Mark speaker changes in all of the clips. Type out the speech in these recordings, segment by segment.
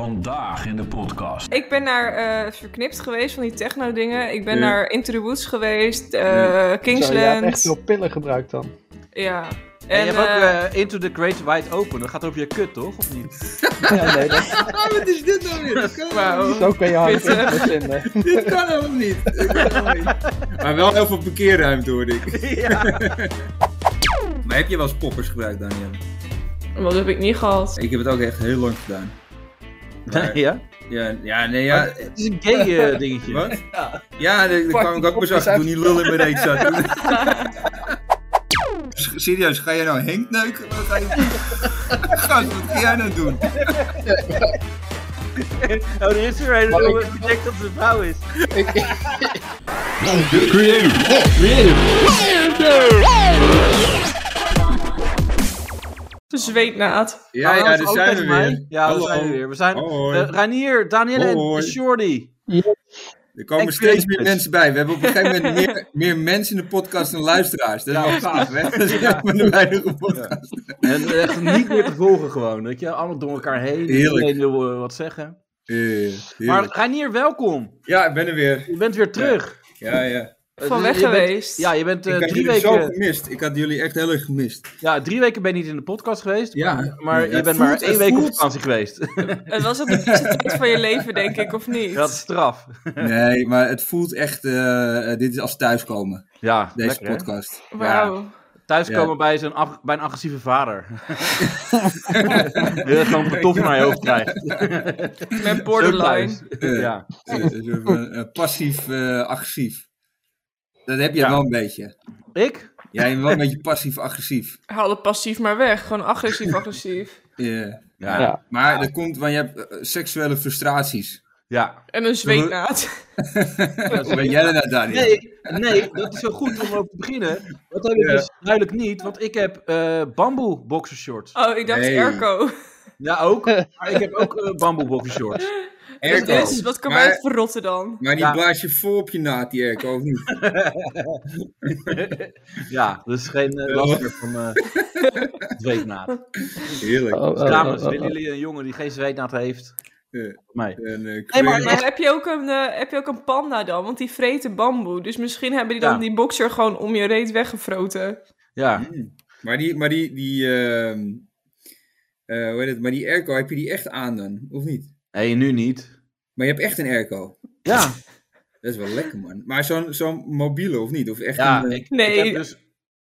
Speaker 1: Vandaag in de podcast.
Speaker 2: Ik ben naar eh, Verknipt geweest van die techno-dingen. Ik ben
Speaker 1: Ja.
Speaker 2: naar Into the Woods geweest, eh,
Speaker 3: Zo, je hebt echt
Speaker 2: Kingsland.
Speaker 3: veel pillen gebruikt dan.
Speaker 2: Ja.
Speaker 4: En, je hebt ook
Speaker 2: eh,
Speaker 4: eh, Into the Great Wide Open. Dat gaat over je kut, toch? Of niet?
Speaker 3: Ja, nee, dat,
Speaker 5: Ah, wat is dit nou weer? Dat kan helemaal
Speaker 3: zo kan je hard in verzinnen.
Speaker 5: niet. Dit kan helemaal niet. Ik ben helemaal niet. Maar wel heel veel parkeerruimte hoorde ik.
Speaker 4: ja.
Speaker 5: Maar heb je wel eens poppers gebruikt, Daniel?
Speaker 4: eh,
Speaker 2: Wat heb ik niet gehad?
Speaker 5: Ik heb het ook echt heel lang gedaan. Maar-
Speaker 4: ja.
Speaker 5: ja, ja, nee, ja.
Speaker 4: Het is een gay eh, dingetje.
Speaker 5: Wat? Ja, daar daar kwam ik ook pas achter toen die lul in mijn reet zat. Serieus, ga jij nou Henk neuken? Wat ga je... Gast, wat ga jij nou doen?
Speaker 4: Oh, er is er een
Speaker 3: Maar
Speaker 4: jongen die denkt dat ze een vrouw is.
Speaker 1: Creative.
Speaker 2: De zweetnaad.
Speaker 5: Ja,
Speaker 4: Oh,
Speaker 5: ja,
Speaker 4: dat
Speaker 5: daar
Speaker 4: is ook
Speaker 5: zijn we
Speaker 4: tegen mij.
Speaker 5: weer.
Speaker 4: Ja, daar
Speaker 5: Hallo.
Speaker 4: zijn we weer. We zijn...
Speaker 5: Hoi.
Speaker 4: eh, Ranier, Daniel en
Speaker 5: Hoi.
Speaker 4: Shorty.
Speaker 5: Er komen
Speaker 4: Ik
Speaker 5: steeds
Speaker 4: vind
Speaker 5: meer
Speaker 4: het dus.
Speaker 5: mensen bij. We hebben op een gegeven moment meer, meer mensen in de podcast dan luisteraars. Dat is wel gaaf, hè? Dat is echt maar de weinige podcast.
Speaker 4: En echt niet meer te volgen gewoon. Weet je, allemaal door elkaar heen.
Speaker 5: Heerlijk.
Speaker 4: Iedereen wil eh, wat zeggen.
Speaker 5: Eh, heerlijk.
Speaker 4: Maar Ranier, welkom.
Speaker 5: Ja, ik ben er weer.
Speaker 4: Je bent weer terug.
Speaker 5: Ja, ja.
Speaker 2: Van
Speaker 4: Eh,
Speaker 2: weg
Speaker 4: je bent-
Speaker 2: geweest.
Speaker 4: ja, je bent eh,
Speaker 5: ik had
Speaker 4: drie,
Speaker 5: jullie zo
Speaker 4: weken,
Speaker 5: gemist. Ik had jullie echt heel erg gemist.
Speaker 4: ja, drie weken ben je niet in de podcast geweest.
Speaker 5: Ja.
Speaker 4: Maar, maar
Speaker 5: Ja,
Speaker 4: je
Speaker 5: het
Speaker 4: bent maar
Speaker 5: voelt-
Speaker 4: één
Speaker 5: het
Speaker 4: week op
Speaker 5: voelt-
Speaker 4: vakantie geweest.
Speaker 2: Het was het beste tijd van je leven, denk ik, of niet?
Speaker 4: dat is straf.
Speaker 5: Nee, maar het voelt echt... eh, eh, dit is als thuiskomen,
Speaker 4: Ja,
Speaker 5: deze
Speaker 4: lekker, hè?
Speaker 5: podcast.
Speaker 2: Wauw.
Speaker 5: Ja.
Speaker 4: Thuiskomen
Speaker 5: Ja.
Speaker 4: bij, zo'n ag- bij een agressieve vader. Je gewoon een pantoffel naar je hoofd krijgt.
Speaker 2: Met borderline.
Speaker 4: Zo thuis.
Speaker 5: Eh,
Speaker 4: Ja.
Speaker 5: eh, een soort van, eh, passief, eh, agressief. Dat heb je
Speaker 4: Ja.
Speaker 5: wel een beetje.
Speaker 4: Ik?
Speaker 5: Jij bent wel een beetje passief-agressief.
Speaker 2: Haal het passief maar weg. Gewoon agressief-agressief.
Speaker 5: Ja.
Speaker 4: Ja.
Speaker 3: Ja.
Speaker 5: Maar dat komt, want je hebt eh, seksuele frustraties.
Speaker 4: Ja.
Speaker 2: En een zweetnaad.
Speaker 5: Hoe weet jij dat nou, Daniel?
Speaker 4: Nee, nee, dat is wel goed om over te beginnen. Dat heb ik
Speaker 5: Ja.
Speaker 4: dus duidelijk niet, want ik heb eh bamboe boxershorts.
Speaker 2: Oh, ik dacht
Speaker 5: Nee.
Speaker 2: airco.
Speaker 4: Ja, ook. Maar ik heb ook eh bamboe boxershorts.
Speaker 5: Airco.
Speaker 2: Dus wat kan mij
Speaker 5: maar,
Speaker 2: het verrotten dan?
Speaker 5: maar die
Speaker 4: Ja.
Speaker 5: blaas je vol op je naad, die airco, of niet?
Speaker 4: Ja, dus geen eh, last meer van eh zweetnaad.
Speaker 5: Heerlijk.
Speaker 3: Oh, oh,
Speaker 4: Dames,
Speaker 3: oh, oh,
Speaker 4: willen jullie een jongen die geen zweetnaad heeft?
Speaker 5: Eh,
Speaker 4: Mij.
Speaker 5: en, eh,
Speaker 4: Nee, maar-
Speaker 5: kleur-
Speaker 2: Maar heb je, ook een, eh, heb je ook een panda dan? Want die vreten bamboe. Dus misschien hebben die dan
Speaker 4: Ja.
Speaker 2: die boxer gewoon om je reet weggefroten.
Speaker 4: Ja.
Speaker 5: Hmm. maar die, maar die, die, ehm, eh, hoe heet het? Maar die airco, heb je die echt aan dan, of niet?
Speaker 4: Nee, nu niet.
Speaker 5: Maar je hebt echt een airco.
Speaker 4: Ja,
Speaker 5: Dat is wel lekker, man. Maar zo'n zo'n mobiele, of niet? Of echt
Speaker 4: ja.
Speaker 5: een, eh,
Speaker 4: Ik,
Speaker 2: Nee.
Speaker 4: ik heb dus...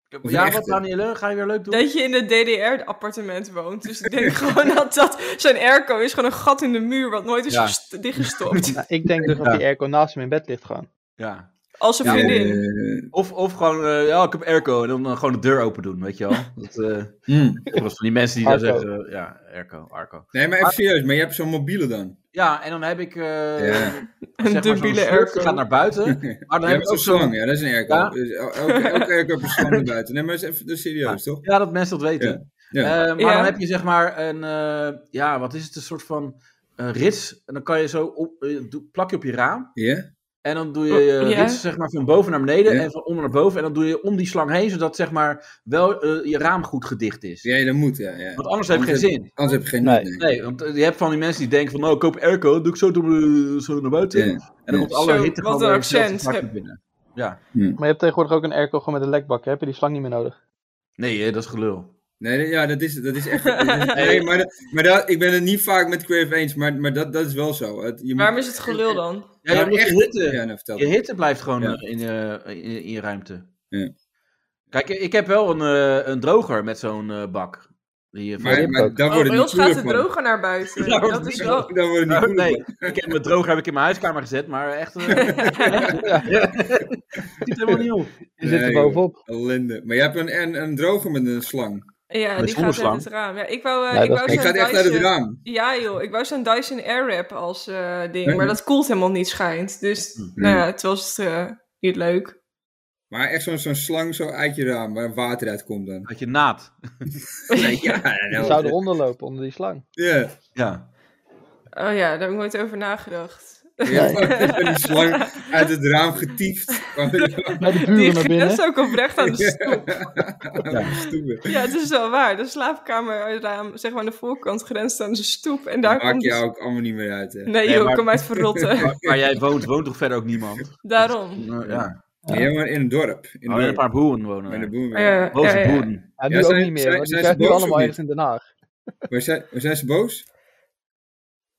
Speaker 5: een
Speaker 4: Ja, wat
Speaker 5: echte.
Speaker 4: Danielle? Ga je weer leuk doen?
Speaker 2: Dat je in het DDR-appartement woont. Dus ik denk gewoon dat, dat zijn airco is gewoon een gat in de muur wat nooit is
Speaker 4: Ja.
Speaker 2: gest- dichtgestopt.
Speaker 3: Nou, ik denk dus dat die airco naast hem in bed ligt gewoon.
Speaker 4: Ja.
Speaker 2: Als een
Speaker 4: Ja,
Speaker 2: vriendin.
Speaker 5: eh,
Speaker 4: Of, of gewoon, eh, ja, ik heb airco. En dan eh, gewoon de deur open doen, weet je wel. Dat, eh,
Speaker 5: hmm.
Speaker 4: dat was van die mensen die daar
Speaker 3: Arco.
Speaker 4: zeggen, eh, ja, airco, airco.
Speaker 5: Nee, maar even serieus, maar je hebt zo'n mobiele dan.
Speaker 4: Ja, en dan heb ik, eh
Speaker 5: Ja.
Speaker 4: zeg maar,
Speaker 2: een
Speaker 4: zo'n
Speaker 2: dubiele
Speaker 4: slurp,
Speaker 2: airco.
Speaker 4: die gaat naar buiten. Maar
Speaker 5: Je
Speaker 4: dan heb
Speaker 5: hebt
Speaker 4: ik ook
Speaker 5: zo'n
Speaker 4: zo'n...
Speaker 5: slang, ja, dat is een airco.
Speaker 4: Ja.
Speaker 5: Dus el- elke, elke airco heeft een slang naar buiten. Nee, maar is even dat is serieus, toch?
Speaker 4: Ja, dat mensen dat weten.
Speaker 5: Ja.
Speaker 4: Eh, maar
Speaker 2: Ja.
Speaker 4: dan heb je zeg maar een, eh, ja, wat is het, een soort van eh, rits. En dan kan je zo, op, eh, doe- plak je op je raam.
Speaker 5: Ja?
Speaker 4: En dan doe je eh,
Speaker 2: Ja.
Speaker 4: rits zeg maar van boven naar beneden
Speaker 5: Oh, Ja.
Speaker 4: en van onder naar boven. En dan doe je om die slang heen, zodat zeg maar wel eh, je raam goed gedicht is.
Speaker 5: Ja, dat moet, ja. ja.
Speaker 4: Want anders heeft het geen
Speaker 5: Anders
Speaker 4: zin.
Speaker 5: Anders heb je geen
Speaker 3: Nee.
Speaker 5: nut, nee.
Speaker 4: Nee, want eh, je hebt van die mensen die denken van, nou, ik koop airco, doe ik zo, door, eh, zo naar buiten.
Speaker 5: Ja.
Speaker 4: En dan komt
Speaker 5: Ja.
Speaker 4: alle
Speaker 2: Zo,
Speaker 4: hitte
Speaker 2: wat
Speaker 4: gewoon
Speaker 2: een
Speaker 4: weer veel te
Speaker 2: accent.
Speaker 4: hard
Speaker 2: Heb-
Speaker 4: naar binnen. Ja,
Speaker 3: Maar je hebt tegenwoordig ook een airco gewoon met een lekbak. hè? Heb je die slang niet meer nodig?
Speaker 4: nee, eh, dat is gelul.
Speaker 5: Nee, dat- ja, dat is, dat is echt. dat is- nee, maar, dat, maar dat, ik ben het niet vaak met Crave eens, maar, maar dat, dat is wel zo. Het, je moet-
Speaker 2: Waarom is het gelul dan?
Speaker 4: Ja,
Speaker 5: Ja,
Speaker 4: je, moet
Speaker 5: echt.
Speaker 4: je hitte,
Speaker 5: Ja, nou, vertel.
Speaker 4: je hitte blijft gewoon
Speaker 5: Ja.
Speaker 4: eh, in, eh, in, in je ruimte.
Speaker 5: Ja.
Speaker 4: Kijk, eh, ik heb wel een, eh, een droger met zo'n eh, bak. Die, eh, van-
Speaker 5: maar maar daar
Speaker 2: Oh,
Speaker 5: wordt
Speaker 2: bij
Speaker 5: het niet
Speaker 2: ons gaat
Speaker 5: koeler
Speaker 2: het
Speaker 5: van.
Speaker 2: droger naar buiten.
Speaker 4: Ja,
Speaker 2: dat is wel... Oh,
Speaker 5: Daar wordt het niet
Speaker 4: Nou,
Speaker 5: koeler
Speaker 4: nee,
Speaker 5: van.
Speaker 4: ik heb mijn droger heb ik in mijn huiskamer gezet, maar echt... eh, Ziet helemaal niet op.
Speaker 3: Je
Speaker 5: Nee,
Speaker 3: zit er
Speaker 5: joh.
Speaker 3: bovenop.
Speaker 5: Ellende. Maar je hebt een, een, een droger met een slang.
Speaker 2: Ja,
Speaker 4: Met
Speaker 2: die gaat uit
Speaker 4: zonneslang.
Speaker 2: het raam. Ja, ik wou, eh,
Speaker 3: Nee,
Speaker 2: ik
Speaker 3: dat
Speaker 2: wou
Speaker 3: is
Speaker 5: Ik
Speaker 2: zo'n
Speaker 5: ga echt uit het
Speaker 2: Dyson-
Speaker 5: raam.
Speaker 2: Ja joh, ik wou zo'n Dyson Airwrap als eh, ding.
Speaker 5: Nee.
Speaker 2: Maar dat koelt helemaal niet schijnt. Dus nou ja, het was eh, niet leuk.
Speaker 5: Maar echt zo'n zo'n slang zo uit je raam waar water uit komt dan.
Speaker 4: Had je naad.
Speaker 5: Nee, ja,
Speaker 3: Je
Speaker 5: nou,
Speaker 3: zou eronder lopen, onder die slang.
Speaker 5: ja.
Speaker 4: Ja.
Speaker 2: Oh ja, daar heb ik nooit over nagedacht.
Speaker 5: Ja, van die slang uit het raam getiefd.
Speaker 3: Bij de buren
Speaker 2: Die
Speaker 3: naar
Speaker 2: is
Speaker 3: binnen.
Speaker 2: ook oprecht aan de stoep.
Speaker 5: Ja, stoer.
Speaker 2: Ja, het is wel waar. De slaapkamerraam, zeg maar aan de voorkant, grenst aan de stoep. En daar
Speaker 5: Maak
Speaker 2: komt...
Speaker 5: je
Speaker 2: dus-
Speaker 5: ook allemaal niet meer uit. Hè.
Speaker 2: Nee
Speaker 4: Nee,
Speaker 2: joh,
Speaker 4: maar-
Speaker 2: kom uit verrotten.
Speaker 4: Waar, waar jij woont, woont toch verder ook niemand?
Speaker 2: Daarom.
Speaker 4: Nou, ja.
Speaker 5: Ja, maar in een dorp.
Speaker 4: Oh,
Speaker 5: In
Speaker 4: en een
Speaker 5: een dorp.
Speaker 4: paar boeren wonen.
Speaker 5: Bij de
Speaker 4: er.
Speaker 5: boeren.
Speaker 2: Ja,
Speaker 4: Boze
Speaker 2: ja, ja.
Speaker 4: boeren.
Speaker 3: Ja, nu
Speaker 5: Ja,
Speaker 3: ook
Speaker 5: zijn-
Speaker 3: niet meer,
Speaker 5: zijn-
Speaker 3: want die
Speaker 5: zijn ze
Speaker 3: krijgen nu
Speaker 5: boos of
Speaker 3: allemaal
Speaker 5: niet?
Speaker 3: ergens in Den Haag.
Speaker 5: Maar zijn, maar zijn ze boos?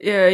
Speaker 2: Ja, ja,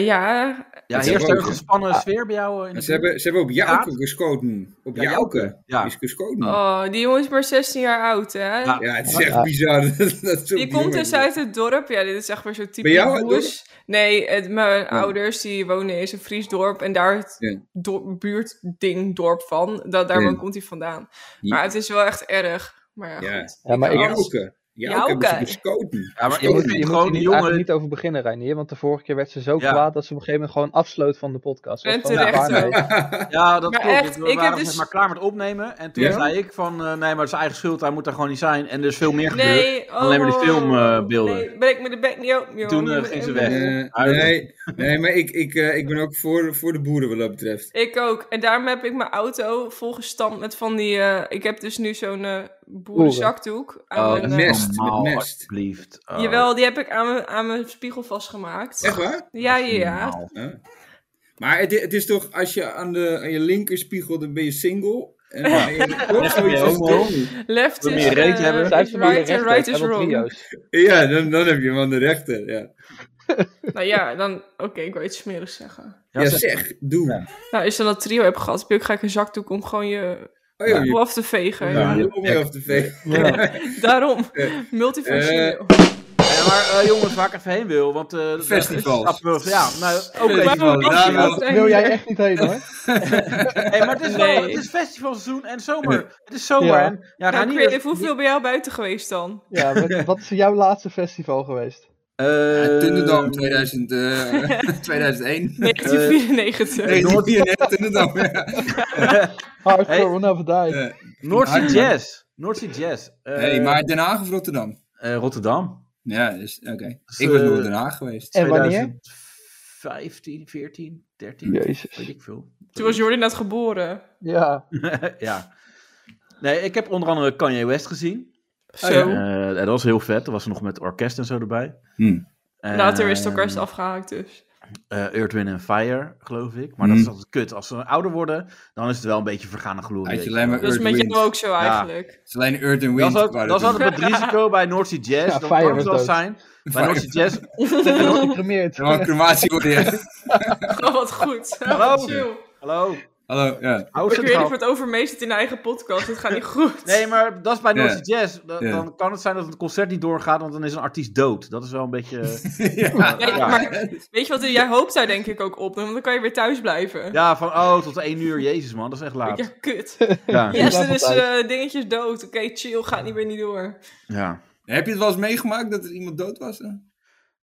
Speaker 4: Ja,
Speaker 5: Het
Speaker 4: heerst
Speaker 5: is wel
Speaker 4: er een
Speaker 5: leuk, hè?
Speaker 4: gespannen sfeer bij jou? eh, In de
Speaker 5: Ze hebben, ze hebben op Jouke geschoten. Op
Speaker 4: Ja,
Speaker 5: Jouke.
Speaker 4: ja.
Speaker 5: is geschoten.
Speaker 2: Oh, die jongen is maar 16 jaar oud, hè?
Speaker 4: Ja.
Speaker 5: Ja, het is echt bizar. dat- dat zo'n
Speaker 2: Die komt
Speaker 5: jongen-
Speaker 2: dus uit het dorp. Ja, dit is echt weer zo typisch
Speaker 5: Bij jou uit het
Speaker 2: boers. Nee, het, mijn ouders die wonen in een Fries dorp. En daar het
Speaker 5: Ja.
Speaker 2: dor- buurtding dorp van. Dat, daar
Speaker 5: Ja.
Speaker 2: komt hij vandaan.
Speaker 5: Ja.
Speaker 2: Maar het is wel echt erg. Maar ja,
Speaker 5: Ja.
Speaker 2: goed.
Speaker 3: Ja, maar ik,
Speaker 2: Anders-
Speaker 5: Jouke.
Speaker 2: Jouke.
Speaker 5: Jouke hebben ze geschoten.
Speaker 4: Ja, maar
Speaker 3: je
Speaker 4: ik
Speaker 3: moet,
Speaker 4: vind
Speaker 3: je
Speaker 4: gewoon
Speaker 3: moet
Speaker 4: die
Speaker 3: hier
Speaker 4: jongen...
Speaker 3: eigenlijk niet over beginnen, Reinier. Want de vorige keer werd ze zo
Speaker 4: Ja.
Speaker 3: kwaad dat ze op een gegeven moment gewoon afsloot van de podcast. Dat
Speaker 2: En
Speaker 3: was gewoon
Speaker 2: terecht
Speaker 3: een waarheid.
Speaker 4: Ja, dat
Speaker 2: Maar
Speaker 4: klopt.
Speaker 2: echt,
Speaker 4: we
Speaker 2: ik heb
Speaker 4: waren
Speaker 2: dus-
Speaker 4: zeg maar klaar met opnemen. En toen
Speaker 5: Ja?
Speaker 4: zei ik van, eh, nee, maar het is eigen schuld. Hij moet daar gewoon niet zijn. En er is veel meer gebeurd.
Speaker 2: Nee, oh,
Speaker 4: Alleen maar die filmbeelden.
Speaker 2: Nee, breek me de bek niet open, joh.
Speaker 4: Toen, eh, ging ze weg.
Speaker 5: Eh, nee, nee, maar ik, ik, eh, ik ben ook voor, voor de boeren wat dat betreft.
Speaker 2: Ik ook. En daarom heb ik mijn auto volgestampt met van die... eh, ik heb dus nu zo'n eh boerenzakdoek. aan
Speaker 4: Oh,
Speaker 2: mijn, eh,
Speaker 5: mest, met
Speaker 4: normaal,
Speaker 5: mest.
Speaker 4: alsjeblieft. Oh,
Speaker 2: Jawel, die heb ik aan mijn, aan mijn spiegel vastgemaakt.
Speaker 5: Echt waar?
Speaker 2: Ja, ja, ja.
Speaker 4: normaal.
Speaker 5: Ja. Maar het, i- het is toch, als je aan, de, aan je linker spiegelt, dan ben je single. En dan ben je
Speaker 4: ben je homo.
Speaker 2: Left
Speaker 4: Wil
Speaker 2: is,
Speaker 4: je meer reet
Speaker 2: eh,
Speaker 4: hebben?
Speaker 2: is
Speaker 3: Zij heeft een
Speaker 2: right en right is
Speaker 3: helemaal
Speaker 2: wrong.
Speaker 3: trio's.
Speaker 5: Ja, dan, dan heb je hem aan de rechter. Ja,
Speaker 2: Nou ja, dan... Oké, ik wil iets smerigs zeggen.
Speaker 5: ja, zeg, doe.
Speaker 2: Nou, als je dan dat trio hebt gehad, heb je ook gelijk een zakdoek om gewoon je
Speaker 5: Oh, joh,
Speaker 2: boel
Speaker 5: je
Speaker 2: af te vegen.
Speaker 5: je
Speaker 4: Ja. Eh,
Speaker 5: lul mee af te vegen.
Speaker 2: Daarom, multifunctioneel.
Speaker 4: Ja, maar eh, jongens, waar ik even heen wil, want... eh, dat-
Speaker 5: Festivals.
Speaker 4: dat- dat- Ja, nou, ook
Speaker 5: Festivals.
Speaker 4: even.
Speaker 2: Waarom was je
Speaker 5: Ja,
Speaker 2: dat
Speaker 5: maar-
Speaker 3: Wil jij echt niet heen hoor.
Speaker 4: Hey, maar het is wel,
Speaker 2: Nee.
Speaker 4: het is festivalseizoen en zomer. Het is zomer.
Speaker 3: Ja.
Speaker 4: En, ja,
Speaker 2: Nou,
Speaker 4: Ranier-
Speaker 2: Creative, hoeveel ben jij buiten geweest dan?
Speaker 3: Ja, wat, wat is jouw laatste festival geweest?
Speaker 4: Eh,
Speaker 5: Ja, Tunderdam 2000, eh, 2001.
Speaker 2: 1994.
Speaker 5: Eh, Nee, die 94 Tunderdam. ja.
Speaker 3: Hardcore
Speaker 4: Hey.
Speaker 3: will never die.
Speaker 5: Ja.
Speaker 4: Noordzee
Speaker 5: Ja,
Speaker 4: Jazz. Noordzee Jazz. Eh,
Speaker 5: Nee, maar Den Haag of Rotterdam?
Speaker 4: eh, Rotterdam.
Speaker 5: Ja, dus, oké.
Speaker 4: Dus,
Speaker 5: Ik was
Speaker 4: eh,
Speaker 5: nog in Den Haag geweest.
Speaker 3: En wanneer?
Speaker 4: 2015, 14, 13. Weet
Speaker 3: Jezus.
Speaker 4: ik veel.
Speaker 2: Toen was Jordi net geboren.
Speaker 3: Ja.
Speaker 4: ja. Nee, ik heb onder andere Kanye West gezien.
Speaker 2: Zo.
Speaker 5: Oh, ja.
Speaker 4: Eh, dat was heel vet. Dat was nog met orkest en zo erbij.
Speaker 5: Hm.
Speaker 4: Eh,
Speaker 2: Later is het elkaar eens afgehaakt dus.
Speaker 4: eh, Earth, Wind and Fire, geloof ik. Maar
Speaker 5: Hm.
Speaker 4: dat is altijd kut. Als ze ouder worden, dan is het wel een beetje vergane glorie.
Speaker 5: Had je
Speaker 4: weet
Speaker 5: alleen
Speaker 4: wel.
Speaker 5: maar
Speaker 2: Dat is
Speaker 5: Earth,
Speaker 2: met
Speaker 5: Wind.
Speaker 2: jou ook zo
Speaker 4: Ja.
Speaker 2: eigenlijk.
Speaker 5: Het is alleen Earth and
Speaker 4: Dat
Speaker 5: Wind.
Speaker 4: is altijd-
Speaker 5: waren
Speaker 4: dat is
Speaker 5: het.
Speaker 4: altijd het risico bij North Sea Jazz.
Speaker 3: Ja,
Speaker 4: dan
Speaker 3: Fire
Speaker 4: kan het
Speaker 3: was
Speaker 4: wel
Speaker 3: dood.
Speaker 4: zijn. Bij North Sea Jazz
Speaker 3: Gecremeerd.
Speaker 5: Gewoon een crematie worden, ja.
Speaker 2: Oh, wat goed.
Speaker 4: Hallo.
Speaker 2: Chill.
Speaker 4: Hallo.
Speaker 5: Hallo, ja.
Speaker 4: Hou
Speaker 2: Ik weet niet
Speaker 4: Oh, centraal.
Speaker 2: of het over mee zit in de eigen podcast. Het gaat niet goed.
Speaker 4: Nee, maar dat is bij
Speaker 5: Ja.
Speaker 4: North Sea Jazz. Da-
Speaker 5: Ja.
Speaker 4: Dan kan het zijn dat het concert niet doorgaat, want dan is een artiest dood. Dat is wel een beetje... eh,
Speaker 5: ja.
Speaker 2: Ja, maar weet je wat? Jij hoopt daar denk ik ook op. Want dan kan je weer thuis blijven.
Speaker 4: Ja, van oh, tot één uur. Jezus man, dat is echt
Speaker 2: Ja,
Speaker 4: laat.
Speaker 2: kut.
Speaker 4: Ja. ja.
Speaker 2: Yes,
Speaker 3: blijf
Speaker 2: er is
Speaker 3: op
Speaker 2: eh dingetjes dood. Oké, chill. Gaat niet meer niet door.
Speaker 5: Heb je het wel eens meegemaakt dat er iemand dood was? hè?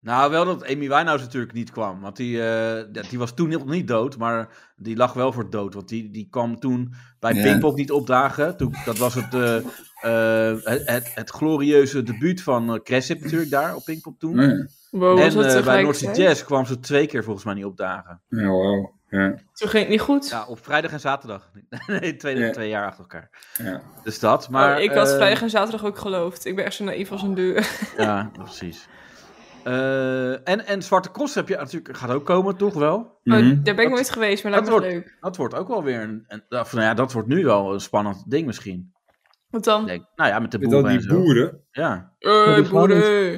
Speaker 4: Nou, wel dat Amy Winehouse natuurlijk niet kwam. Want die, eh, dat- die was toen nog niet dood, maar die lag wel voor dood. Want die, die kwam toen bij
Speaker 5: Ja.
Speaker 4: Pinkpop niet opdagen. Toen, dat was het, eh, eh, het, het, het glorieuze debuut van uh, natuurlijk daar op Pinkpop toen.
Speaker 5: Ja,
Speaker 2: Wow,
Speaker 4: en eh, bij North Sea Jazz kwam ze twee keer volgens mij niet opdagen.
Speaker 5: ja wauw.
Speaker 4: Oh,
Speaker 5: Ja,
Speaker 2: Toen ging het niet goed.
Speaker 4: Ja, op vrijdag en zaterdag. Nee, twee,
Speaker 5: Ja.
Speaker 4: twee jaar achter elkaar.
Speaker 5: ja.
Speaker 4: Dus dat, maar...
Speaker 2: maar, Oh, ik had
Speaker 4: eh,
Speaker 2: vrijdag en zaterdag ook geloofd. Ik ben echt zo naïef als een deur.
Speaker 4: Ja, precies. Eh, en, en Zwarte Cross heb je natuurlijk, gaat ook komen, toch wel?
Speaker 5: Mhm.
Speaker 2: Oh, daar ben
Speaker 4: Dat-
Speaker 2: ik nooit geweest, maar lijkt me
Speaker 4: dat
Speaker 2: wel leuk.
Speaker 4: Dat wordt ook wel weer een... een of nou ja, dat wordt nu wel een spannend ding misschien.
Speaker 2: Want dan...
Speaker 4: Ik Denk, nou ja, met de
Speaker 5: Met al
Speaker 4: boeren en
Speaker 5: die
Speaker 4: zo.
Speaker 5: boeren.
Speaker 4: Ja,
Speaker 2: Hey,
Speaker 3: Dat is gewoon
Speaker 2: boeren.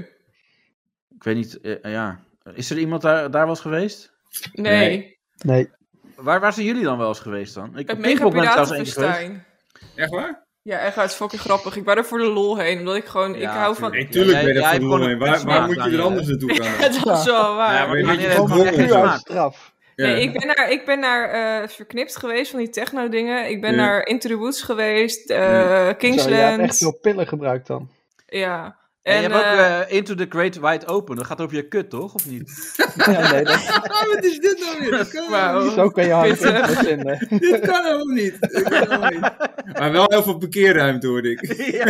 Speaker 4: ik weet niet, eh, ja. Is er iemand daar, daar wel eens geweest?
Speaker 2: Nee.
Speaker 5: Nee.
Speaker 3: Nee.
Speaker 4: Waar, waar zijn jullie dan wel eens geweest dan? Ik
Speaker 2: Het
Speaker 4: op Pinkpop
Speaker 2: mega
Speaker 4: ben ik trouwens één keer geweest.
Speaker 2: piratenfestijn.
Speaker 5: Echt waar?
Speaker 2: Ja, echt, het is fucking grappig. Ik ben er voor de lol heen, omdat ik gewoon... ik
Speaker 4: Ja,
Speaker 2: hou van...
Speaker 5: Nee,
Speaker 4: tuurlijk ben
Speaker 5: tuurlijk ben
Speaker 4: je daar
Speaker 5: je dat
Speaker 4: voor de lol
Speaker 5: mee.
Speaker 4: mee. Waar-
Speaker 5: Waar,
Speaker 4: waar
Speaker 5: moet je er anders naartoe gaan?
Speaker 2: dat is wel waar.
Speaker 4: Ja, maar die
Speaker 5: Weet je,
Speaker 4: gaan
Speaker 5: die
Speaker 4: hier
Speaker 5: van
Speaker 3: Gewoon
Speaker 4: gewoon echt
Speaker 5: boeren.
Speaker 4: geen
Speaker 3: puur uit
Speaker 4: smaak.
Speaker 3: straf.
Speaker 5: Ja.
Speaker 2: Nee, ik ben naar, ik ben naar eh, Verknipt geweest, van die techno-dingen. Ik ben
Speaker 5: Ja.
Speaker 2: naar Into the Woods geweest, eh,
Speaker 5: Ja.
Speaker 3: Zo, je hebt
Speaker 2: Kingsland.
Speaker 3: echt veel pillen gebruikt dan.
Speaker 2: Ja.
Speaker 4: En, je hebt ook
Speaker 2: eh,
Speaker 4: eh, Into the Great Wide Open. Dat gaat over je kut, toch? Of niet?
Speaker 3: Ja, nee, dat,
Speaker 5: Ah, wat is dit nou weer? Dat kan helemaal
Speaker 2: Wauw.
Speaker 5: niet.
Speaker 3: zo kan je hard
Speaker 2: Pittig.
Speaker 3: in verzinnen.
Speaker 5: Dit kan helemaal niet. Dit kan helemaal niet. Maar wel heel veel parkeerruimte hoorde ik.
Speaker 4: ja.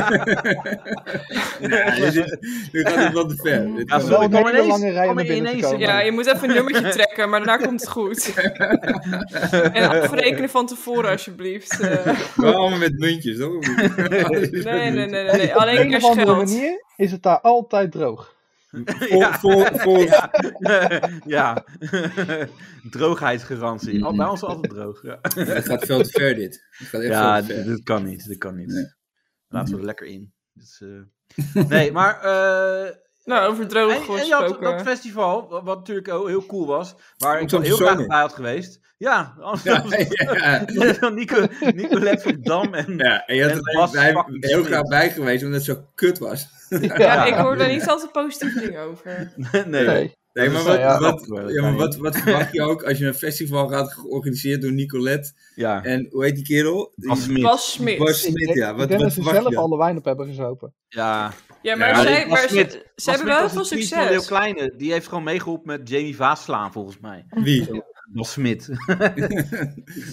Speaker 5: Ja, dit is- nu gaat het wel te ver. Dit
Speaker 4: Ja,
Speaker 5: kan
Speaker 4: sorry,
Speaker 5: wel.
Speaker 4: kom
Speaker 3: een hele
Speaker 4: ineens-
Speaker 3: lange rij om
Speaker 4: kom
Speaker 3: naar binnen
Speaker 4: ineens-
Speaker 3: te komen.
Speaker 2: Ja, je moet even een nummertje trekken, maar daarna komt het goed. en afrekenen van tevoren, alsjeblieft. Eh,
Speaker 5: wel allemaal met muntjes, toch?
Speaker 2: nee, nee, nee, nee, nee. Alleen
Speaker 3: Op een of
Speaker 2: cash
Speaker 3: andere
Speaker 2: geld.
Speaker 3: manier is het daar altijd droog.
Speaker 5: Vol, vol, vol,
Speaker 4: ja. Droogheidsgarantie. Al- Bij ons is altijd droog. Ja,
Speaker 5: Het gaat veel te ver, dit. Het gaat echt
Speaker 4: ja
Speaker 5: veel te
Speaker 4: dit,
Speaker 5: ver.
Speaker 4: dit kan niet. Dit kan niet.
Speaker 5: Nee.
Speaker 4: Laten we er lekker in. Dit is, eh, Nee, maar... eh,
Speaker 2: Nou, over droog
Speaker 4: en, en je had
Speaker 2: gesproken.
Speaker 4: dat festival, wat, wat natuurlijk ook heel cool was, waar ik
Speaker 5: Amsterdamse
Speaker 4: wel heel graag
Speaker 5: zomer.
Speaker 4: bij had geweest. Ja,
Speaker 5: Ja,
Speaker 4: Amsterdam.
Speaker 5: ja.
Speaker 4: Nico, Nicolette van Dam en
Speaker 5: Ja, en je had
Speaker 4: En
Speaker 5: er
Speaker 4: Bas
Speaker 5: bij-
Speaker 4: fucking
Speaker 5: heel
Speaker 4: Smit.
Speaker 5: graag bij geweest omdat het zo kut was.
Speaker 2: Ja, ik hoor daar niet altijd positieve dingen over.
Speaker 4: nee.
Speaker 3: Nee.
Speaker 5: Nee,
Speaker 4: Dat
Speaker 5: maar
Speaker 4: is
Speaker 5: wat,
Speaker 4: wel- ja, dat
Speaker 5: wat,
Speaker 4: wel, dat
Speaker 5: ja, maar
Speaker 4: kan
Speaker 5: wat, wat verwacht je ook als je een festival gaat georganiseerd door Nicolette
Speaker 4: Ja.
Speaker 5: en hoe heet die kerel? Die-
Speaker 4: Als Smit.
Speaker 2: Bas Smit.
Speaker 5: Bas
Speaker 3: Ik
Speaker 5: Smit,
Speaker 3: denk,
Speaker 5: ja.
Speaker 3: ik
Speaker 5: Wat,
Speaker 3: denk
Speaker 5: wat
Speaker 3: dat ze
Speaker 5: verwacht je
Speaker 3: zelf
Speaker 5: dan?
Speaker 3: alle wijn op hebben gezopen.
Speaker 4: Ja.
Speaker 2: Ja, maar,
Speaker 5: Ja,
Speaker 2: zij,
Speaker 4: Bas
Speaker 2: maar
Speaker 4: Smit.
Speaker 2: ze, ze
Speaker 4: Bas
Speaker 2: hebben wel
Speaker 4: Smit
Speaker 2: heel
Speaker 4: was
Speaker 2: veel
Speaker 4: een vriend Van heel
Speaker 2: succes.
Speaker 4: kleine. Die heeft gewoon meegeholpen met Jamie Vaaslaan, volgens mij.
Speaker 5: Wie?
Speaker 4: Bas Smit.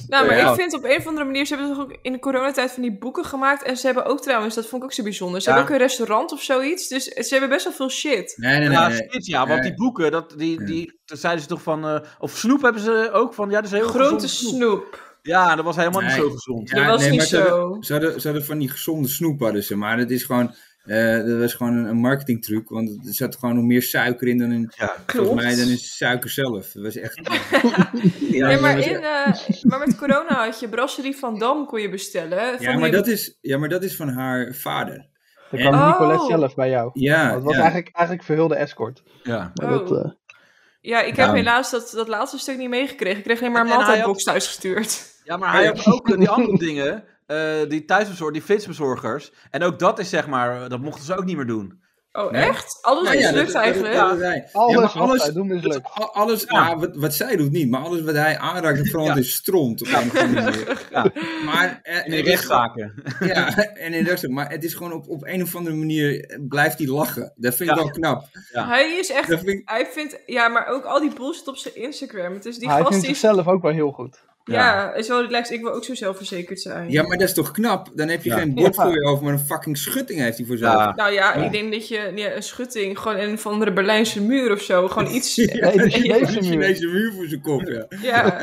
Speaker 2: Nou, maar
Speaker 4: Ja.
Speaker 2: ik vind op een of andere manier, ze hebben toch ook in de coronatijd van die boeken gemaakt. En ze hebben ook trouwens, dat vond ik ook zo bijzonder, ze
Speaker 4: Ja.
Speaker 2: hebben ook een restaurant of zoiets. Dus ze hebben best wel veel shit.
Speaker 5: Nee, nee, nee.
Speaker 4: Ja,
Speaker 5: nee.
Speaker 4: Smit, ja. Want die boeken, dat, die,
Speaker 5: eh, Ja.
Speaker 4: die, toen zeiden ze toch van... eh, of snoep hebben ze ook van... Ja, dat is heel
Speaker 2: Grote
Speaker 4: gezond
Speaker 2: snoep.
Speaker 4: Ja, dat was helemaal niet
Speaker 5: Nee.
Speaker 4: zo gezond.
Speaker 2: Dat was
Speaker 5: nee,
Speaker 2: niet
Speaker 5: maar ze hadden-
Speaker 2: zo.
Speaker 5: Ze hadden, ze hadden van die gezonde snoep hadden ze, maar dat is gewoon, eh, dat was gewoon een, een marketingtruc, want er zat gewoon nog meer suiker in dan in,
Speaker 4: Ja.
Speaker 5: volgens mij,
Speaker 2: Klopt.
Speaker 5: dan in suiker zelf. Dat was echt...
Speaker 2: Nee,
Speaker 5: dat
Speaker 2: maar,
Speaker 5: was
Speaker 2: in,
Speaker 5: echt-
Speaker 2: eh, maar met corona had je Brasserie van Dam kon je bestellen. Van
Speaker 5: ja,
Speaker 2: die-
Speaker 5: maar dat is, ja, maar dat is van haar vader.
Speaker 3: Dan
Speaker 5: En-
Speaker 3: kwam
Speaker 2: Oh.
Speaker 3: Nicolette zelf bij jou.
Speaker 5: Ja,
Speaker 3: Het was
Speaker 5: ja.
Speaker 3: eigenlijk, eigenlijk verhulde escort.
Speaker 4: ja.
Speaker 3: Maar
Speaker 2: Oh.
Speaker 3: dat, eh,
Speaker 2: ja, ik heb
Speaker 5: Ja.
Speaker 2: helaas dat, dat laatste stuk niet meegekregen. Ik kreeg alleen maar een
Speaker 4: En hij had-
Speaker 2: maaltijdbox thuisgestuurd.
Speaker 4: Ja, maar hij had ook eh, die andere dingen, eh, die thuisbezorgers, die flitsbezorgers. En ook dat is zeg maar, eh, dat mochten ze ook niet meer doen.
Speaker 2: Oh,
Speaker 5: Nee?
Speaker 2: echt? Alles
Speaker 5: Nou Ja, ja, dat-
Speaker 2: mislukt
Speaker 5: dat-
Speaker 2: eigenlijk.
Speaker 5: dat- dat is hij.
Speaker 3: alles,
Speaker 5: Ja, maar
Speaker 3: wat
Speaker 5: alles-
Speaker 3: zij doen is leuk.
Speaker 5: Dus a- alles,
Speaker 4: Ja.
Speaker 5: ja, wat, wat zij doet niet, maar alles wat hij aanraakt, verandert
Speaker 4: Ja.
Speaker 5: in stront. Op een of andere manier.
Speaker 4: Ja.
Speaker 5: Maar, eh,
Speaker 4: In de rechtszaken.
Speaker 5: Ja, en in rechtszaak. Maar het is gewoon op, op een of andere manier eh, blijft hij lachen. Dat vind ik
Speaker 4: Ja.
Speaker 5: wel knap.
Speaker 4: Ja.
Speaker 2: Hij is echt.
Speaker 5: Dat vind ik,
Speaker 2: Hij vindt. Ja, maar ook al die bullshit op zijn Instagram. Het is die
Speaker 3: Maar hij
Speaker 2: gast
Speaker 3: vindt
Speaker 2: die. is-
Speaker 3: zichzelf ook wel heel goed.
Speaker 2: Ja, is wel relaxed. Ik wil ook zo zelfverzekerd zijn.
Speaker 5: ja, maar dat is toch knap? Dan heb je
Speaker 4: Ja.
Speaker 5: geen bord
Speaker 3: Ja.
Speaker 5: voor je over, maar een fucking schutting heeft hij voor
Speaker 4: Ja.
Speaker 5: zijn hoofd.
Speaker 2: Nou ja, ik denk dat je ja, een schutting, gewoon een van de Berlijnse muur of zo, gewoon iets.
Speaker 5: Ja.
Speaker 3: Nee, de
Speaker 5: Een
Speaker 3: Chinese muur.
Speaker 5: Chinese muur voor zijn kop, ja.
Speaker 2: Ja,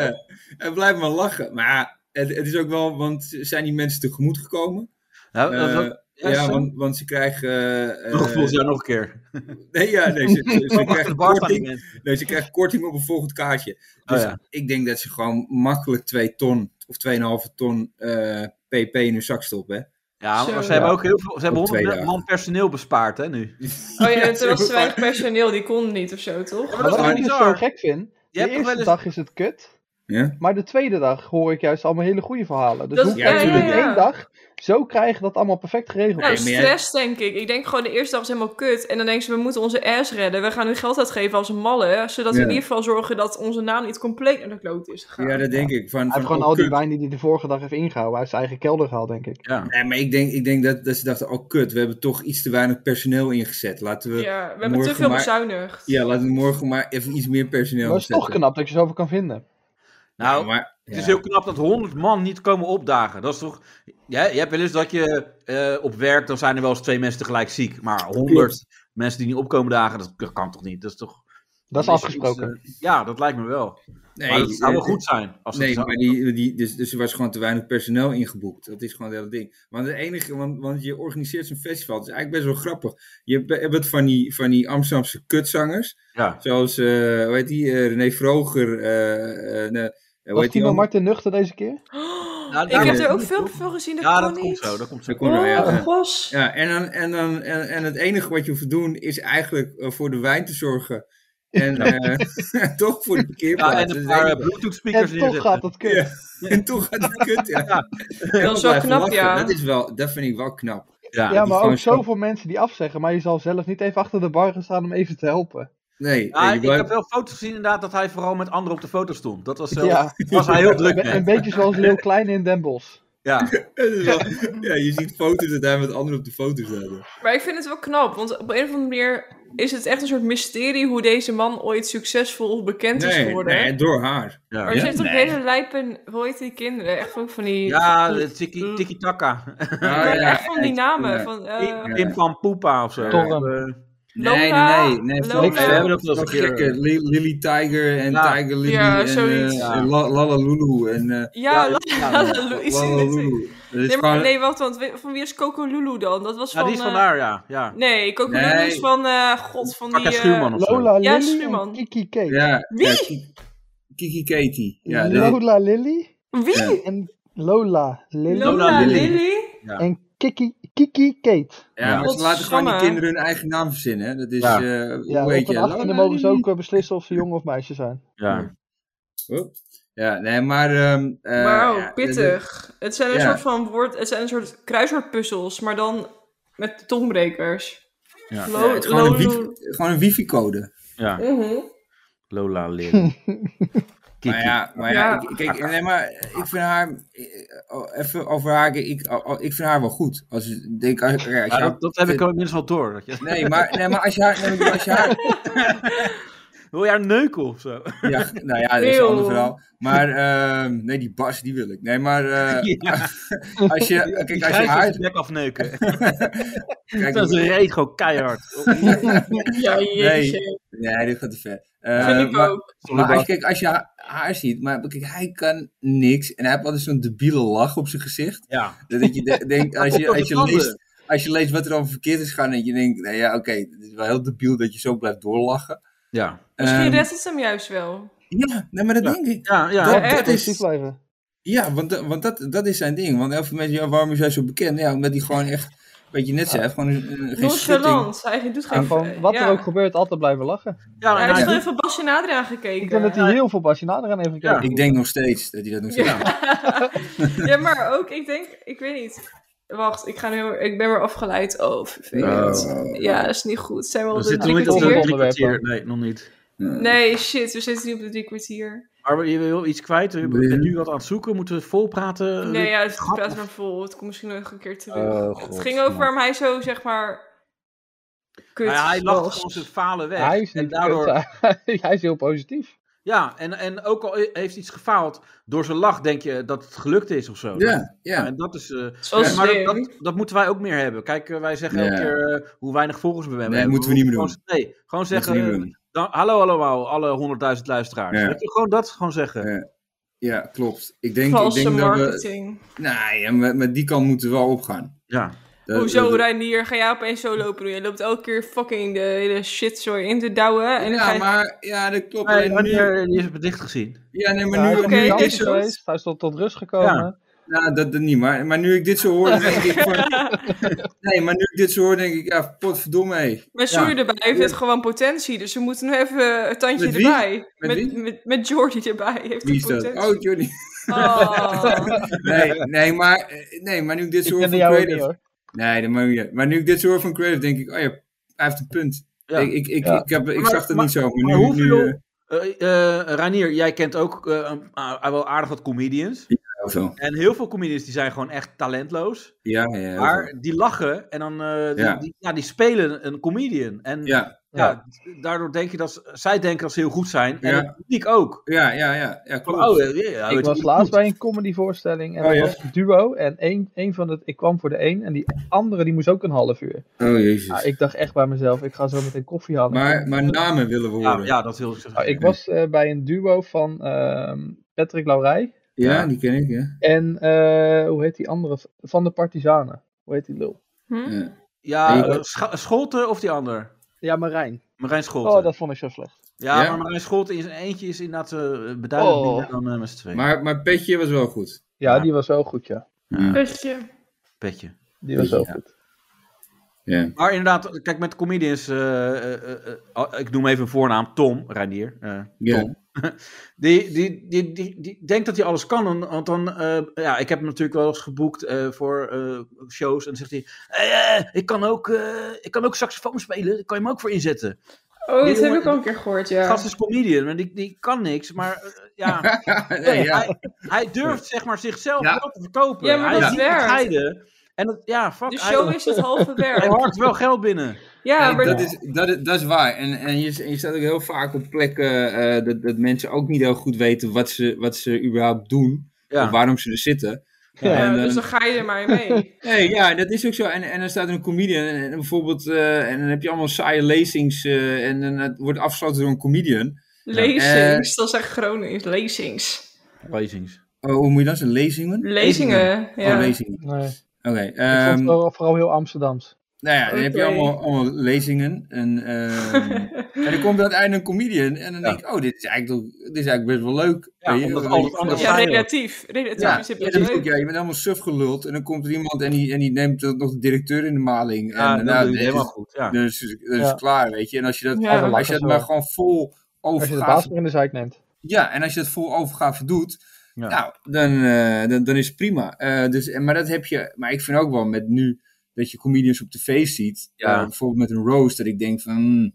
Speaker 5: En blijft maar lachen. Maar ja, het, het is ook wel, want zijn die mensen tegemoet gekomen?
Speaker 4: Nou, dat-
Speaker 5: Eh,
Speaker 4: dat-
Speaker 5: ja,
Speaker 4: ja,
Speaker 5: want, want ze krijgen... eh, eh,
Speaker 4: Nog volgens jou nog een keer.
Speaker 5: nee, ja, nee, ze, ze- ze
Speaker 4: Achter de
Speaker 5: krijgen
Speaker 4: bar staan die
Speaker 5: korting,
Speaker 4: mensen.
Speaker 5: nee, ze krijgen korting op een volgend kaartje. Dus
Speaker 4: Oh ja.
Speaker 5: ik denk dat ze gewoon makkelijk 2 ton of 2,5 ton eh, pp in hun zak stoppen. hè.
Speaker 4: Ja, maar
Speaker 2: Zo.
Speaker 4: ze hebben ook heel veel, ze hebben
Speaker 5: Op twee
Speaker 4: 100 man personeel bespaard hè nu.
Speaker 2: oh ja, toen was
Speaker 5: zo
Speaker 2: te weinig personeel, die kon niet of zo, toch?
Speaker 4: maar
Speaker 3: Maar wat
Speaker 4: dat is
Speaker 3: ik
Speaker 4: toch
Speaker 3: dus
Speaker 4: bizar?
Speaker 3: zo gek vind,
Speaker 4: Je
Speaker 3: de
Speaker 4: hebt toch wel
Speaker 3: eerste
Speaker 4: eens...
Speaker 3: dag is het kut,
Speaker 5: Ja?
Speaker 3: maar de tweede dag hoor ik juist allemaal hele goede verhalen. Dus
Speaker 2: Dat-
Speaker 3: hoe
Speaker 5: ja,
Speaker 3: kan je
Speaker 5: tuurlijk.
Speaker 3: in
Speaker 2: Ja.
Speaker 3: één dag zo krijgen dat allemaal perfect geregeld
Speaker 2: Nou,
Speaker 3: is?
Speaker 5: Nee, maar jij-
Speaker 2: stress denk ik. Ik denk gewoon de eerste dag is helemaal kut. En dan denken ze, we moeten onze ass redden. We gaan nu geld uitgeven als een malle. Zodat we
Speaker 5: Ja.
Speaker 2: in ieder geval zorgen dat onze naam niet compleet naar de kloot is gegaan.
Speaker 5: Ja, dat denk ik. Van,
Speaker 3: Hij
Speaker 5: van,
Speaker 3: heeft gewoon
Speaker 5: oh,
Speaker 3: al die
Speaker 5: kut.
Speaker 3: wijn die hij de vorige dag heeft ingehouden uit zijn eigen kelder gehaald, denk ik.
Speaker 4: Ja.
Speaker 5: Nee, maar ik denk, ik denk dat, dat ze dachten, oh kut, we hebben toch iets te weinig personeel ingezet. Laten we, ja.
Speaker 2: Ja, we hebben te
Speaker 5: Morgen
Speaker 2: veel
Speaker 5: maar-
Speaker 2: bezuinigd.
Speaker 5: laten we morgen maar even iets meer personeel
Speaker 3: Maar het is toch knap dat je zoveel kan vinden.
Speaker 4: Nou,
Speaker 5: maar,
Speaker 4: het is
Speaker 5: ja.
Speaker 4: heel knap dat 100 man niet komen opdagen. Dat is toch... Ja, je hebt wel eens dat je eh, op werk, dan zijn er wel eens twee mensen tegelijk ziek. Maar 100 mensen die niet opkomen dagen, dat, dat kan toch niet? Dat is toch...
Speaker 3: Dat is
Speaker 4: Dan
Speaker 3: afgesproken.
Speaker 4: iets, eh, ja, dat lijkt me wel.
Speaker 5: Nee,
Speaker 4: maar dat zou wel
Speaker 5: eh,
Speaker 4: goed zijn. Als
Speaker 5: Nee,
Speaker 4: het zou-
Speaker 5: maar die, die, dus, dus er was gewoon te weinig personeel ingeboekt. Dat is gewoon het hele ding. Want, het enige, want, want je organiseert zo'n festival. Het is eigenlijk best wel grappig. Je hebt- hebt het van die, van die Amsterdamse kutzangers.
Speaker 4: Ja.
Speaker 5: Zoals, eh hoe heet die? eh, René Vroger. eh, eh, nee, eh, hoe
Speaker 3: Was
Speaker 5: heet die
Speaker 3: Timo
Speaker 5: andere?
Speaker 3: Martin nuchter deze keer?
Speaker 4: Nou,
Speaker 2: ik
Speaker 4: daar-
Speaker 2: heb
Speaker 5: nee.
Speaker 2: er ook veel veel gezien, dat
Speaker 4: ja,
Speaker 2: kon
Speaker 4: dat
Speaker 2: niet.
Speaker 4: komt zo. Dat komt zo.
Speaker 5: Dat kon wel, ja.
Speaker 2: Oh, gos.
Speaker 5: Ja, en, dan, en, dan, en, en het enige wat je hoeft te doen is eigenlijk eh, voor de wijn te zorgen. En eh, toch voor de parkeerplaats.
Speaker 4: Ja, en
Speaker 5: Dat
Speaker 4: een
Speaker 5: is
Speaker 4: paar eh,
Speaker 5: het enige.
Speaker 4: Bluetooth speakers
Speaker 3: En toch
Speaker 4: neerzetten.
Speaker 3: gaat dat kut.
Speaker 5: Ja. en toch gaat het kut, ja.
Speaker 4: Ja.
Speaker 5: Helemaal
Speaker 2: is wel
Speaker 5: blijven
Speaker 2: knap, ja.
Speaker 5: Dat, is wel, dat vind ik wel knap.
Speaker 4: Ja.
Speaker 3: Ja,
Speaker 5: die
Speaker 3: maar ook
Speaker 5: gewoon zo-
Speaker 3: zoveel mensen die afzeggen, maar je zal zelf niet even achter de bar gaan staan om even te helpen.
Speaker 5: Nee,
Speaker 4: Ja,
Speaker 5: nee, je
Speaker 4: ik
Speaker 5: blijft-
Speaker 4: heb wel foto's gezien inderdaad dat hij vooral met anderen op de foto stond. Dat was, wel,
Speaker 3: Ja,
Speaker 4: was hij heel druk
Speaker 3: Be-
Speaker 4: mee.
Speaker 3: een beetje zoals Leeuw Klein in Den Bosch.
Speaker 4: Ja.
Speaker 5: Het is wel- ja, je ziet foto's dat daar met anderen op de foto zaten.
Speaker 2: Maar ik vind het wel knap, want op een of andere manier is het echt een soort mysterie hoe deze man ooit succesvol bekend is
Speaker 5: Nee,
Speaker 2: geworden.
Speaker 5: nee, door haar.
Speaker 4: Ja,
Speaker 2: maar ze
Speaker 5: ja?
Speaker 2: heeft ook
Speaker 1: Nee.
Speaker 2: hele lijpen, hoe heet die kinderen? Echt ook van die...
Speaker 4: ja de
Speaker 5: Eh,
Speaker 4: tiki- tiki-taka.
Speaker 5: Ah,
Speaker 2: maar
Speaker 5: ja,
Speaker 2: echt van die namen. Van, eh,
Speaker 4: Pim Pam Poepa of zo.
Speaker 3: Torm.
Speaker 4: Eh,
Speaker 5: Nee,
Speaker 2: Lola,
Speaker 5: nee, nee.
Speaker 2: Lola.
Speaker 5: Van,
Speaker 4: we hebben dat wel eens een
Speaker 5: van
Speaker 4: keer. eh,
Speaker 5: gekke Li- Lily Tiger en
Speaker 4: Ja.
Speaker 5: Tiger Lily
Speaker 2: Ja,
Speaker 5: en,
Speaker 2: zoiets.
Speaker 5: eh,
Speaker 4: Ja.
Speaker 5: en La- Lala Lulu en eh,
Speaker 2: ja,
Speaker 4: Ja,
Speaker 2: La-
Speaker 4: ja,
Speaker 2: La-
Speaker 4: ja.
Speaker 2: La- Lu- iets in
Speaker 5: Lala
Speaker 2: dit-
Speaker 5: Lulu. Dat is
Speaker 2: Nee, maar,
Speaker 5: gewoon-
Speaker 2: nee, wacht, want wie- van wie is Coco Lulu dan? Dat was
Speaker 4: Ja,
Speaker 2: van...
Speaker 4: die is van
Speaker 2: eh,
Speaker 4: daar, ja. ja.
Speaker 2: Nee, Coco Lulu
Speaker 5: Nee.
Speaker 2: is van... eh, God, van die...
Speaker 4: Akka
Speaker 2: eh,
Speaker 4: Schuurman of zo.
Speaker 3: Lola
Speaker 2: Ja,
Speaker 3: Lily
Speaker 2: Schuurman.
Speaker 3: en Kiki Cake.
Speaker 5: Ja,
Speaker 2: Wie?
Speaker 5: ja, Ki- Kiki Katie.
Speaker 3: Nou,
Speaker 5: Ja, dat-
Speaker 3: Lola Lily
Speaker 2: Wie?
Speaker 3: en Lola Lily
Speaker 2: Lola,
Speaker 4: Lola
Speaker 2: Lily.
Speaker 4: Lily.
Speaker 3: en Kiki, Kiki Kate.
Speaker 5: ja, maar ze laten gewoon die
Speaker 2: Godsamme.
Speaker 5: kinderen hun eigen naam verzinnen. hè. Dat is,
Speaker 4: Ja.
Speaker 5: eh
Speaker 3: Ja,
Speaker 5: hoe heet
Speaker 3: op
Speaker 5: je?
Speaker 3: een achttiende
Speaker 5: Lala
Speaker 3: mogen ze
Speaker 5: Lulu.
Speaker 3: ook eh, beslissen of ze jongen of meisje zijn.
Speaker 4: Ja.
Speaker 5: Hup. Ja, nee, maar... ehm, eh,
Speaker 2: Wauw,
Speaker 5: ja, dat-
Speaker 3: dus
Speaker 2: pittig. Het zijn een
Speaker 5: Ja.
Speaker 2: soort van woord... Het zijn een soort kruiswoordpuzzels, maar dan met tongbrekers.
Speaker 4: Ja.
Speaker 2: Oh,
Speaker 5: ja, het is gewoon een
Speaker 2: Lulu.
Speaker 5: wifi- gewoon een wifi-code.
Speaker 4: ja.
Speaker 2: Mhm.
Speaker 4: Lola Lin. Kiki.
Speaker 5: Maar ja, maar ja,
Speaker 2: Ja.
Speaker 5: Ik, kijk, nee, maar ik vind haar, eh, oh, even over haar, kijk, ik, oh, oh, ik vind haar wel goed. Als, je- denk, als, ja, als
Speaker 4: Ja,
Speaker 5: je haar-
Speaker 4: dat, dat heb ik ook minstens wel door. Dat je,
Speaker 5: Nee, maar, nee, maar als je haar, nee, maar als je haar,
Speaker 4: wil jij een neuken of zo?
Speaker 5: ja, nou ja, dat is een
Speaker 2: Eeuw.
Speaker 5: ander verhaal. Maar, ehm, nee, die Bas, die wil ik. Nee, maar eh,
Speaker 4: Ja,
Speaker 5: als je, kijk,
Speaker 4: die
Speaker 5: als je
Speaker 4: grijs
Speaker 5: haar,
Speaker 4: als nek afneuken.
Speaker 5: kijk,
Speaker 4: Dat is een reet gewoon keihard.
Speaker 2: Ja, jeetje.
Speaker 5: nee, dit gaat te ver.
Speaker 2: Vind
Speaker 5: Eh
Speaker 2: ik
Speaker 5: maar,
Speaker 2: ook.
Speaker 5: maar als, je-
Speaker 4: Bas.
Speaker 5: kijk, als je haar, haar ziet, maar kijk, hij kan niks en hij heeft altijd zo'n debiele lach op zijn gezicht.
Speaker 4: Ja.
Speaker 5: Dat je de- denkt, als je,
Speaker 4: komt
Speaker 5: als, je
Speaker 4: door de
Speaker 5: leest, als je leest wat er over verkeerd is gegaan, en je denkt, nou ja, oké, het is wel heel debiel dat je zo blijft doorlachen.
Speaker 4: Ja.
Speaker 2: Misschien
Speaker 5: Ehm,
Speaker 2: redt het hem juist wel.
Speaker 5: ja, nee, maar dat
Speaker 4: Ja.
Speaker 5: denk ik.
Speaker 4: Ja, ja.
Speaker 5: Dat-
Speaker 2: echt.
Speaker 5: dat
Speaker 3: Positief
Speaker 5: is,
Speaker 3: blijven.
Speaker 5: ja, want, da- want dat, dat is zijn ding. Want heel veel mensen, ja, waarom is hij zo bekend? Ja, omdat hij gewoon echt, wat je net zei, gewoon een- een- geen schutting.
Speaker 2: Nonchalant. Hij doet
Speaker 3: En
Speaker 2: geen...
Speaker 3: gewoon, wat
Speaker 2: ja.
Speaker 3: er ook gebeurt, altijd blijven lachen.
Speaker 4: Ja, en
Speaker 2: Ja, Hij heeft
Speaker 4: hij-
Speaker 2: gewoon even Basje Adriaan gekeken.
Speaker 3: Ik denk dat hij heel veel Basje Nader aan heeft gekeken.
Speaker 5: Ik denk nog steeds dat hij dat nog steeds
Speaker 2: Ja. ja, maar ook, ik denk, ik weet niet. Wacht, ik, ga nu, ik ben weer afgeleid. Oh, vervelend.
Speaker 3: Oh.
Speaker 2: Ja, dat is niet goed. Zijn we al
Speaker 4: We
Speaker 2: de
Speaker 4: zitten
Speaker 2: drie
Speaker 4: nog niet op
Speaker 2: kwartier?
Speaker 4: de
Speaker 3: onderwerp.
Speaker 4: drie kwartier. Nee, nog niet.
Speaker 2: Nee, shit, we zitten niet op de drie kwartier.
Speaker 4: Maar je wil iets kwijt? Je bent nu wat aan het zoeken? Moeten we Ah vol
Speaker 5: Eh,
Speaker 4: praten?
Speaker 2: Nee, ja, het
Speaker 4: grap
Speaker 2: praat
Speaker 4: of-
Speaker 2: maar vol. Het komt misschien nog een keer terug.
Speaker 4: Oh,
Speaker 2: het
Speaker 4: god,
Speaker 2: ging over
Speaker 4: man.
Speaker 2: waarom hij zo, zeg maar... Kut
Speaker 4: Maar Nou ja, hij lacht
Speaker 2: was.
Speaker 4: gewoon zijn falen weg.
Speaker 3: Hij is
Speaker 4: en
Speaker 3: niet
Speaker 4: daardoor,
Speaker 3: kut. hij is heel positief.
Speaker 4: Ja, en, en ook al heeft iets gefaald, door zijn lach denk je dat het gelukt is of zo.
Speaker 5: Ja, ja.
Speaker 4: En dat is. eh,
Speaker 2: Zo
Speaker 5: Ja,
Speaker 4: maar dat,
Speaker 2: slim.
Speaker 4: dat, dat moeten wij ook meer hebben. Kijk, eh, wij zeggen
Speaker 5: Ja.
Speaker 4: elke keer eh, hoe weinig volgers we hebben.
Speaker 5: Nee, moeten we niet meer
Speaker 4: Gewoon z-
Speaker 5: doen.
Speaker 4: nee, gewoon
Speaker 5: Dat is
Speaker 4: zeggen.
Speaker 5: niet
Speaker 4: eh,
Speaker 5: doen.
Speaker 4: dan- hallo allemaal, alle 100.000 luisteraars.
Speaker 5: Ja.
Speaker 4: Weet je, gewoon dat gewoon zeggen.
Speaker 5: Ja. Ja, klopt. Ik denk, ik
Speaker 2: Valse
Speaker 5: denk dat we...
Speaker 2: marketing.
Speaker 5: Nee, ja, maar met die kant moeten we wel opgaan.
Speaker 4: Ja.
Speaker 5: Dat-
Speaker 2: Hoezo,
Speaker 5: dat-
Speaker 2: Reinier? Ga jij opeens zo lopen doen? Je loopt elke keer fucking de hele shit zo in te douwen. En dan ga
Speaker 5: Ja,
Speaker 2: je...
Speaker 5: maar... Ja, dat klopt.
Speaker 4: Nee,
Speaker 5: Alleen nu-
Speaker 4: wanneer die is bedicht gezien.
Speaker 5: Ja, nee, maar
Speaker 3: Ja,
Speaker 5: nu,
Speaker 3: hij is
Speaker 2: oké,
Speaker 5: nu ik
Speaker 3: gedanst
Speaker 5: dit zo...
Speaker 3: geweest, hij is tot, tot rust gekomen.
Speaker 5: Nou, dat, dat niet, maar, maar nu ik dit zo hoor, dan denk ik van... Nee, maar nu ik dit zo hoor, denk ik, ja, potverdomme, hé.
Speaker 2: Maar Sjoerd erbij heeft het gewoon potentie. Dus we moeten nu even een tandje
Speaker 5: Met wie?
Speaker 2: erbij.
Speaker 5: Met
Speaker 2: met,
Speaker 5: wie?
Speaker 2: met, met Jordi erbij heeft
Speaker 5: Wie
Speaker 2: het
Speaker 5: is dat?
Speaker 2: potentie.
Speaker 5: Oh, Jordi.
Speaker 2: Oh.
Speaker 5: Nee, nee, maar, eh, nee, maar nu ik dit
Speaker 3: Ik
Speaker 5: zo hoor
Speaker 3: kende
Speaker 5: van
Speaker 3: jou ook niet
Speaker 5: Creative...
Speaker 3: hoor.
Speaker 5: Nee, dat maakt niet uit. Maar nu ik dit zo hoor van Creative, denk ik, oh ja, hij heeft een punt.
Speaker 4: Ja.
Speaker 5: Ik, ik, ik,
Speaker 3: Ja.
Speaker 5: ik, heb, ik
Speaker 4: Maar-
Speaker 5: zag dat
Speaker 4: maar-
Speaker 5: niet zo, maar,
Speaker 4: maar
Speaker 5: nu...
Speaker 4: hoeveel-
Speaker 5: nu eh,
Speaker 4: Eh eh, Reinier, jij kent ook eh, een- ah, wel aardig wat comedians.
Speaker 5: heel veel.
Speaker 4: En heel veel comedians die zijn gewoon echt talentloos.
Speaker 5: eh, Ja, ja, heel veel.
Speaker 4: Maar die lachen en dan eh, die,
Speaker 5: Ja.
Speaker 4: Die, ja, die spelen een comedian. En ja.
Speaker 5: Ja,
Speaker 4: daardoor denk je dat ze- zij denken dat ze heel goed zijn. En
Speaker 5: Ja.
Speaker 4: het publiek ook.
Speaker 5: ja, ja, ja, ja,
Speaker 4: Van,
Speaker 5: klopt.
Speaker 4: oh, eh, ja, ja,
Speaker 3: Ik
Speaker 4: weet je,
Speaker 3: was
Speaker 4: goed.
Speaker 3: laatst bij een comedyvoorstelling en
Speaker 5: Oh,
Speaker 3: dat
Speaker 5: ja.
Speaker 3: was een duo. En één, één van het, ik kwam voor de een en die andere die moest ook een half uur.
Speaker 5: Oh, jezus.
Speaker 3: Nou, ik dacht echt bij mezelf, ik ga zo meteen koffie halen.
Speaker 5: Maar, maar namen willen we
Speaker 4: Ja,
Speaker 5: horen. Ja,
Speaker 4: ja, dat wil ik zeggen.
Speaker 3: Nou, ik was eh, bij een duo van ehm, Patrick Laurij
Speaker 4: Ja.
Speaker 5: die ken ik, ja.
Speaker 3: en eh, hoe heet die andere? Van de Partizanen. Hoe heet die lul?
Speaker 2: Hm?
Speaker 5: ja.
Speaker 4: Ja,
Speaker 5: Ik-
Speaker 4: eh, Scha- Scholten of die ander?
Speaker 3: Ja, Marijn.
Speaker 4: Marijn Scholten.
Speaker 3: Oh, dat vond ik zo slecht.
Speaker 4: ja,
Speaker 5: Ja.
Speaker 4: maar Marijn Scholten in zijn eentje is inderdaad eh, beduidend
Speaker 3: Oh.
Speaker 4: minder dan eh, met z'n tweeën.
Speaker 5: Maar, maar Petje was wel goed.
Speaker 3: Ja,
Speaker 4: Ja.
Speaker 3: die was wel goed, ja.
Speaker 5: Ja.
Speaker 2: Petje.
Speaker 4: Petje.
Speaker 3: Die was wel
Speaker 5: Ja.
Speaker 3: goed.
Speaker 5: ja.
Speaker 4: Maar inderdaad, kijk, met comedians... eh, eh, eh, eh, oh, ik noem even een voornaam. Tom, Reinier. eh,
Speaker 5: Ja.
Speaker 4: Tom. Die, die, die, die, die denkt dat hij alles kan. en- Want dan, eh, ja, ik heb hem natuurlijk wel eens geboekt eh, voor eh, shows. En dan zegt hij: eh, eh, ik, kan ook, eh, ik kan ook saxofoon spelen. Daar kan je hem ook voor inzetten.
Speaker 2: Oh,
Speaker 4: Die
Speaker 2: dat heb
Speaker 4: jongen-
Speaker 2: ik al een keer gehoord, ja.
Speaker 4: Gast is comedian, maar die, die kan niks. Maar eh, ja,
Speaker 5: nee, ja.
Speaker 4: Hij, hij durft zeg maar zichzelf
Speaker 5: Ja.
Speaker 4: wel te verkopen.
Speaker 2: Ja, maar
Speaker 4: hij
Speaker 2: dat
Speaker 4: is
Speaker 2: werkt.
Speaker 4: bescheiden. En dat, ja, fuck.
Speaker 2: De
Speaker 4: hij-
Speaker 2: show is het halve
Speaker 4: Hij
Speaker 2: werk.
Speaker 4: harkt wel geld binnen.
Speaker 2: Ja,
Speaker 5: Nee,
Speaker 2: maar
Speaker 5: dat, is, dat, is, dat is waar. En, en, je, en je staat ook heel vaak op plekken eh, dat, dat mensen ook niet heel goed weten wat ze, wat ze überhaupt doen. Of
Speaker 4: Ja.
Speaker 5: waarom ze er zitten.
Speaker 2: ja,
Speaker 5: en,
Speaker 2: dus
Speaker 5: eh,
Speaker 2: dan ga je er maar mee.
Speaker 5: Nee, ja, dat is ook zo. En, en dan staat er een comedian en, en bijvoorbeeld, eh, en dan heb je allemaal saaie lezings eh, en, dan het wordt afgesloten door een comedian.
Speaker 2: Lezings,
Speaker 5: Eh,
Speaker 2: dat is echt Gronings. Lezings.
Speaker 4: Lezings.
Speaker 5: Oh, hoe moet je dat? Een lezing? doen?
Speaker 2: Lezingen,
Speaker 5: Oh,
Speaker 2: ja.
Speaker 5: lezingen.
Speaker 6: Nee.
Speaker 5: Oké.
Speaker 6: Ik vond
Speaker 5: ehm,
Speaker 6: het wel vooral heel Amsterdams.
Speaker 5: nou ja, dan heb je
Speaker 2: Oké.
Speaker 5: allemaal, allemaal lezingen en, ehm, en dan komt er uiteindelijk een comedian en dan denk ik, oh, dit is eigenlijk, toch- dit is eigenlijk best wel leuk.
Speaker 4: Ja,
Speaker 5: Weet je,
Speaker 4: omdat
Speaker 5: weet
Speaker 4: alles
Speaker 5: je,
Speaker 4: anders
Speaker 5: ja,
Speaker 2: Ja,
Speaker 4: Feyenoord.
Speaker 2: relatief. Relatief
Speaker 5: Ja,
Speaker 2: is het
Speaker 5: ja,
Speaker 2: best
Speaker 5: dat is
Speaker 2: leuk.
Speaker 5: ook, ja, je bent helemaal suf geluld en dan komt er iemand en die, en die neemt dan nog de directeur in de maling.
Speaker 4: Ja,
Speaker 5: en,
Speaker 4: dat doe
Speaker 5: nou,
Speaker 4: je
Speaker 5: dit is-
Speaker 4: helemaal goed. Ja.
Speaker 5: Dus, dus
Speaker 6: Ja.
Speaker 5: klaar, weet je. En als je dat,
Speaker 2: Ja.
Speaker 5: als je dat maar gewoon vol
Speaker 6: Als je de
Speaker 5: overgave...
Speaker 6: baas er in de zijk neemt.
Speaker 5: Ja, en als je dat vol overgave doet,
Speaker 4: Ja.
Speaker 5: nou, dan, eh, dan, dan is het prima. Eh, dus, en- maar dat heb je... Maar ik vind ook wel met nu dat je comedians op tv ziet, ja.
Speaker 4: Ja.
Speaker 5: bijvoorbeeld met een roast, dat ik denk van... hmm,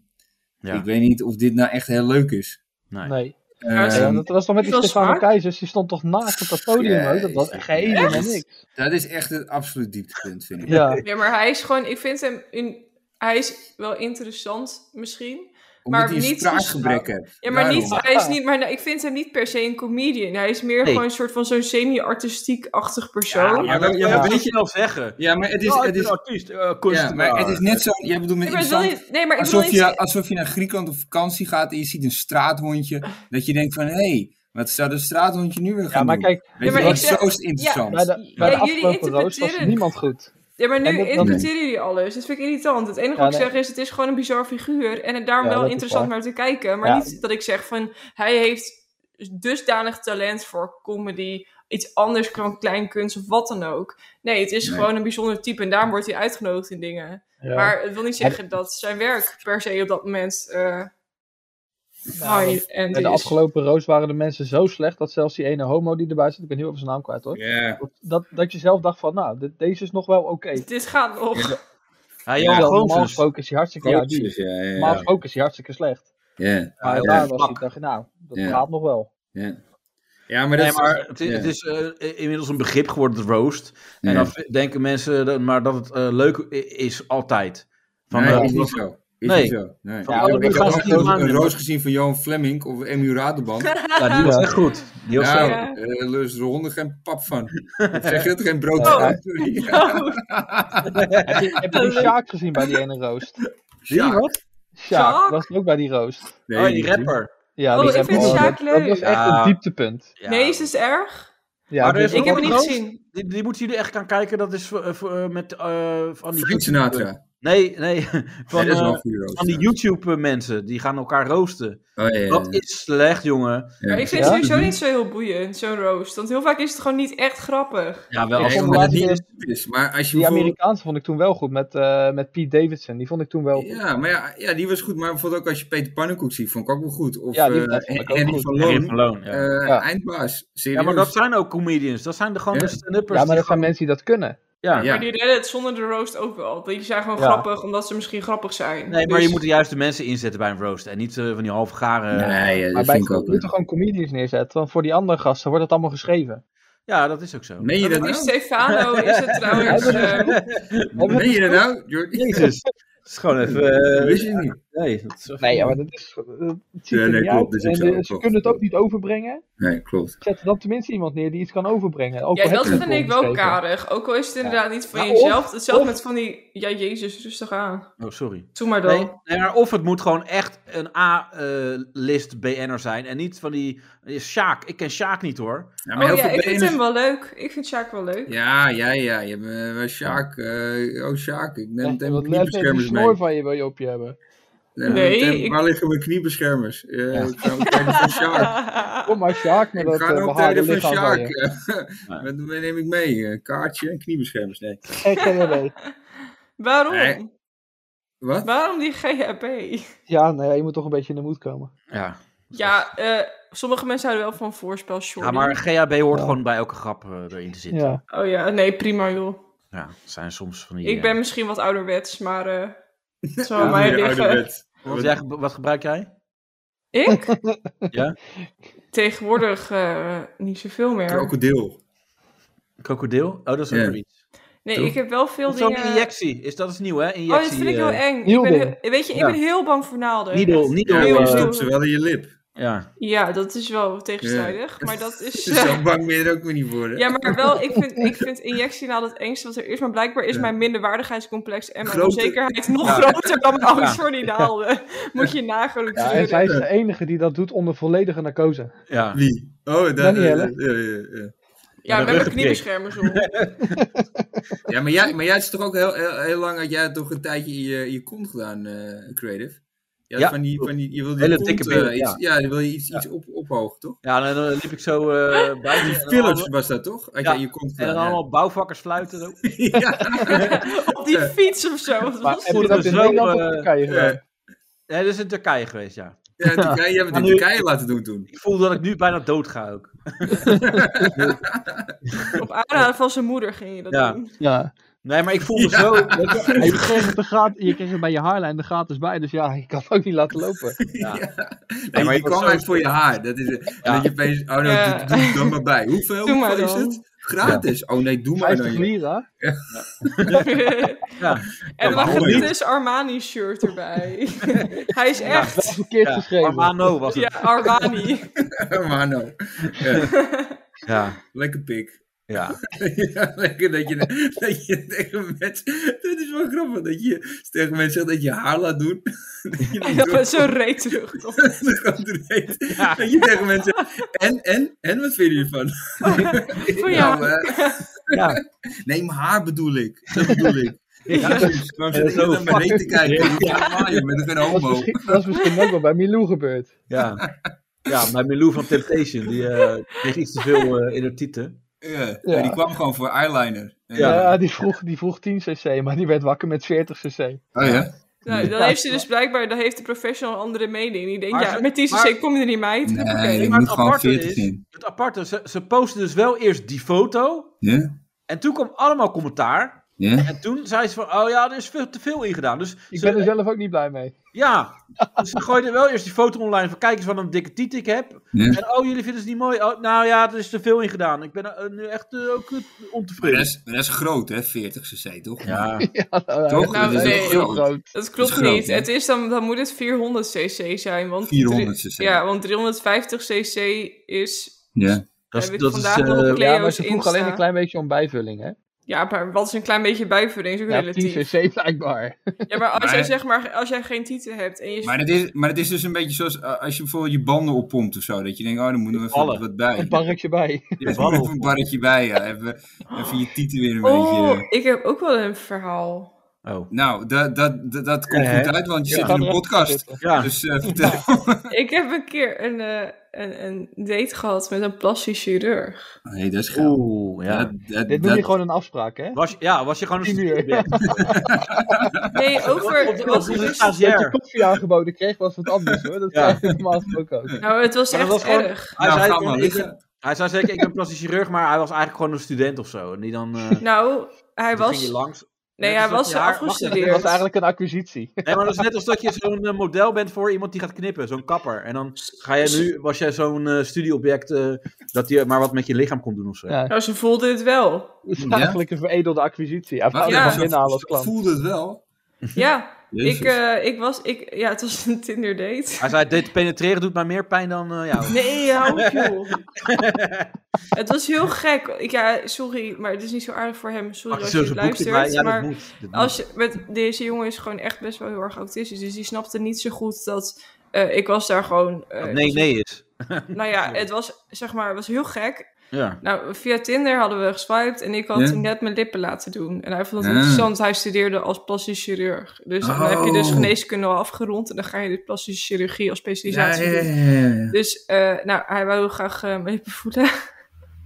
Speaker 4: Ja.
Speaker 5: Ik weet niet of dit nou echt heel leuk is.
Speaker 4: Nee.
Speaker 6: Nee.
Speaker 2: Ja,
Speaker 5: Eh,
Speaker 2: zo-
Speaker 6: Ja, dat was toch met
Speaker 2: Dat
Speaker 6: die
Speaker 2: was
Speaker 6: Stefano
Speaker 2: vaak.
Speaker 6: Keizers, die stond toch naast op dat podium ook? Dat was echt helemaal
Speaker 5: Echt?
Speaker 6: niks.
Speaker 5: Dat is echt het absoluut dieptepunt, vind ik.
Speaker 6: Ja,
Speaker 2: Ja, maar hij is gewoon, ik vind hem, in, hij is wel interessant misschien.
Speaker 5: Omdat
Speaker 2: Maar
Speaker 5: hij een
Speaker 2: niet
Speaker 5: spraakgebrek hebt.
Speaker 2: Ja, maar,
Speaker 5: Daarom.
Speaker 2: niet, hij is niet, maar nou, ik vind hem niet per se een comedian. Hij is meer
Speaker 4: Nee.
Speaker 2: gewoon een soort van zo'n semi-artistiek-achtig
Speaker 4: Ja,
Speaker 2: persoon.
Speaker 4: maar dat
Speaker 5: Ja.
Speaker 4: ja, dat weet je wel zeggen.
Speaker 5: Ja, maar het is...
Speaker 4: Ja, ik
Speaker 5: het
Speaker 4: ben
Speaker 5: is
Speaker 4: artiest, eh,
Speaker 5: ja,
Speaker 4: kunstenaar.
Speaker 5: maar het is net zo... Jij bedoelt met
Speaker 2: Nee, maar ik wil
Speaker 5: interessant-
Speaker 2: niet- nee, maar ik wil
Speaker 5: Alsof
Speaker 2: niet
Speaker 5: je, alsof je naar Griekenland op vakantie gaat en je ziet een straathondje. Dat je denkt van, hé, hey, wat zou dat straathondje nu weer gaan
Speaker 6: ja maar
Speaker 5: doen?
Speaker 6: kijk,
Speaker 5: Weet
Speaker 2: Ja,
Speaker 5: je,
Speaker 2: maar
Speaker 5: dat
Speaker 2: ik
Speaker 5: is
Speaker 2: zeg-
Speaker 5: zo interessant.
Speaker 6: bij de, bij
Speaker 2: Ja,
Speaker 6: de
Speaker 2: jullie
Speaker 6: afgelopen roos was
Speaker 2: interpreteren-
Speaker 6: niemand goed.
Speaker 2: Ja, maar
Speaker 6: En
Speaker 2: nu
Speaker 6: dat- dat-
Speaker 2: interpreteren jullie alles. Dat vind ik irritant. Het enige
Speaker 6: Ja,
Speaker 2: wat ik
Speaker 6: nee.
Speaker 2: zeg is, het is gewoon een bizar figuur. En het daarom
Speaker 6: Ja,
Speaker 2: wel
Speaker 6: dat is
Speaker 2: interessant
Speaker 6: waar.
Speaker 2: naar te kijken. Maar
Speaker 6: Ja.
Speaker 2: niet dat ik zeg van, hij heeft dusdanig talent voor comedy. Iets anders dan kleinkunst of wat dan ook. Nee, het is
Speaker 5: Nee.
Speaker 2: gewoon een bijzonder type. En daarom wordt hij uitgenodigd in dingen.
Speaker 6: Ja.
Speaker 2: Maar het wil niet zeggen dat zijn werk per se op dat moment eh
Speaker 6: Nou,
Speaker 2: high end
Speaker 6: bij de
Speaker 2: is.
Speaker 6: afgelopen roos waren de mensen zo slecht dat zelfs die ene homo die erbij zit, ik ben heel even zijn naam kwijt hoor.
Speaker 5: Ja.
Speaker 6: Dat, dat je zelf dacht van, nou, dit- deze is nog wel oké.
Speaker 2: Dit gaat nog.
Speaker 6: Ah,
Speaker 4: Hij
Speaker 5: Ja,
Speaker 4: Johan
Speaker 6: normaal
Speaker 4: Goosens.
Speaker 6: gesproken is hij hartstikke, ja, die,
Speaker 5: Coaches, ja, ja,
Speaker 6: normaal
Speaker 5: ja.
Speaker 6: gesproken is hij hartstikke slecht.
Speaker 5: Ja,
Speaker 4: Ja,
Speaker 6: Maar
Speaker 4: ja.
Speaker 6: daar was
Speaker 4: Pak.
Speaker 6: hij, dacht ik, nou, dat
Speaker 5: Ja.
Speaker 6: gaat nog wel.
Speaker 5: ja. Ja, maar dat
Speaker 4: Nee,
Speaker 5: is...
Speaker 4: maar het,
Speaker 5: ja.
Speaker 4: het is eh, inmiddels een begrip geworden, roast. En
Speaker 5: Ja.
Speaker 4: dan v- denken mensen dat, maar dat het eh, leuk i- is, altijd. Van,
Speaker 5: nee,
Speaker 4: eh,
Speaker 5: is niet zo. Is
Speaker 4: Nee.
Speaker 5: niet zo. Nee.
Speaker 4: Van
Speaker 5: Ja,
Speaker 4: alle
Speaker 5: ik heb
Speaker 4: gasten
Speaker 5: ook
Speaker 4: die
Speaker 5: een-
Speaker 4: maanden-
Speaker 5: een roos gezien van Johan Fleming of Emu Raderband.
Speaker 4: ja, die was echt goed. Die was
Speaker 5: Nou,
Speaker 4: echt-
Speaker 2: Ja.
Speaker 5: eh, lust de honden geen pap van. Of zeg je dat? Geen brood
Speaker 6: Oh.
Speaker 5: van. Sorry.
Speaker 6: Heb je, heb je die Sjaak gezien bij die ene roost?
Speaker 4: Die wat?
Speaker 6: Sjaak
Speaker 2: Sjaak?
Speaker 6: was ook bij die roost.
Speaker 5: Nee,
Speaker 4: Oh, die rapper.
Speaker 6: Ja,
Speaker 2: Oh,
Speaker 6: die
Speaker 2: ik
Speaker 6: hebben
Speaker 2: vind
Speaker 6: we-
Speaker 2: Sjaak
Speaker 6: Dat was
Speaker 2: leuk.
Speaker 6: echt
Speaker 4: Ja.
Speaker 6: een dieptepunt.
Speaker 4: Ja.
Speaker 2: Nee, is dit erg?
Speaker 6: Ja,
Speaker 4: Maar er
Speaker 6: dus-
Speaker 4: is
Speaker 2: Ik heb hem niet
Speaker 4: Roos?
Speaker 2: gezien.
Speaker 4: Die, die moeten jullie echt gaan kijken. Dat is voor- eh, voor, eh, met eh, van die
Speaker 5: Frank
Speaker 4: YouTube-
Speaker 5: Sinatra.
Speaker 4: Nee, nee. Van,
Speaker 5: Ja, dat is wel
Speaker 4: eh,
Speaker 5: een goede roos.
Speaker 4: van die YouTube-mensen. Die gaan elkaar roosten.
Speaker 5: Oh, ja, ja, ja.
Speaker 4: Dat is slecht, jongen.
Speaker 5: Ja.
Speaker 2: Maar ik vind
Speaker 6: Ja.
Speaker 2: het sowieso niet zo heel boeiend, zo'n roost. Want heel vaak is het gewoon niet echt grappig.
Speaker 4: Ja, wel.
Speaker 6: Ik
Speaker 4: Als
Speaker 5: Nee, omdat
Speaker 6: vond
Speaker 5: het
Speaker 6: laatst
Speaker 5: niet
Speaker 6: weer-
Speaker 5: goed is. Maar als je
Speaker 6: Die
Speaker 5: bijvoorbeeld-
Speaker 6: Amerikaanse vond ik toen wel goed, met, eh, met Pete Davidson. Die vond ik toen wel goed.
Speaker 5: Ja, maar ja, ja, die was goed. Maar bijvoorbeeld ook als je Peter Pannenkoek ziet, vond ik ook wel goed. Of
Speaker 6: Ja, die
Speaker 5: eh,
Speaker 6: vond ik ook
Speaker 5: Henry
Speaker 6: goed.
Speaker 5: van
Speaker 4: Henry
Speaker 5: Loon,
Speaker 4: van Loon,
Speaker 5: eh
Speaker 4: ja.
Speaker 6: Ja.
Speaker 5: eindbaas. Serieus.
Speaker 4: ja, maar dat zijn ook comedians. Dat zijn de gewoon
Speaker 5: Ja.
Speaker 4: de stand-uppers.
Speaker 6: Ja,
Speaker 4: die
Speaker 6: maar dat zijn
Speaker 4: gewoon-
Speaker 6: mensen die dat kunnen.
Speaker 4: Ja.
Speaker 5: Ja.
Speaker 2: Maar die redden het zonder de roast ook wel. Die zijn gewoon
Speaker 6: Ja.
Speaker 2: grappig omdat ze misschien grappig zijn.
Speaker 4: Nee, maar je
Speaker 2: Dus-
Speaker 4: moet de juiste mensen inzetten bij een roast. En niet eh, van die halve garen.
Speaker 5: Nee, ja,
Speaker 6: Maar
Speaker 5: dat
Speaker 6: bij
Speaker 5: vind ik
Speaker 6: je
Speaker 5: ook
Speaker 6: moet
Speaker 5: niet.
Speaker 6: er gewoon comedians neerzetten, want voor die andere gasten wordt het allemaal geschreven.
Speaker 4: Ja, dat is ook zo.
Speaker 5: Meen je dat
Speaker 2: Maar
Speaker 5: nou?
Speaker 2: Stefano is het trouwens. eh,
Speaker 6: Hebben we
Speaker 5: Meen je dat nou? Jordi?
Speaker 4: Jezus. Het is gewoon even... eh,
Speaker 5: Wist je niet?
Speaker 4: nee, dat is-
Speaker 6: Nee, ja, maar dat is. eh, Het ziet
Speaker 5: Ja,
Speaker 6: er
Speaker 5: nee,
Speaker 6: niet
Speaker 5: klopt,
Speaker 6: uit.
Speaker 5: dus ik
Speaker 6: En,
Speaker 5: zou
Speaker 6: eh,
Speaker 5: ook
Speaker 6: ze
Speaker 5: wel-
Speaker 6: kunnen het ook niet overbrengen.
Speaker 5: Nee, klopt.
Speaker 6: Zet er dan tenminste iemand neer die iets kan overbrengen. Ook
Speaker 2: ja,
Speaker 6: al heb
Speaker 2: dat
Speaker 6: je het
Speaker 2: vind ik wel
Speaker 6: voorgeschreven.
Speaker 2: karig. Ook al is het inderdaad niet van
Speaker 6: Maar Nou, of-
Speaker 2: jezelf. Hetzelfde
Speaker 6: of-
Speaker 2: met van die... Ja, Jezus, rustig aan.
Speaker 4: Oh, sorry.
Speaker 2: Doe maar dan.
Speaker 4: Nee, nee, maar of het moet gewoon echt een A-list BN'er zijn. En niet van die... eh, Sjaak. Ik ken Sjaak niet, hoor.
Speaker 5: Ja,
Speaker 2: oh ja, ik
Speaker 5: BN'ers-
Speaker 2: vind hem wel leuk. Ik vind Sjaak wel leuk.
Speaker 5: Ja, ja, ja. Je hebt eh, Sjaak. eh, oh, Sjaak. Ik neem
Speaker 6: Nee,
Speaker 5: meteen mijn
Speaker 6: want net die
Speaker 5: kniebeschermers mee.
Speaker 6: snor van je wil je op je hebben.
Speaker 5: Neem
Speaker 2: Nee,
Speaker 5: meteen-
Speaker 2: ik-
Speaker 5: Waar liggen mijn kniebeschermers? Eh,
Speaker 6: Ja.
Speaker 5: Ik ga meteen voor Sjaak.
Speaker 6: Kom maar, Sjaak, met
Speaker 5: Ik
Speaker 6: dat
Speaker 5: ga
Speaker 6: eh,
Speaker 5: naar
Speaker 6: behaarde
Speaker 5: optreden van
Speaker 6: lichaam van
Speaker 5: Sjaak.
Speaker 6: je.
Speaker 5: Eh, Wat neem ik mee? Eh, Kaartje en kniebeschermers. Nee.
Speaker 6: Geen GWB.
Speaker 2: Waarom?
Speaker 5: Nee. Wat?
Speaker 2: Waarom die GHB?
Speaker 6: Ja, nou ja, je moet toch een beetje in de moed komen.
Speaker 4: Ja.
Speaker 2: Ja, eh, sommige mensen houden wel van voorspel, short.
Speaker 4: Ja, maar GHB hoort
Speaker 6: Ja.
Speaker 4: gewoon bij elke grap eh, erin te zitten. Ja.
Speaker 6: Ja.
Speaker 2: Oh ja, nee, prima joh.
Speaker 4: het zijn soms van die...
Speaker 2: Ik
Speaker 4: eh,
Speaker 2: ben misschien wat ouderwets, maar eh het zal
Speaker 5: Ja,
Speaker 2: aan mij
Speaker 5: weer
Speaker 2: liggen.
Speaker 5: ouderwets.
Speaker 4: Wat, jij, wat gebruik jij?
Speaker 2: Ik?
Speaker 4: Ja?
Speaker 2: Tegenwoordig eh, niet zoveel meer.
Speaker 5: Krokodil.
Speaker 4: Krokodil? Oh, dat is ook
Speaker 5: Ja.
Speaker 4: weer iets.
Speaker 2: Nee,
Speaker 5: Toch?
Speaker 2: ik heb wel veel
Speaker 4: Zo'n
Speaker 2: dingen...
Speaker 4: injectie. Is, dat is nieuw, hè? Injectie,
Speaker 2: Oh, dat vind ik heel
Speaker 4: eh,
Speaker 2: eng. Ik
Speaker 3: Heel
Speaker 2: ben
Speaker 3: ding.
Speaker 2: heel- weet je, ik
Speaker 4: Ja.
Speaker 2: ben heel bang voor naalden.
Speaker 4: Needle, needle,
Speaker 5: Ja,
Speaker 2: Heel
Speaker 5: je
Speaker 4: eh,
Speaker 2: veel.
Speaker 5: stopt ze wel in je lip.
Speaker 4: ja.
Speaker 2: Ja, dat is wel tegenstrijdig. Maar dat is... eh,
Speaker 5: Dus zo bang ben je er ook weer niet voor. hè?
Speaker 2: Ja, maar wel, ik vind, ik vind injectienaal het engste wat er is. Maar blijkbaar is
Speaker 5: Ja.
Speaker 2: mijn minderwaardigheidscomplex en mijn
Speaker 5: Groter.
Speaker 2: onzekerheid nog
Speaker 4: Ja.
Speaker 2: groter dan mijn angst
Speaker 4: Ja.
Speaker 2: voor die naalden. Moet je nagaan. hoe ik
Speaker 3: Ja,
Speaker 2: het
Speaker 3: en
Speaker 2: doe.
Speaker 3: zij is de enige die dat doet onder volledige narcose.
Speaker 4: ja.
Speaker 5: Wie? Oh, daar,
Speaker 3: Danielle.
Speaker 5: eh, eh, eh, eh.
Speaker 2: Ja,
Speaker 4: Met
Speaker 2: met
Speaker 4: een
Speaker 2: mijn
Speaker 4: ruggenprik.
Speaker 2: kniebeschermers om.
Speaker 5: Ja, maar jij, maar jij is toch ook heel, heel, heel lang, had jij toch een tijdje in je, je kont gedaan, eh, Creative? Ja,
Speaker 4: Ja.
Speaker 5: van die, van die, je wilde
Speaker 4: Hele
Speaker 5: je kont,
Speaker 4: dikke
Speaker 5: eh,
Speaker 4: billen,
Speaker 5: iets,
Speaker 4: ja.
Speaker 5: ja. dan wil je iets, iets op, ophogen, toch?
Speaker 4: Ja, en dan liep ik zo eh buiten. en dan
Speaker 5: Philips
Speaker 4: allemaal-
Speaker 5: was dat toch? Had
Speaker 4: Ja.
Speaker 5: jij je kont
Speaker 4: En dan
Speaker 5: gedaan?
Speaker 4: allemaal bouwvakkers fluiten. zo.
Speaker 5: ja.
Speaker 2: Op die fiets of zo. Wat
Speaker 3: Maar
Speaker 2: was
Speaker 3: heb je
Speaker 2: dat?
Speaker 3: dat in
Speaker 4: Zo,
Speaker 3: Nederland
Speaker 4: eh,
Speaker 3: of Turkije
Speaker 5: Ja.
Speaker 3: gedaan?
Speaker 4: Nee, dat is in Turkije geweest, ja.
Speaker 5: Ja, in Turkije, jij hebt het in
Speaker 4: nu-
Speaker 5: Turkije laten doen toen.
Speaker 4: Ik voel dat ik nu bijna dood ga ook.
Speaker 2: Op aanraden van zijn moeder ging je dat
Speaker 4: Ja.
Speaker 2: doen.
Speaker 3: Ja.
Speaker 4: Nee, maar ik voel me zo...
Speaker 3: En je, kreeg het er gratis- je kreeg het bij je haarlijn er gratis bij, dus ja, je kan het ook niet laten lopen.
Speaker 4: Ja.
Speaker 5: Nee,
Speaker 4: maar
Speaker 5: die
Speaker 4: ik word
Speaker 5: kwam
Speaker 4: zo-
Speaker 5: uit voor je haar. Dat is,
Speaker 4: Ja.
Speaker 5: dat je opeens, oh nou,
Speaker 2: Ja.
Speaker 5: doe, doe het dan maar bij. Hoeveel,
Speaker 2: Doe maar
Speaker 5: hoeveel is
Speaker 2: dan.
Speaker 5: het? Gratis. Oh nee, doe maar
Speaker 3: 50
Speaker 5: dan. joh.
Speaker 3: lira?
Speaker 4: Ja.
Speaker 2: en
Speaker 5: Ja,
Speaker 2: er lag een
Speaker 5: mooi.
Speaker 2: Titus Armani shirt erbij. Hij is echt...
Speaker 3: Verkeerd
Speaker 4: Ja,
Speaker 3: geschreven.
Speaker 4: Armano was
Speaker 2: Ja,
Speaker 4: het.
Speaker 2: Armani.
Speaker 5: maar nou, ja,
Speaker 4: Ja.
Speaker 5: lekker pik.
Speaker 4: ja.
Speaker 5: Ja, lekker dat je, dat je tegen mensen... Dat is wel grappig, dat je tegen mensen zegt dat je haar laat doen. Dat je
Speaker 2: En
Speaker 5: dan
Speaker 2: dat
Speaker 5: zo-
Speaker 2: was zo'n reet terug.
Speaker 5: dat gaat eruit. Dat je tegen mensen zegt, en, en, en, wat vind je ervan?
Speaker 2: Voor
Speaker 5: Nou,
Speaker 2: jou.
Speaker 5: eh,
Speaker 4: ja.
Speaker 5: nee, mijn haar bedoel ik. Dat bedoel ik. Ja, precies. Waarom zit
Speaker 4: Ja, zo
Speaker 5: iedereen naar beneden te kijken? Ja, je bent geen
Speaker 3: Dat is,
Speaker 5: homo.
Speaker 3: misschien, dat is misschien ook wel bij Milou gebeurd.
Speaker 4: Ja. Ja, maar Milou van Temptation, die eh, kreeg iets te veel eh, in haar tieten.
Speaker 5: Ja,
Speaker 3: Ja.
Speaker 5: Die kwam gewoon voor eyeliner.
Speaker 4: Ja.
Speaker 3: Ja. die, vroeg, die vroeg 10 cc, maar die werd wakker met 40 cc.
Speaker 5: Oh ja?
Speaker 2: Nou, dan heeft ze dus blijkbaar, dan heeft de professional een andere mening. Die denkt,
Speaker 4: Maar
Speaker 2: ja,
Speaker 4: ze-
Speaker 2: met die
Speaker 4: maar-
Speaker 2: CC kom je er niet mee.
Speaker 5: Nee, ik
Speaker 4: maar
Speaker 5: moet
Speaker 4: het
Speaker 5: gewoon
Speaker 4: aparte
Speaker 5: 40
Speaker 4: is-
Speaker 5: in.
Speaker 4: Het aparte, ze, ze postte dus wel eerst die foto.
Speaker 5: Ja?
Speaker 4: En toen kwam allemaal commentaar.
Speaker 5: Ja?
Speaker 4: En toen zei ze van, oh ja, er is veel te veel in gedaan. Dus
Speaker 3: Ik
Speaker 4: ze-
Speaker 3: ben er zelf ook niet blij mee.
Speaker 4: Ja, dus ze gooiden wel eerst die foto online van kijk eens wat een dikke tiet ik heb.
Speaker 5: Ja.
Speaker 4: En oh, jullie vinden ze niet mooi. Oh, nou ja, er is te veel in gedaan. Ik ben eh, nu echt eh, ook eh,
Speaker 5: Maar
Speaker 4: ontevreden.
Speaker 5: dat is, maar dat is groot, hè? 40 cc, toch?
Speaker 4: Ja,
Speaker 3: Ja, nou,
Speaker 5: Toch?
Speaker 3: dat is
Speaker 2: Nou,
Speaker 3: echt
Speaker 2: nee.
Speaker 3: heel groot.
Speaker 2: Dat
Speaker 5: Dat
Speaker 2: klopt
Speaker 5: is groot,
Speaker 2: niet.
Speaker 5: hè?
Speaker 2: Het is dan, dan moet het 400 cc zijn. Want
Speaker 5: 400 cc.
Speaker 2: Ja, want 350 cc is...
Speaker 5: Ja.
Speaker 4: dat is,
Speaker 2: Heb ik
Speaker 4: dat is,
Speaker 2: vandaag nog
Speaker 4: eh,
Speaker 2: een
Speaker 3: Ja, maar
Speaker 2: Leo's
Speaker 3: ze vroeg
Speaker 2: Insta.
Speaker 3: alleen een klein beetje om bijvulling, hè?
Speaker 2: Ja, maar wat is een klein beetje bijvulling? Is ook
Speaker 3: Ja, 10
Speaker 2: relatief.
Speaker 3: cc blijkbaar.
Speaker 2: Ja, maar als,
Speaker 5: Maar-
Speaker 2: jij, zeg maar als jij geen titel hebt en je...
Speaker 5: Maar dat, is, maar dat is dus een beetje zoals eh, als je bijvoorbeeld je banden oppompt of zo. Dat je denkt, oh, dan moet er even
Speaker 4: Ballen.
Speaker 5: wat bij.
Speaker 3: Een barretje bij.
Speaker 4: die
Speaker 5: Even
Speaker 4: ballen.
Speaker 5: een barretje bij, ja. Even, even je tieten weer een
Speaker 2: oh,
Speaker 5: beetje. eh.
Speaker 2: ik heb ook wel een verhaal.
Speaker 4: Oh.
Speaker 5: Nou, dat, dat, dat, dat komt
Speaker 4: Ja, hè?
Speaker 5: goed uit, want je zit
Speaker 3: Gaat
Speaker 5: in een
Speaker 3: er echt
Speaker 5: podcast.
Speaker 3: zitten.
Speaker 4: Ja,
Speaker 5: Dus eh, vertel.
Speaker 2: Ik heb een keer een, eh, een, een date gehad met een plastisch chirurg.
Speaker 5: Nee, dat is gaaf.
Speaker 4: oeh,
Speaker 5: Dat,
Speaker 4: ja.
Speaker 3: Dit
Speaker 5: dat,
Speaker 3: noem
Speaker 5: dat-
Speaker 3: je gewoon een afspraak, hè?
Speaker 4: Was, je- ja, was je gewoon een
Speaker 3: Tien uur.
Speaker 4: student?
Speaker 2: Nee, over...
Speaker 4: Of-
Speaker 2: het
Speaker 4: of
Speaker 2: was
Speaker 4: een
Speaker 2: dus-
Speaker 3: Dat je
Speaker 4: stagiair.
Speaker 3: koffie aangeboden kreeg was wat anders, hoor. Dat
Speaker 4: Ja.
Speaker 3: krijg je normaal gesproken ook.
Speaker 2: Nou, het was
Speaker 4: Maar dat
Speaker 2: echt
Speaker 4: was gewoon-
Speaker 2: erg.
Speaker 4: Hij
Speaker 5: Nou,
Speaker 4: zei
Speaker 5: ga
Speaker 4: van,
Speaker 5: maar
Speaker 4: ik
Speaker 5: liggen.
Speaker 4: ben- hij zei zeker, ik ben plastisch chirurg, maar hij was eigenlijk gewoon een student of zo. En die dan... eh,
Speaker 2: Nou, hij
Speaker 4: toen ging
Speaker 2: was...
Speaker 4: je langs.
Speaker 2: Nee,
Speaker 4: Net
Speaker 2: hij
Speaker 4: als dat
Speaker 2: was
Speaker 4: je haar-
Speaker 3: Dat was
Speaker 2: afgestudeerd.
Speaker 3: eigenlijk een acquisitie.
Speaker 4: Nee, maar dat is net als dat je zo'n eh, model bent voor iemand die gaat knippen, zo'n kapper. En dan ga jij nu, was jij zo'n eh, studieobject eh, dat die maar wat met je lichaam kon doen of zo.
Speaker 3: Ja.
Speaker 2: Nou, ze voelde het wel.
Speaker 3: Dat is
Speaker 5: Ja?
Speaker 3: eigenlijk een veredelde acquisitie. Hij
Speaker 5: Wacht
Speaker 3: valt
Speaker 2: ja.
Speaker 3: ja.
Speaker 5: even,
Speaker 3: binnenhalen als klant.
Speaker 5: voelde het wel.
Speaker 2: Ja,
Speaker 5: Jezus.
Speaker 2: ik, eh, ik was... Ik, ja, het was een Tinder date.
Speaker 4: Hij zei, dit penetreren doet mij meer pijn dan eh, jou.
Speaker 2: Nee, hou op, joh. Het was heel gek. Ik, ja, sorry, maar het is niet zo aardig voor hem. Sorry
Speaker 4: Pak
Speaker 2: als
Speaker 4: zo
Speaker 2: je het
Speaker 4: zijn boekje
Speaker 2: luistert.
Speaker 4: erbij. Ja, dat
Speaker 2: maar
Speaker 4: moet. Dat
Speaker 2: als je, met, deze jongen is gewoon echt best wel heel erg autistisch. Dus die snapte niet zo goed dat... eh, ik was daar gewoon... eh,
Speaker 4: moet. Dat nee, nee is.
Speaker 2: Nou ja, het was, zeg maar, het was heel gek.
Speaker 4: Ja.
Speaker 2: Nou, via Tinder hadden we geswiped en ik had
Speaker 5: Ja.
Speaker 2: toen net mijn lippen laten doen. En hij vond het
Speaker 5: Ah.
Speaker 2: interessant, hij studeerde als plastisch chirurg. Dus dan heb je dus
Speaker 5: Oh.
Speaker 2: geneeskunde al afgerond en dan ga je de plastische chirurgie als
Speaker 5: Ja,
Speaker 2: specialisatie
Speaker 5: ja,
Speaker 2: doen.
Speaker 5: ja, ja.
Speaker 2: Dus, eh, nou, hij wou heel graag eh, mijn lippen voelen.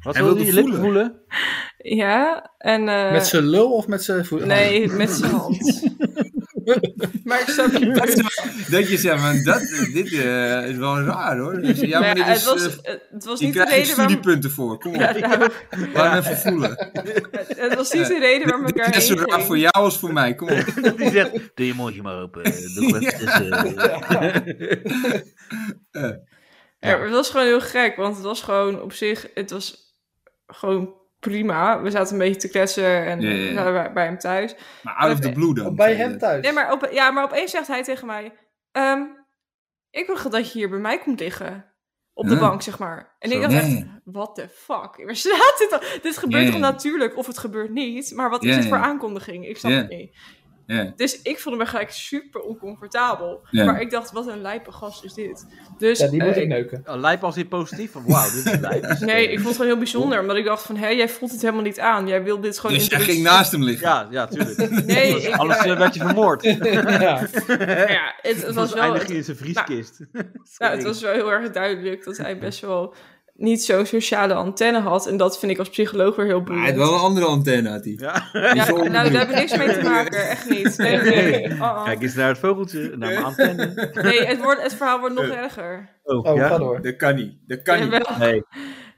Speaker 4: Wat
Speaker 7: Hij
Speaker 4: wil
Speaker 7: wilde
Speaker 4: je lippen
Speaker 7: voelen.
Speaker 4: voelen?
Speaker 2: ja, en... eh,
Speaker 7: Met zijn lul of met zijn voet?
Speaker 2: Nee, met zijn hand. Maar ik snap niet.
Speaker 5: Dat je zegt, van, dat, dit eh, is wel raar hoor. Dus, ja, maar
Speaker 2: Maar ja,
Speaker 5: dit
Speaker 2: het,
Speaker 5: is, eh,
Speaker 2: was, het was
Speaker 5: je
Speaker 2: niet de
Speaker 5: krijgt er
Speaker 2: reden waarom...
Speaker 5: studiepunten voor. Kom op,
Speaker 2: Ja, nou,
Speaker 5: laat me even voelen.
Speaker 2: het was niet de reden waarom ik
Speaker 5: Dit is zo
Speaker 2: erheen
Speaker 5: raar
Speaker 2: ging.
Speaker 5: voor jou als voor mij. Kom op.
Speaker 7: Die zegt, doe je mondje maar open. Doe wat is, eh,
Speaker 2: Ja, maar het was gewoon heel gek, want het was gewoon op zich, het was gewoon prima. We zaten een beetje te kletsen en
Speaker 5: Ja, ja, ja.
Speaker 2: we zaten bij, bij hem thuis.
Speaker 5: Maar out of the blue dan.
Speaker 8: Bij
Speaker 5: zei
Speaker 8: hem
Speaker 5: je.
Speaker 8: thuis.
Speaker 2: Nee, maar op, ja, maar opeens zegt hij tegen mij, ehm, ik wil dat je hier bij mij komt liggen. Op de
Speaker 5: Ja.
Speaker 2: bank, zeg maar. En ik
Speaker 5: Zo.
Speaker 2: dacht echt,
Speaker 5: Ja.
Speaker 2: what the fuck? Waar staat dit dan? Dit gebeurt
Speaker 5: Ja,
Speaker 2: toch
Speaker 5: ja.
Speaker 2: natuurlijk, of het gebeurt niet. Maar wat
Speaker 5: Ja,
Speaker 2: is het
Speaker 5: ja.
Speaker 2: voor aankondiging? Ik snap
Speaker 5: Ja.
Speaker 2: het niet.
Speaker 5: Ja.
Speaker 2: Dus ik voelde me gelijk super oncomfortabel.
Speaker 5: Ja.
Speaker 2: Maar ik dacht, wat een lijpe gast is dit. Dus
Speaker 8: Ja, die moet
Speaker 2: eh,
Speaker 8: ik neuken.
Speaker 4: Oh, Lijp als dit positief? Van, Wauw, dit is lijp.
Speaker 2: Nee, ik vond het gewoon heel bijzonder. Omdat ik dacht van, hé, jij voelt het helemaal niet aan. Jij wil dit gewoon
Speaker 5: Dus jij
Speaker 2: introduceren.
Speaker 5: ging naast hem liggen.
Speaker 4: Ja, ja, tuurlijk.
Speaker 2: Nee,
Speaker 4: Anders-
Speaker 2: ik-
Speaker 4: Anders eh, werd je vermoord.
Speaker 8: Ja.
Speaker 2: Nou ja, het, het was wel,
Speaker 4: eindig je
Speaker 2: het,
Speaker 4: in zijn vrieskist.
Speaker 2: nou, het was wel heel erg duidelijk dat hij best wel niet zo'n sociale antenne had. En dat vind ik als psycholoog weer heel
Speaker 5: Maar hij had
Speaker 2: boeiend.
Speaker 5: wel een andere antenne had hij.
Speaker 4: Ja.
Speaker 2: Ja,
Speaker 5: zo
Speaker 2: nou, daar heb ik niks mee te maken. Echt niet. Nee, nee, nee. Oh, oh.
Speaker 4: Kijk eens naar het vogeltje, naar mijn antenne.
Speaker 2: Nee, het, wordt, het verhaal wordt nog erger.
Speaker 4: Oh,
Speaker 8: Oh, ga
Speaker 4: ja.
Speaker 8: door.
Speaker 5: Dat kan niet. Dat Eh, kan niet.
Speaker 2: Jawel.
Speaker 4: Nee.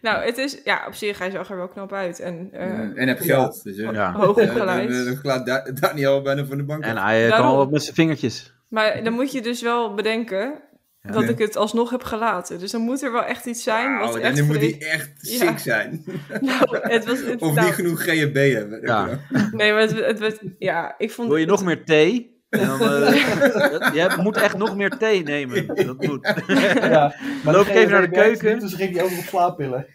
Speaker 2: Nou, het is... Ja, op zich, hij zag er wel knap uit. En eh
Speaker 5: En heb geld. Dus, eh,
Speaker 4: Ja.
Speaker 2: hoog
Speaker 5: eh,
Speaker 2: opgeleid.
Speaker 5: dan- dan laat Da- Daniel bijna van de bank.
Speaker 4: En
Speaker 5: af.
Speaker 4: hij eh, kan
Speaker 2: Daarom.
Speaker 4: al wat met zijn vingertjes.
Speaker 2: Maar dan moet je dus wel bedenken dat ik het alsnog heb gelaten. Dus dan moet er wel echt iets zijn. wat
Speaker 5: Oh, en
Speaker 2: echt
Speaker 5: dan moet
Speaker 2: vre-
Speaker 5: hij echt
Speaker 2: Ja.
Speaker 5: sick zijn.
Speaker 2: Nou, het was, het,
Speaker 5: Of
Speaker 2: nou,
Speaker 5: niet genoeg GHB hebben.
Speaker 4: Ja.
Speaker 2: Nee, maar het, het, werd- ja, ik vond...
Speaker 4: Wil je nog meer thee? En dan, eh, dat- je moet echt nog meer thee nemen. Dat moet.
Speaker 8: Ja. Maar
Speaker 4: Loop ik even naar
Speaker 8: degene
Speaker 4: de
Speaker 8: die
Speaker 4: keuken.
Speaker 8: werkte, Dus ging hij over op slaappillen.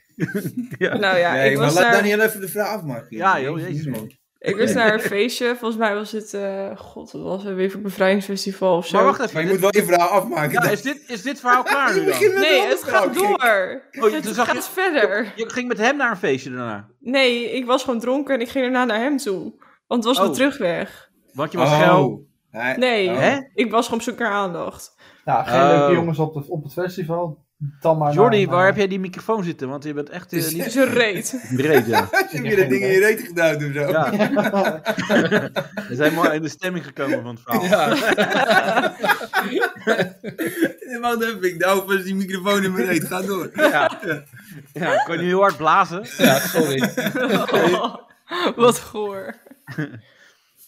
Speaker 2: Nou ja,
Speaker 5: Nee,
Speaker 2: ik
Speaker 5: maar
Speaker 2: was
Speaker 5: laat
Speaker 2: naar,
Speaker 5: Daniel even de vraag afmaken.
Speaker 4: Ja, joh, jezus man.
Speaker 2: ik was naar een feestje. Volgens mij was het... eh, God, wat was het? Weer voor bevrijdingsfestival of zo.
Speaker 4: Maar wacht even.
Speaker 5: Maar je
Speaker 4: dit-
Speaker 5: moet wel je verhaal afmaken.
Speaker 4: ja, is, dit, is dit verhaal klaar nu dan?
Speaker 2: Nee, het gaat door.
Speaker 4: Oh, je-
Speaker 2: het
Speaker 4: toen zag
Speaker 2: gaat
Speaker 4: je-
Speaker 2: verder.
Speaker 4: Je ging met hem naar een feestje daarna.
Speaker 2: Nee, ik was gewoon dronken en ik ging daarna naar hem toe. Want het was
Speaker 4: Oh.
Speaker 2: de terugweg.
Speaker 4: Want je was geil.
Speaker 5: Oh. Hij-
Speaker 2: Nee,
Speaker 5: Oh.
Speaker 4: Hè?
Speaker 2: ik was gewoon op zoek naar aandacht.
Speaker 8: Ja, geen
Speaker 4: Oh.
Speaker 8: leuke jongens op, de, op het festival. Dan
Speaker 5: nou,
Speaker 8: maar
Speaker 4: Jordi,
Speaker 8: naar-
Speaker 4: waar heb jij die microfoon zitten? Want je bent echt eh,
Speaker 5: Dus-
Speaker 4: niet
Speaker 2: Dus een reet.
Speaker 4: breed, ja.
Speaker 5: Heb je weer dat ding in je reet geduwd of zo?
Speaker 4: ja. We zijn mooi in de stemming gekomen van het verhaal.
Speaker 5: En Wacht even, ik nou pas die microfoon in mijn reet. Ga door.
Speaker 4: Ja. Ja, ik kon nu heel hard blazen.
Speaker 3: Ja, sorry.
Speaker 2: wat goor.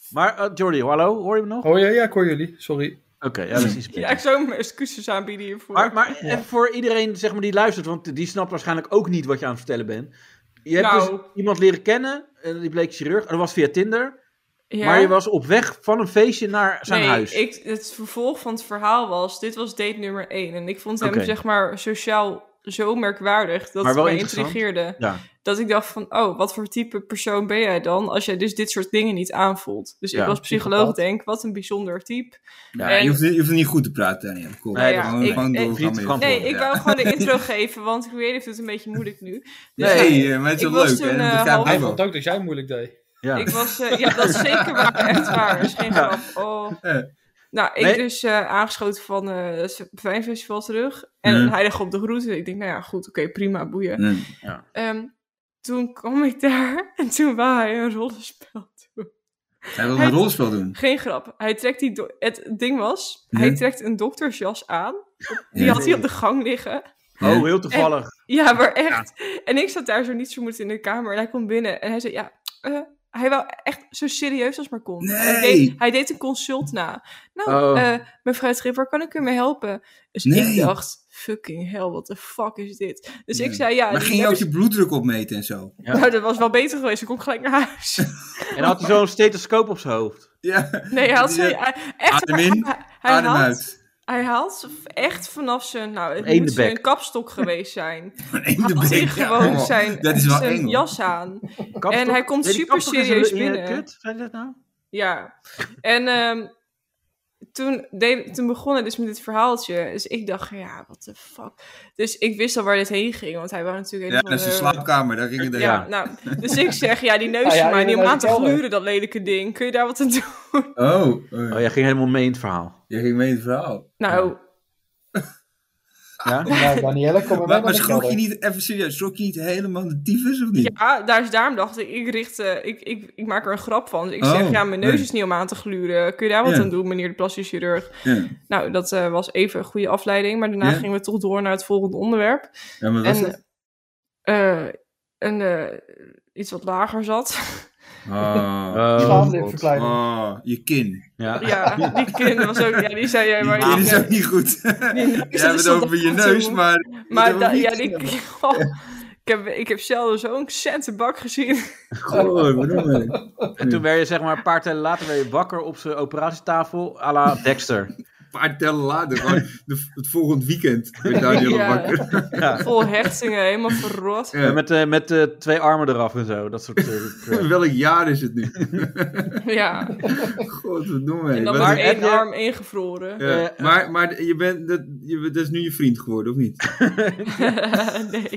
Speaker 4: Maar eh, Jordi, hallo, hoor je me nog? Oké,
Speaker 3: Hoor je? Ja, ik hoor jullie. Sorry.
Speaker 4: ja, dat is iets
Speaker 2: Ja,
Speaker 4: beter.
Speaker 2: ik zou mijn excuses aanbieden hiervoor.
Speaker 4: Maar, maar even voor iedereen zeg maar, die luistert, want die snapt waarschijnlijk ook niet wat je aan het vertellen bent. Je hebt
Speaker 2: Nou.
Speaker 4: dus iemand leren kennen, en die bleek chirurg, en dat was via Tinder.
Speaker 2: Ja.
Speaker 4: Maar je was op weg van een feestje naar zijn
Speaker 2: nee,
Speaker 4: huis.
Speaker 2: Ik, het vervolg van het verhaal was: dit was date nummer 1. En ik vond hem,
Speaker 4: Oké.
Speaker 2: zeg maar, sociaal zo merkwaardig dat
Speaker 4: Maar
Speaker 2: het
Speaker 4: wel
Speaker 2: mij
Speaker 4: interessant.
Speaker 2: intrigeerde.
Speaker 4: Ja.
Speaker 2: Dat ik dacht van, oh, wat voor type persoon ben jij dan als jij dus dit soort dingen niet aanvoelt? Dus
Speaker 4: Ja,
Speaker 2: ik als psycholoog denk, wat een bijzonder type.
Speaker 4: Ja,
Speaker 2: En-
Speaker 5: Je hoeft, je hoeft niet goed te praten, Daniel. Kom.
Speaker 4: Nee,
Speaker 2: ja,
Speaker 5: gewoon,
Speaker 2: ik-
Speaker 5: gewoon
Speaker 2: ik-
Speaker 5: doorgaan met je
Speaker 4: Nee,
Speaker 2: nee,
Speaker 5: verhaal.
Speaker 2: ik
Speaker 5: Ja.
Speaker 2: wou gewoon de intro geven, want ik weet het doet een beetje moeilijk nu. Dus
Speaker 5: Nee, eh, maar het is
Speaker 2: ik
Speaker 5: wel
Speaker 2: was
Speaker 5: leuk.
Speaker 2: toen,
Speaker 5: hè?
Speaker 2: eh,
Speaker 5: Dat begrijp
Speaker 3: Hij
Speaker 5: ik
Speaker 2: half-
Speaker 5: wel.
Speaker 3: vond ook dat jij het moeilijk deed.
Speaker 4: ja.
Speaker 2: Ik was, eh, ja, dat is zeker waar. Echt waar. Dat is geen grap. Oh.
Speaker 5: Ja.
Speaker 2: Nou, ik
Speaker 4: Nee.
Speaker 2: dus eh, aangeschoten van eh, het Festival terug. En
Speaker 5: Mhm.
Speaker 2: hij lag op de route. Ik denk, nou ja, goed, oké, prima, boeien.
Speaker 5: Ja.
Speaker 2: Ehm, toen kwam ik daar en toen wou hij een rollenspel doen.
Speaker 5: Hij wil
Speaker 2: Hij-
Speaker 5: een rolspel doen.
Speaker 2: Geen grap. Hij trekt die do- het ding was,
Speaker 5: Ja.
Speaker 2: hij trekt een doktersjas aan. Die
Speaker 5: Ja.
Speaker 2: had hij op de gang liggen.
Speaker 4: Oh, heel toevallig.
Speaker 2: Ja, maar echt. En ik zat daar zo niet zo moed in de kamer. En hij kwam binnen en hij zei, ja, eh, hij wou echt zo serieus als maar kon. Hij,
Speaker 5: Nee.
Speaker 2: deed, hij deed een consult na. Nou,
Speaker 4: Oh.
Speaker 2: eh mevrouw Schip, waar kan ik u mee helpen? Dus
Speaker 5: Nee.
Speaker 2: ik dacht, fucking hell, what the fuck is dit? Dus ik
Speaker 5: Ja.
Speaker 2: zei, ja,
Speaker 5: Maar
Speaker 2: die
Speaker 5: ging je ook
Speaker 2: lekkers-
Speaker 5: je bloeddruk opmeten en zo?
Speaker 2: nou, dat was wel beter geweest. Ik kom gelijk naar huis.
Speaker 4: En dan had hij zo'n stethoscoop op zijn hoofd.
Speaker 5: Ja,
Speaker 2: Nee, hij had
Speaker 5: Ja.
Speaker 2: zo, hij- echt,
Speaker 5: Adem in,
Speaker 2: hij, hij
Speaker 5: adem
Speaker 2: haalt-
Speaker 5: uit.
Speaker 2: Hij haalt echt vanaf zijn, nou, het
Speaker 4: Eén
Speaker 2: moet
Speaker 4: de
Speaker 2: zijn
Speaker 4: bek.
Speaker 2: een kapstok geweest zijn.
Speaker 5: In de
Speaker 2: Had hij
Speaker 5: bek.
Speaker 2: gewoon
Speaker 5: Ja, Oh,
Speaker 2: zijn,
Speaker 5: Dat is wel
Speaker 2: zijn
Speaker 5: eng. hoor.
Speaker 2: jas aan.
Speaker 4: Kapstok.
Speaker 2: En hij komt
Speaker 4: Nee, die
Speaker 2: super
Speaker 4: kapstok is
Speaker 2: serieus
Speaker 4: in je
Speaker 2: binnen.
Speaker 4: Kut, zei je dat nou?
Speaker 2: Ja. En ehm, toen, deed, toen begon hij dus met dit verhaaltje. Dus ik dacht, ja, wat de fuck. Dus ik wist al waar dit heen ging, want hij wou natuurlijk... een
Speaker 5: Ja,
Speaker 2: of
Speaker 5: dat is de
Speaker 2: andere-
Speaker 5: slaapkamer, daar ging het
Speaker 2: eh, Ja,
Speaker 5: heen.
Speaker 2: nou, dus ik zeg, ja, die neus
Speaker 8: Ah ja,
Speaker 2: van mij,
Speaker 8: in de
Speaker 2: die om aan te
Speaker 8: kelder.
Speaker 2: gluren, dat lelijke ding. Kun je daar wat aan doen?
Speaker 5: Oh, eh,
Speaker 4: Oh, jij ging helemaal mee in het verhaal.
Speaker 5: jij ging mee in het verhaal.
Speaker 2: Nou,
Speaker 8: Nou, Danielle, kom maar mee.
Speaker 5: Maar, maar
Speaker 8: met de
Speaker 5: schrok je
Speaker 8: kelder.
Speaker 5: niet, even serieus, schrok je niet helemaal de tyfus of niet?
Speaker 2: Ja, daar is, daarom dacht ik, ik, richt, eh, ik, ik, ik maak er een grap van. Dus ik zeg,
Speaker 5: Oh,
Speaker 2: ja, mijn neus
Speaker 5: nee.
Speaker 2: is niet om aan te gluren. Kun je daar wat
Speaker 5: Ja.
Speaker 2: aan doen, meneer de plastisch chirurg?
Speaker 5: Ja.
Speaker 2: Nou, dat eh, was even een goede afleiding. Maar daarna
Speaker 5: Ja.
Speaker 2: gingen we toch door naar het volgende onderwerp.
Speaker 5: Ja, maar was het?
Speaker 2: En, eh, een, eh, iets wat lager zat.
Speaker 5: Oh,
Speaker 8: Schaamlipverkleining.
Speaker 5: oh, je kin.
Speaker 4: Ja.
Speaker 2: ja, die kind was ook... Ja, die zei jij maar...
Speaker 5: Je kin is
Speaker 2: ja,
Speaker 5: ook niet goed.
Speaker 2: die neus,
Speaker 5: Je hebt
Speaker 2: dat
Speaker 5: het
Speaker 2: stond
Speaker 5: over je
Speaker 2: af en toe.
Speaker 5: neus, maar...
Speaker 2: Maar
Speaker 5: dat
Speaker 2: da-
Speaker 5: wil
Speaker 2: ja,
Speaker 5: niet
Speaker 2: die, oh, ik, heb, ik heb zelden zo'n centenbak gezien.
Speaker 5: Goh, waarom? hè?
Speaker 4: En toen werd je zeg maar een paar tellen later weer wakker op zijn operatietafel à la Dexter.
Speaker 5: Een paar tellen later, gewoon de- het volgend weekend. Ben daar heel
Speaker 2: Ja.
Speaker 5: wakker.
Speaker 2: Vol hechtingen, helemaal verrot.
Speaker 5: Ja.
Speaker 4: Met, eh, met eh, twee armen eraf en zo. Dat soort eh, crap.
Speaker 5: Welk jaar is het nu?
Speaker 2: Ja,
Speaker 5: Godverdomme. hè.
Speaker 2: en dan
Speaker 5: Wat
Speaker 2: maar
Speaker 5: een-
Speaker 2: één
Speaker 4: heb je-
Speaker 2: arm ingevroren.
Speaker 5: Ja, Eh, maar maar je bent, dat, je, bent- dat is nu je vriend geworden, of niet?
Speaker 2: nee.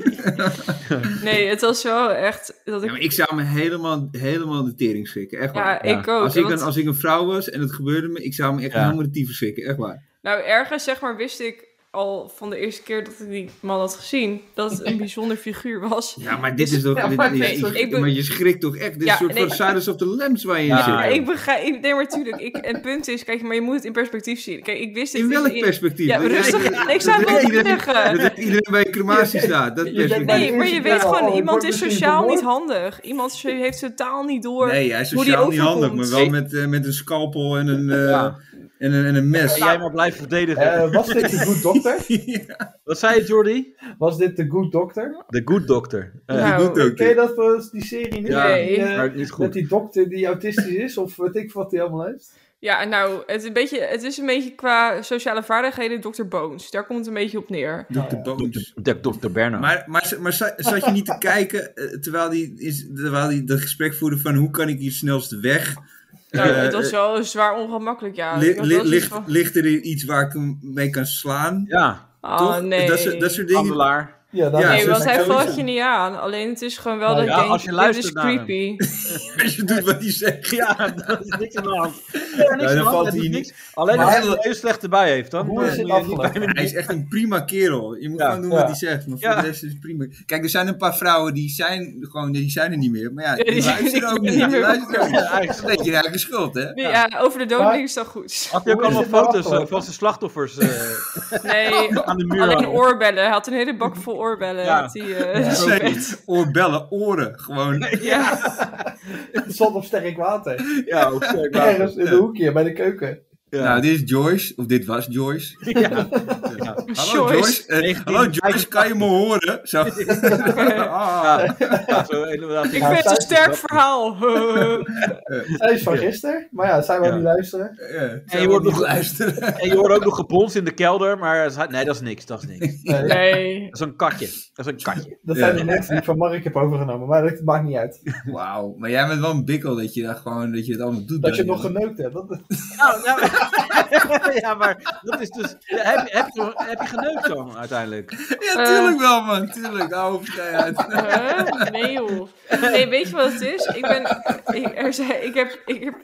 Speaker 2: nee, het was wel echt dat
Speaker 5: Ja,
Speaker 2: ik...
Speaker 5: maar ik zou me helemaal, helemaal de tering schrikken, echt waar.
Speaker 2: Ja,
Speaker 4: ja.
Speaker 2: ik ook.
Speaker 5: als, ik
Speaker 2: want-
Speaker 5: een, als ik een vrouw was en het gebeurde me, ik zou me echt
Speaker 4: Ja.
Speaker 5: helemaal de tyfus schrikken, echt waar.
Speaker 2: Nou, ergens zeg maar wist ik al van de eerste keer dat ik die man had gezien... dat het een bijzonder figuur was.
Speaker 5: Ja, maar dit is toch...
Speaker 8: Ja,
Speaker 5: dit-
Speaker 8: maar
Speaker 5: dit-
Speaker 2: nee,
Speaker 5: ja,
Speaker 2: sorry, ik ben-
Speaker 5: maar je schrikt toch echt? Dit is
Speaker 2: Ja,
Speaker 5: een soort
Speaker 2: nee.
Speaker 5: van Silence of the Lambs waar je in
Speaker 4: Ja,
Speaker 5: zit.
Speaker 2: Ja, ik begrijp... Nee, maar tuurlijk. Ik, het punt is, kijk, maar je moet het in perspectief zien. Kijk, ik wist het
Speaker 5: In
Speaker 2: niet
Speaker 5: welk perspectief?
Speaker 2: Ja,
Speaker 5: Dat-
Speaker 2: rustig
Speaker 5: dat-
Speaker 2: aan. Ik zou
Speaker 5: dat
Speaker 2: het wel
Speaker 5: iedereen-
Speaker 2: zeggen.
Speaker 5: Dat iedereen bij een crematie staat, dat
Speaker 8: denkt
Speaker 5: perspectief.
Speaker 8: bij de
Speaker 2: Nee, maar je
Speaker 8: eerste
Speaker 2: weet
Speaker 8: keer al,
Speaker 2: gewoon,
Speaker 8: oh, ik
Speaker 2: iemand
Speaker 8: word
Speaker 2: is
Speaker 8: misschien
Speaker 2: sociaal niet
Speaker 8: vermoord.
Speaker 2: handig. Iemand so- heeft totaal niet door.
Speaker 5: Nee, hij is
Speaker 2: hoe die
Speaker 5: sociaal niet handig, maar
Speaker 2: overkomt.
Speaker 5: wel met, eh, met een scalpel en een, eh,
Speaker 4: Ja.
Speaker 5: en een, en een mes.
Speaker 4: En jij maar blijft verdedigen.
Speaker 8: Eh, was dit de Good Doctor?
Speaker 4: Wat zei je, Jordi?
Speaker 8: Was dit de Good Doctor?
Speaker 4: The Good Doctor. Eh,
Speaker 2: Nou,
Speaker 5: doet ook.
Speaker 8: Ken je dat voor die serie niet?
Speaker 4: Ja,
Speaker 8: Die, eh,
Speaker 4: maar niet goed.
Speaker 8: met die dokter die autistisch is, of weet ik wat hij allemaal heeft.
Speaker 2: Ja, nou, het is, een beetje, het is een beetje qua sociale vaardigheden Dr. Bones. Daar komt het een beetje op neer.
Speaker 5: Dr. Bones.
Speaker 4: De Dr. Berna.
Speaker 5: Maar, maar, maar za- zat je niet te kijken eh, terwijl die, is, terwijl die dat gesprek voerde van hoe kan ik hier snelst weg?
Speaker 2: Nou,
Speaker 5: Eh,
Speaker 2: het was wel zwaar ongemakkelijk, ja.
Speaker 5: Li-
Speaker 2: Ik had
Speaker 5: li-
Speaker 2: wel zoiets
Speaker 5: ligt,
Speaker 2: van,
Speaker 5: ligt er iets waar ik hem mee kan slaan?
Speaker 4: Ja,
Speaker 2: ah,
Speaker 5: toch?
Speaker 2: nee.
Speaker 5: Dat, soort- dat soort dingen.
Speaker 4: handelaar.
Speaker 8: Ja, dat
Speaker 5: Ja,
Speaker 8: is
Speaker 2: Nee,
Speaker 5: zo-
Speaker 2: want hij
Speaker 8: sowieso.
Speaker 2: valt je niet aan. Alleen het is gewoon wel
Speaker 8: Ja,
Speaker 2: dat ik
Speaker 4: Oh, ja,
Speaker 2: denk,
Speaker 4: als je
Speaker 2: dit is
Speaker 4: luistert naar hem.
Speaker 2: creepy.
Speaker 5: Als je doet wat hij zegt.
Speaker 4: Ja, dat is niks aan de hand. Ja, niks
Speaker 5: Ja,
Speaker 4: aan de
Speaker 5: dan
Speaker 4: hand,
Speaker 5: valt
Speaker 4: het is
Speaker 5: hij
Speaker 4: niks. Alleen
Speaker 5: Maar-
Speaker 4: als je er heel slecht erbij heeft, dan eh,
Speaker 8: Hoe is het
Speaker 4: moet je niet
Speaker 8: afgelopen?
Speaker 4: bij me-
Speaker 5: Hij is echt een prima kerel. Je moet
Speaker 4: Ja,
Speaker 5: gewoon doen
Speaker 8: ja.
Speaker 5: wat hij zegt. Maar voor
Speaker 4: Ja.
Speaker 5: de rest is het prima. Kijk, er zijn een paar vrouwen die zijn, gewoon, die zijn er niet meer. Maar ja,
Speaker 2: Ja, die
Speaker 5: die
Speaker 2: zijn
Speaker 5: luisteren ook
Speaker 2: niet
Speaker 5: niet. Die
Speaker 2: meer.
Speaker 5: luisteren ook niet.
Speaker 4: Ja, eigenlijk
Speaker 5: Dat is een beetje je eigen schuld, hè?
Speaker 2: Nee, ja. over de dood
Speaker 8: Maar-
Speaker 2: liggen is dat goed.
Speaker 4: Had hij ook
Speaker 8: Hoe is
Speaker 4: allemaal
Speaker 8: het nou
Speaker 4: foto's eh,
Speaker 8: afgelopen?
Speaker 4: van zijn slachtoffers eh,
Speaker 2: Nee,
Speaker 4: aan de muur
Speaker 2: alleen
Speaker 4: hangen?
Speaker 2: oorbellen. Hij had een hele bak vol oorbellen.
Speaker 4: Ja.
Speaker 2: had hij, eh,
Speaker 5: Dat
Speaker 2: zo
Speaker 5: zijn
Speaker 2: bed.
Speaker 5: niet Oorbellen, oren. Gewoon.
Speaker 2: Ja.
Speaker 8: Het stond op sterk water.
Speaker 4: Ja, ook sterk waar.
Speaker 8: Ergens in de hoekje, bij de keuken.
Speaker 4: Ja.
Speaker 5: Nou, dit is Joyce. Of dit was Joyce. Hallo
Speaker 2: Joyce.
Speaker 5: Joyce. Eh, hallo Joyce, kan je me horen? Zo. Ah.
Speaker 4: Ja, ja, zo inderdaad.
Speaker 2: Ik
Speaker 8: Ja,
Speaker 2: vind het een
Speaker 8: thuis-
Speaker 2: sterk verhaal.
Speaker 8: Hij is van
Speaker 4: Ja.
Speaker 8: gisteren, maar ja, zij wou
Speaker 4: Ja.
Speaker 8: niet luisteren.
Speaker 5: En
Speaker 4: je wordt nog-
Speaker 5: luisteren.
Speaker 4: En je hoort ook nog gebons in de kelder, maar ze- nee, dat is niks, dat is niks.
Speaker 8: Nee,
Speaker 2: Nee.
Speaker 4: Dat is een katje, dat is een katje.
Speaker 8: Dat zijn
Speaker 5: Ja.
Speaker 8: de mensen die ik van Mark heb overgenomen, maar dat maakt niet uit.
Speaker 5: Wauw, maar jij bent wel een bikkel dat je, dat gewoon, dat je het allemaal doet.
Speaker 8: Dat je
Speaker 5: Daniel.
Speaker 8: nog geneukt hebt. Dat,
Speaker 4: Nou, nou, ja, maar dat is dus, ja, heb, heb, je- heb je geneukt dan uiteindelijk?
Speaker 5: Ja, tuurlijk wel man, tuurlijk. Hou op vrij uit.
Speaker 2: Huh? Nee joh. Nee, weet je wat het is? Ik ben... Ik, er zijn, ik heb... Ik heb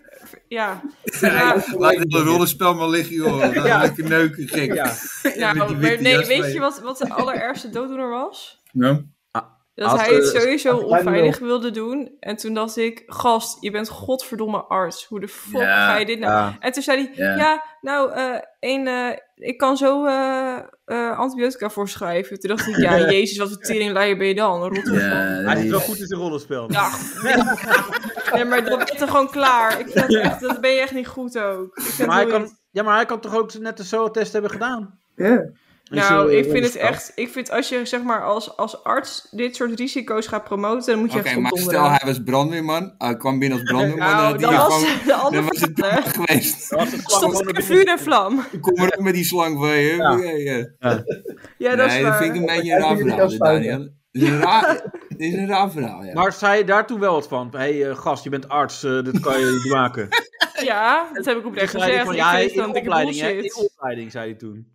Speaker 2: ja. Ja,
Speaker 5: Laat het rollenspel maar liggen joh. We gaan
Speaker 4: Ja.
Speaker 5: Lekker neuken,
Speaker 4: Ja.
Speaker 5: gek. Ja, met
Speaker 2: nou,
Speaker 5: die
Speaker 2: maar,
Speaker 5: witte
Speaker 2: nee,
Speaker 5: jas
Speaker 2: weet
Speaker 5: van
Speaker 2: je wat, wat de allerergste dooddoener was?
Speaker 5: Ja.
Speaker 2: Dat
Speaker 4: Als,
Speaker 2: hij het
Speaker 4: eh,
Speaker 2: sowieso
Speaker 8: als kleine
Speaker 2: onveilig wilde doen. En toen dacht ik, gast, je bent godverdomme arts. Hoe de fuck
Speaker 5: Ja,
Speaker 2: ga je dit nou?
Speaker 4: ja.
Speaker 2: En toen zei hij, ja,
Speaker 5: Ja.
Speaker 2: nou, eh, één, eh, ik kan zo eh, eh, antibiotica voorschrijven. Toen dacht ik, ja, jezus, wat voor teringleier ben je dan? Een rotte vak.
Speaker 4: Hij is
Speaker 5: die-
Speaker 4: wel goed in zijn rollenspel.
Speaker 2: Ja. Nee, maar dan ben je toch gewoon klaar. Ik vind het echt, dat ben je echt niet goed ook. Ik vind
Speaker 4: Maar hij
Speaker 2: het
Speaker 4: kan, ja, maar hij kan toch ook net de SOA-test hebben gedaan? eh, Ja.
Speaker 2: Nou, ik vind het echt. Ik vind als je zeg maar als, als arts dit soort risico's gaat promoten, dan moet je
Speaker 5: Oké,
Speaker 2: echt
Speaker 5: maar
Speaker 2: opdonderen.
Speaker 5: stel hij was brandweerman. Hij kwam binnen als brandweerman.
Speaker 2: Nou,
Speaker 5: dan
Speaker 2: dat
Speaker 5: had
Speaker 2: was
Speaker 5: hij gewoon
Speaker 2: de andere
Speaker 5: dan was het
Speaker 2: vraag, hè.
Speaker 5: geweest.
Speaker 2: Stond ik in vuur en vlam.
Speaker 5: Kom maar op met die slang van je.
Speaker 4: Ja.
Speaker 5: Ja, ja.
Speaker 2: Ja, dat
Speaker 5: nee,
Speaker 2: is waar.
Speaker 5: dat vind ik een beetje een
Speaker 8: Hij
Speaker 5: raar
Speaker 8: vindt het
Speaker 5: verhaal,
Speaker 8: niet
Speaker 5: dit,
Speaker 8: als
Speaker 5: Daniel. Dit is een raar- dit is een raar verhaal, ja.
Speaker 4: Maar zei je daar toen wel wat van? Hé, hey, eh, gast, je bent arts, eh, dit kan je niet maken.
Speaker 2: Ja, dat heb ik oprecht
Speaker 4: Toen zei hij
Speaker 2: gezegd.
Speaker 4: van,
Speaker 2: Ik
Speaker 4: ja,
Speaker 2: vind het
Speaker 4: in
Speaker 2: dan dikke
Speaker 4: opleiding, hè,
Speaker 2: bullshit.
Speaker 4: in opleiding, zei hij toen.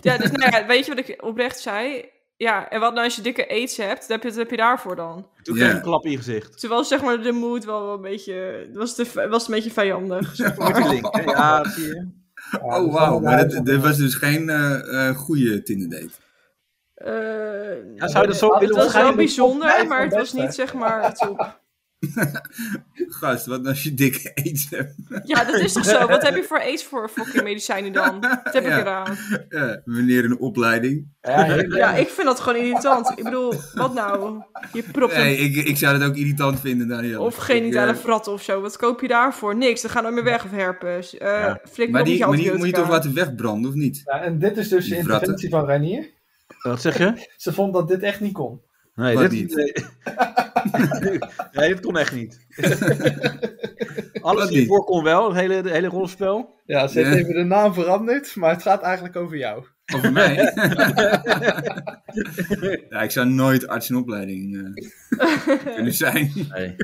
Speaker 2: Ja, dus nou ja, weet je wat ik oprecht zei? Ja, en wat nou als je dikke aids hebt? Dan heb je, wat heb je daarvoor dan?
Speaker 4: Toen
Speaker 5: Ja.
Speaker 4: kreeg ik een klap in je gezicht.
Speaker 2: Terwijl zeg maar de mood wel, wel een beetje... het Was, de, was een beetje vijandig. zeg maar.
Speaker 4: Met je link, hè? Ja, zie je.
Speaker 8: Ja, dat is
Speaker 5: Oh, wauw.
Speaker 8: allemaal
Speaker 5: Maar dat,
Speaker 8: waar.
Speaker 5: dat was dus geen eh eh goede Tinder date.
Speaker 2: eh,
Speaker 4: Ja, zou je dat zo
Speaker 8: Het
Speaker 2: het
Speaker 8: waarschijnlijk
Speaker 4: willen
Speaker 2: was wel
Speaker 8: de top vijf
Speaker 4: omschrijven?
Speaker 2: bijzonder,
Speaker 8: van
Speaker 2: maar het was
Speaker 8: beste.
Speaker 2: niet zeg maar het top.
Speaker 5: Gast, wat als je dikke aids hebt?
Speaker 2: Ja, dat is toch zo? Wat heb je voor aids voor fucking medicijnen dan? Wat heb ik
Speaker 5: Ja.
Speaker 2: eraan?
Speaker 5: Eh, meneer in de opleiding.
Speaker 8: Ja, je-
Speaker 2: Ja, ik vind dat gewoon irritant. Ik bedoel, wat nou? Je propt een
Speaker 5: Nee, ik, ik zou dat ook irritant vinden, Daniel. eh,
Speaker 2: Of genitale fratten of zo. Wat koop je daarvoor? Niks. Dan gaan we meer weg of herpes. Eh
Speaker 5: Ja.
Speaker 2: Flik nog
Speaker 5: Maar
Speaker 2: met
Speaker 5: die,
Speaker 2: je
Speaker 5: maar die moet je
Speaker 2: antibiotica.
Speaker 5: toch laten wegbranden, of niet?
Speaker 8: Ja, en dit is dus de
Speaker 5: Die vratten.
Speaker 8: interventie van Reinier.
Speaker 4: Wat zeg je?
Speaker 8: Ze vond dat dit echt niet kon.
Speaker 4: Nee, dit,
Speaker 5: Wat niet?
Speaker 4: nee. nee, dit kon echt niet. Alles
Speaker 5: Wat
Speaker 4: hiervoor kon wel, het hele, het hele rollenspel.
Speaker 6: Ja, ze heeft
Speaker 5: Ja.
Speaker 6: even de naam veranderd, maar het gaat eigenlijk over jou.
Speaker 5: Over mij? ja, ik zou nooit arts in opleiding eh, kunnen zijn.
Speaker 4: Nee.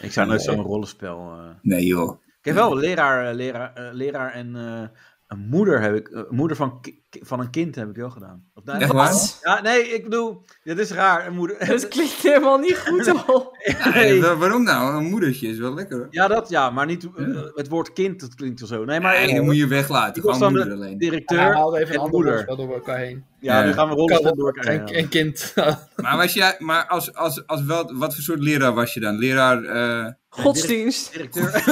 Speaker 4: Ik zou nooit zo'n rollenspel... eh,
Speaker 5: Nee joh.
Speaker 4: Ik heb wel een leraar, eh, leraar, eh, leraar en eh, een moeder heb ik, eh, moeder van, ki- ki- van een kind heb ik wel gedaan. Of, nou,
Speaker 5: Echt waar?
Speaker 4: Ja, nee, ik bedoel, dit is raar, een moeder.
Speaker 2: Dat Dus klinkt helemaal niet goed al.
Speaker 5: Nee, wa- waarom nou? Een moedertje is wel lekker hoor.
Speaker 4: Ja, dat ja, maar niet eh, het woord kind, dat klinkt wel zo. Nee, maar
Speaker 5: Nee, dan moet je
Speaker 4: Die
Speaker 5: weglaten. Gewoon
Speaker 4: was dan
Speaker 5: moeder alleen.
Speaker 4: directeur
Speaker 6: Ja, we haalden even
Speaker 4: en
Speaker 6: een ander
Speaker 4: moeder.
Speaker 6: woordspel door elkaar heen.
Speaker 4: Ja, nu
Speaker 5: Ja.
Speaker 4: gaan we rollenspel
Speaker 6: Kan
Speaker 4: door elkaar heen
Speaker 6: en,
Speaker 4: halen.
Speaker 6: en kind.
Speaker 5: Maar, was jij, maar als, als, als wel, wat voor soort leraar was je dan? Leraar. eh,
Speaker 2: Godsdienst.
Speaker 4: Directeur.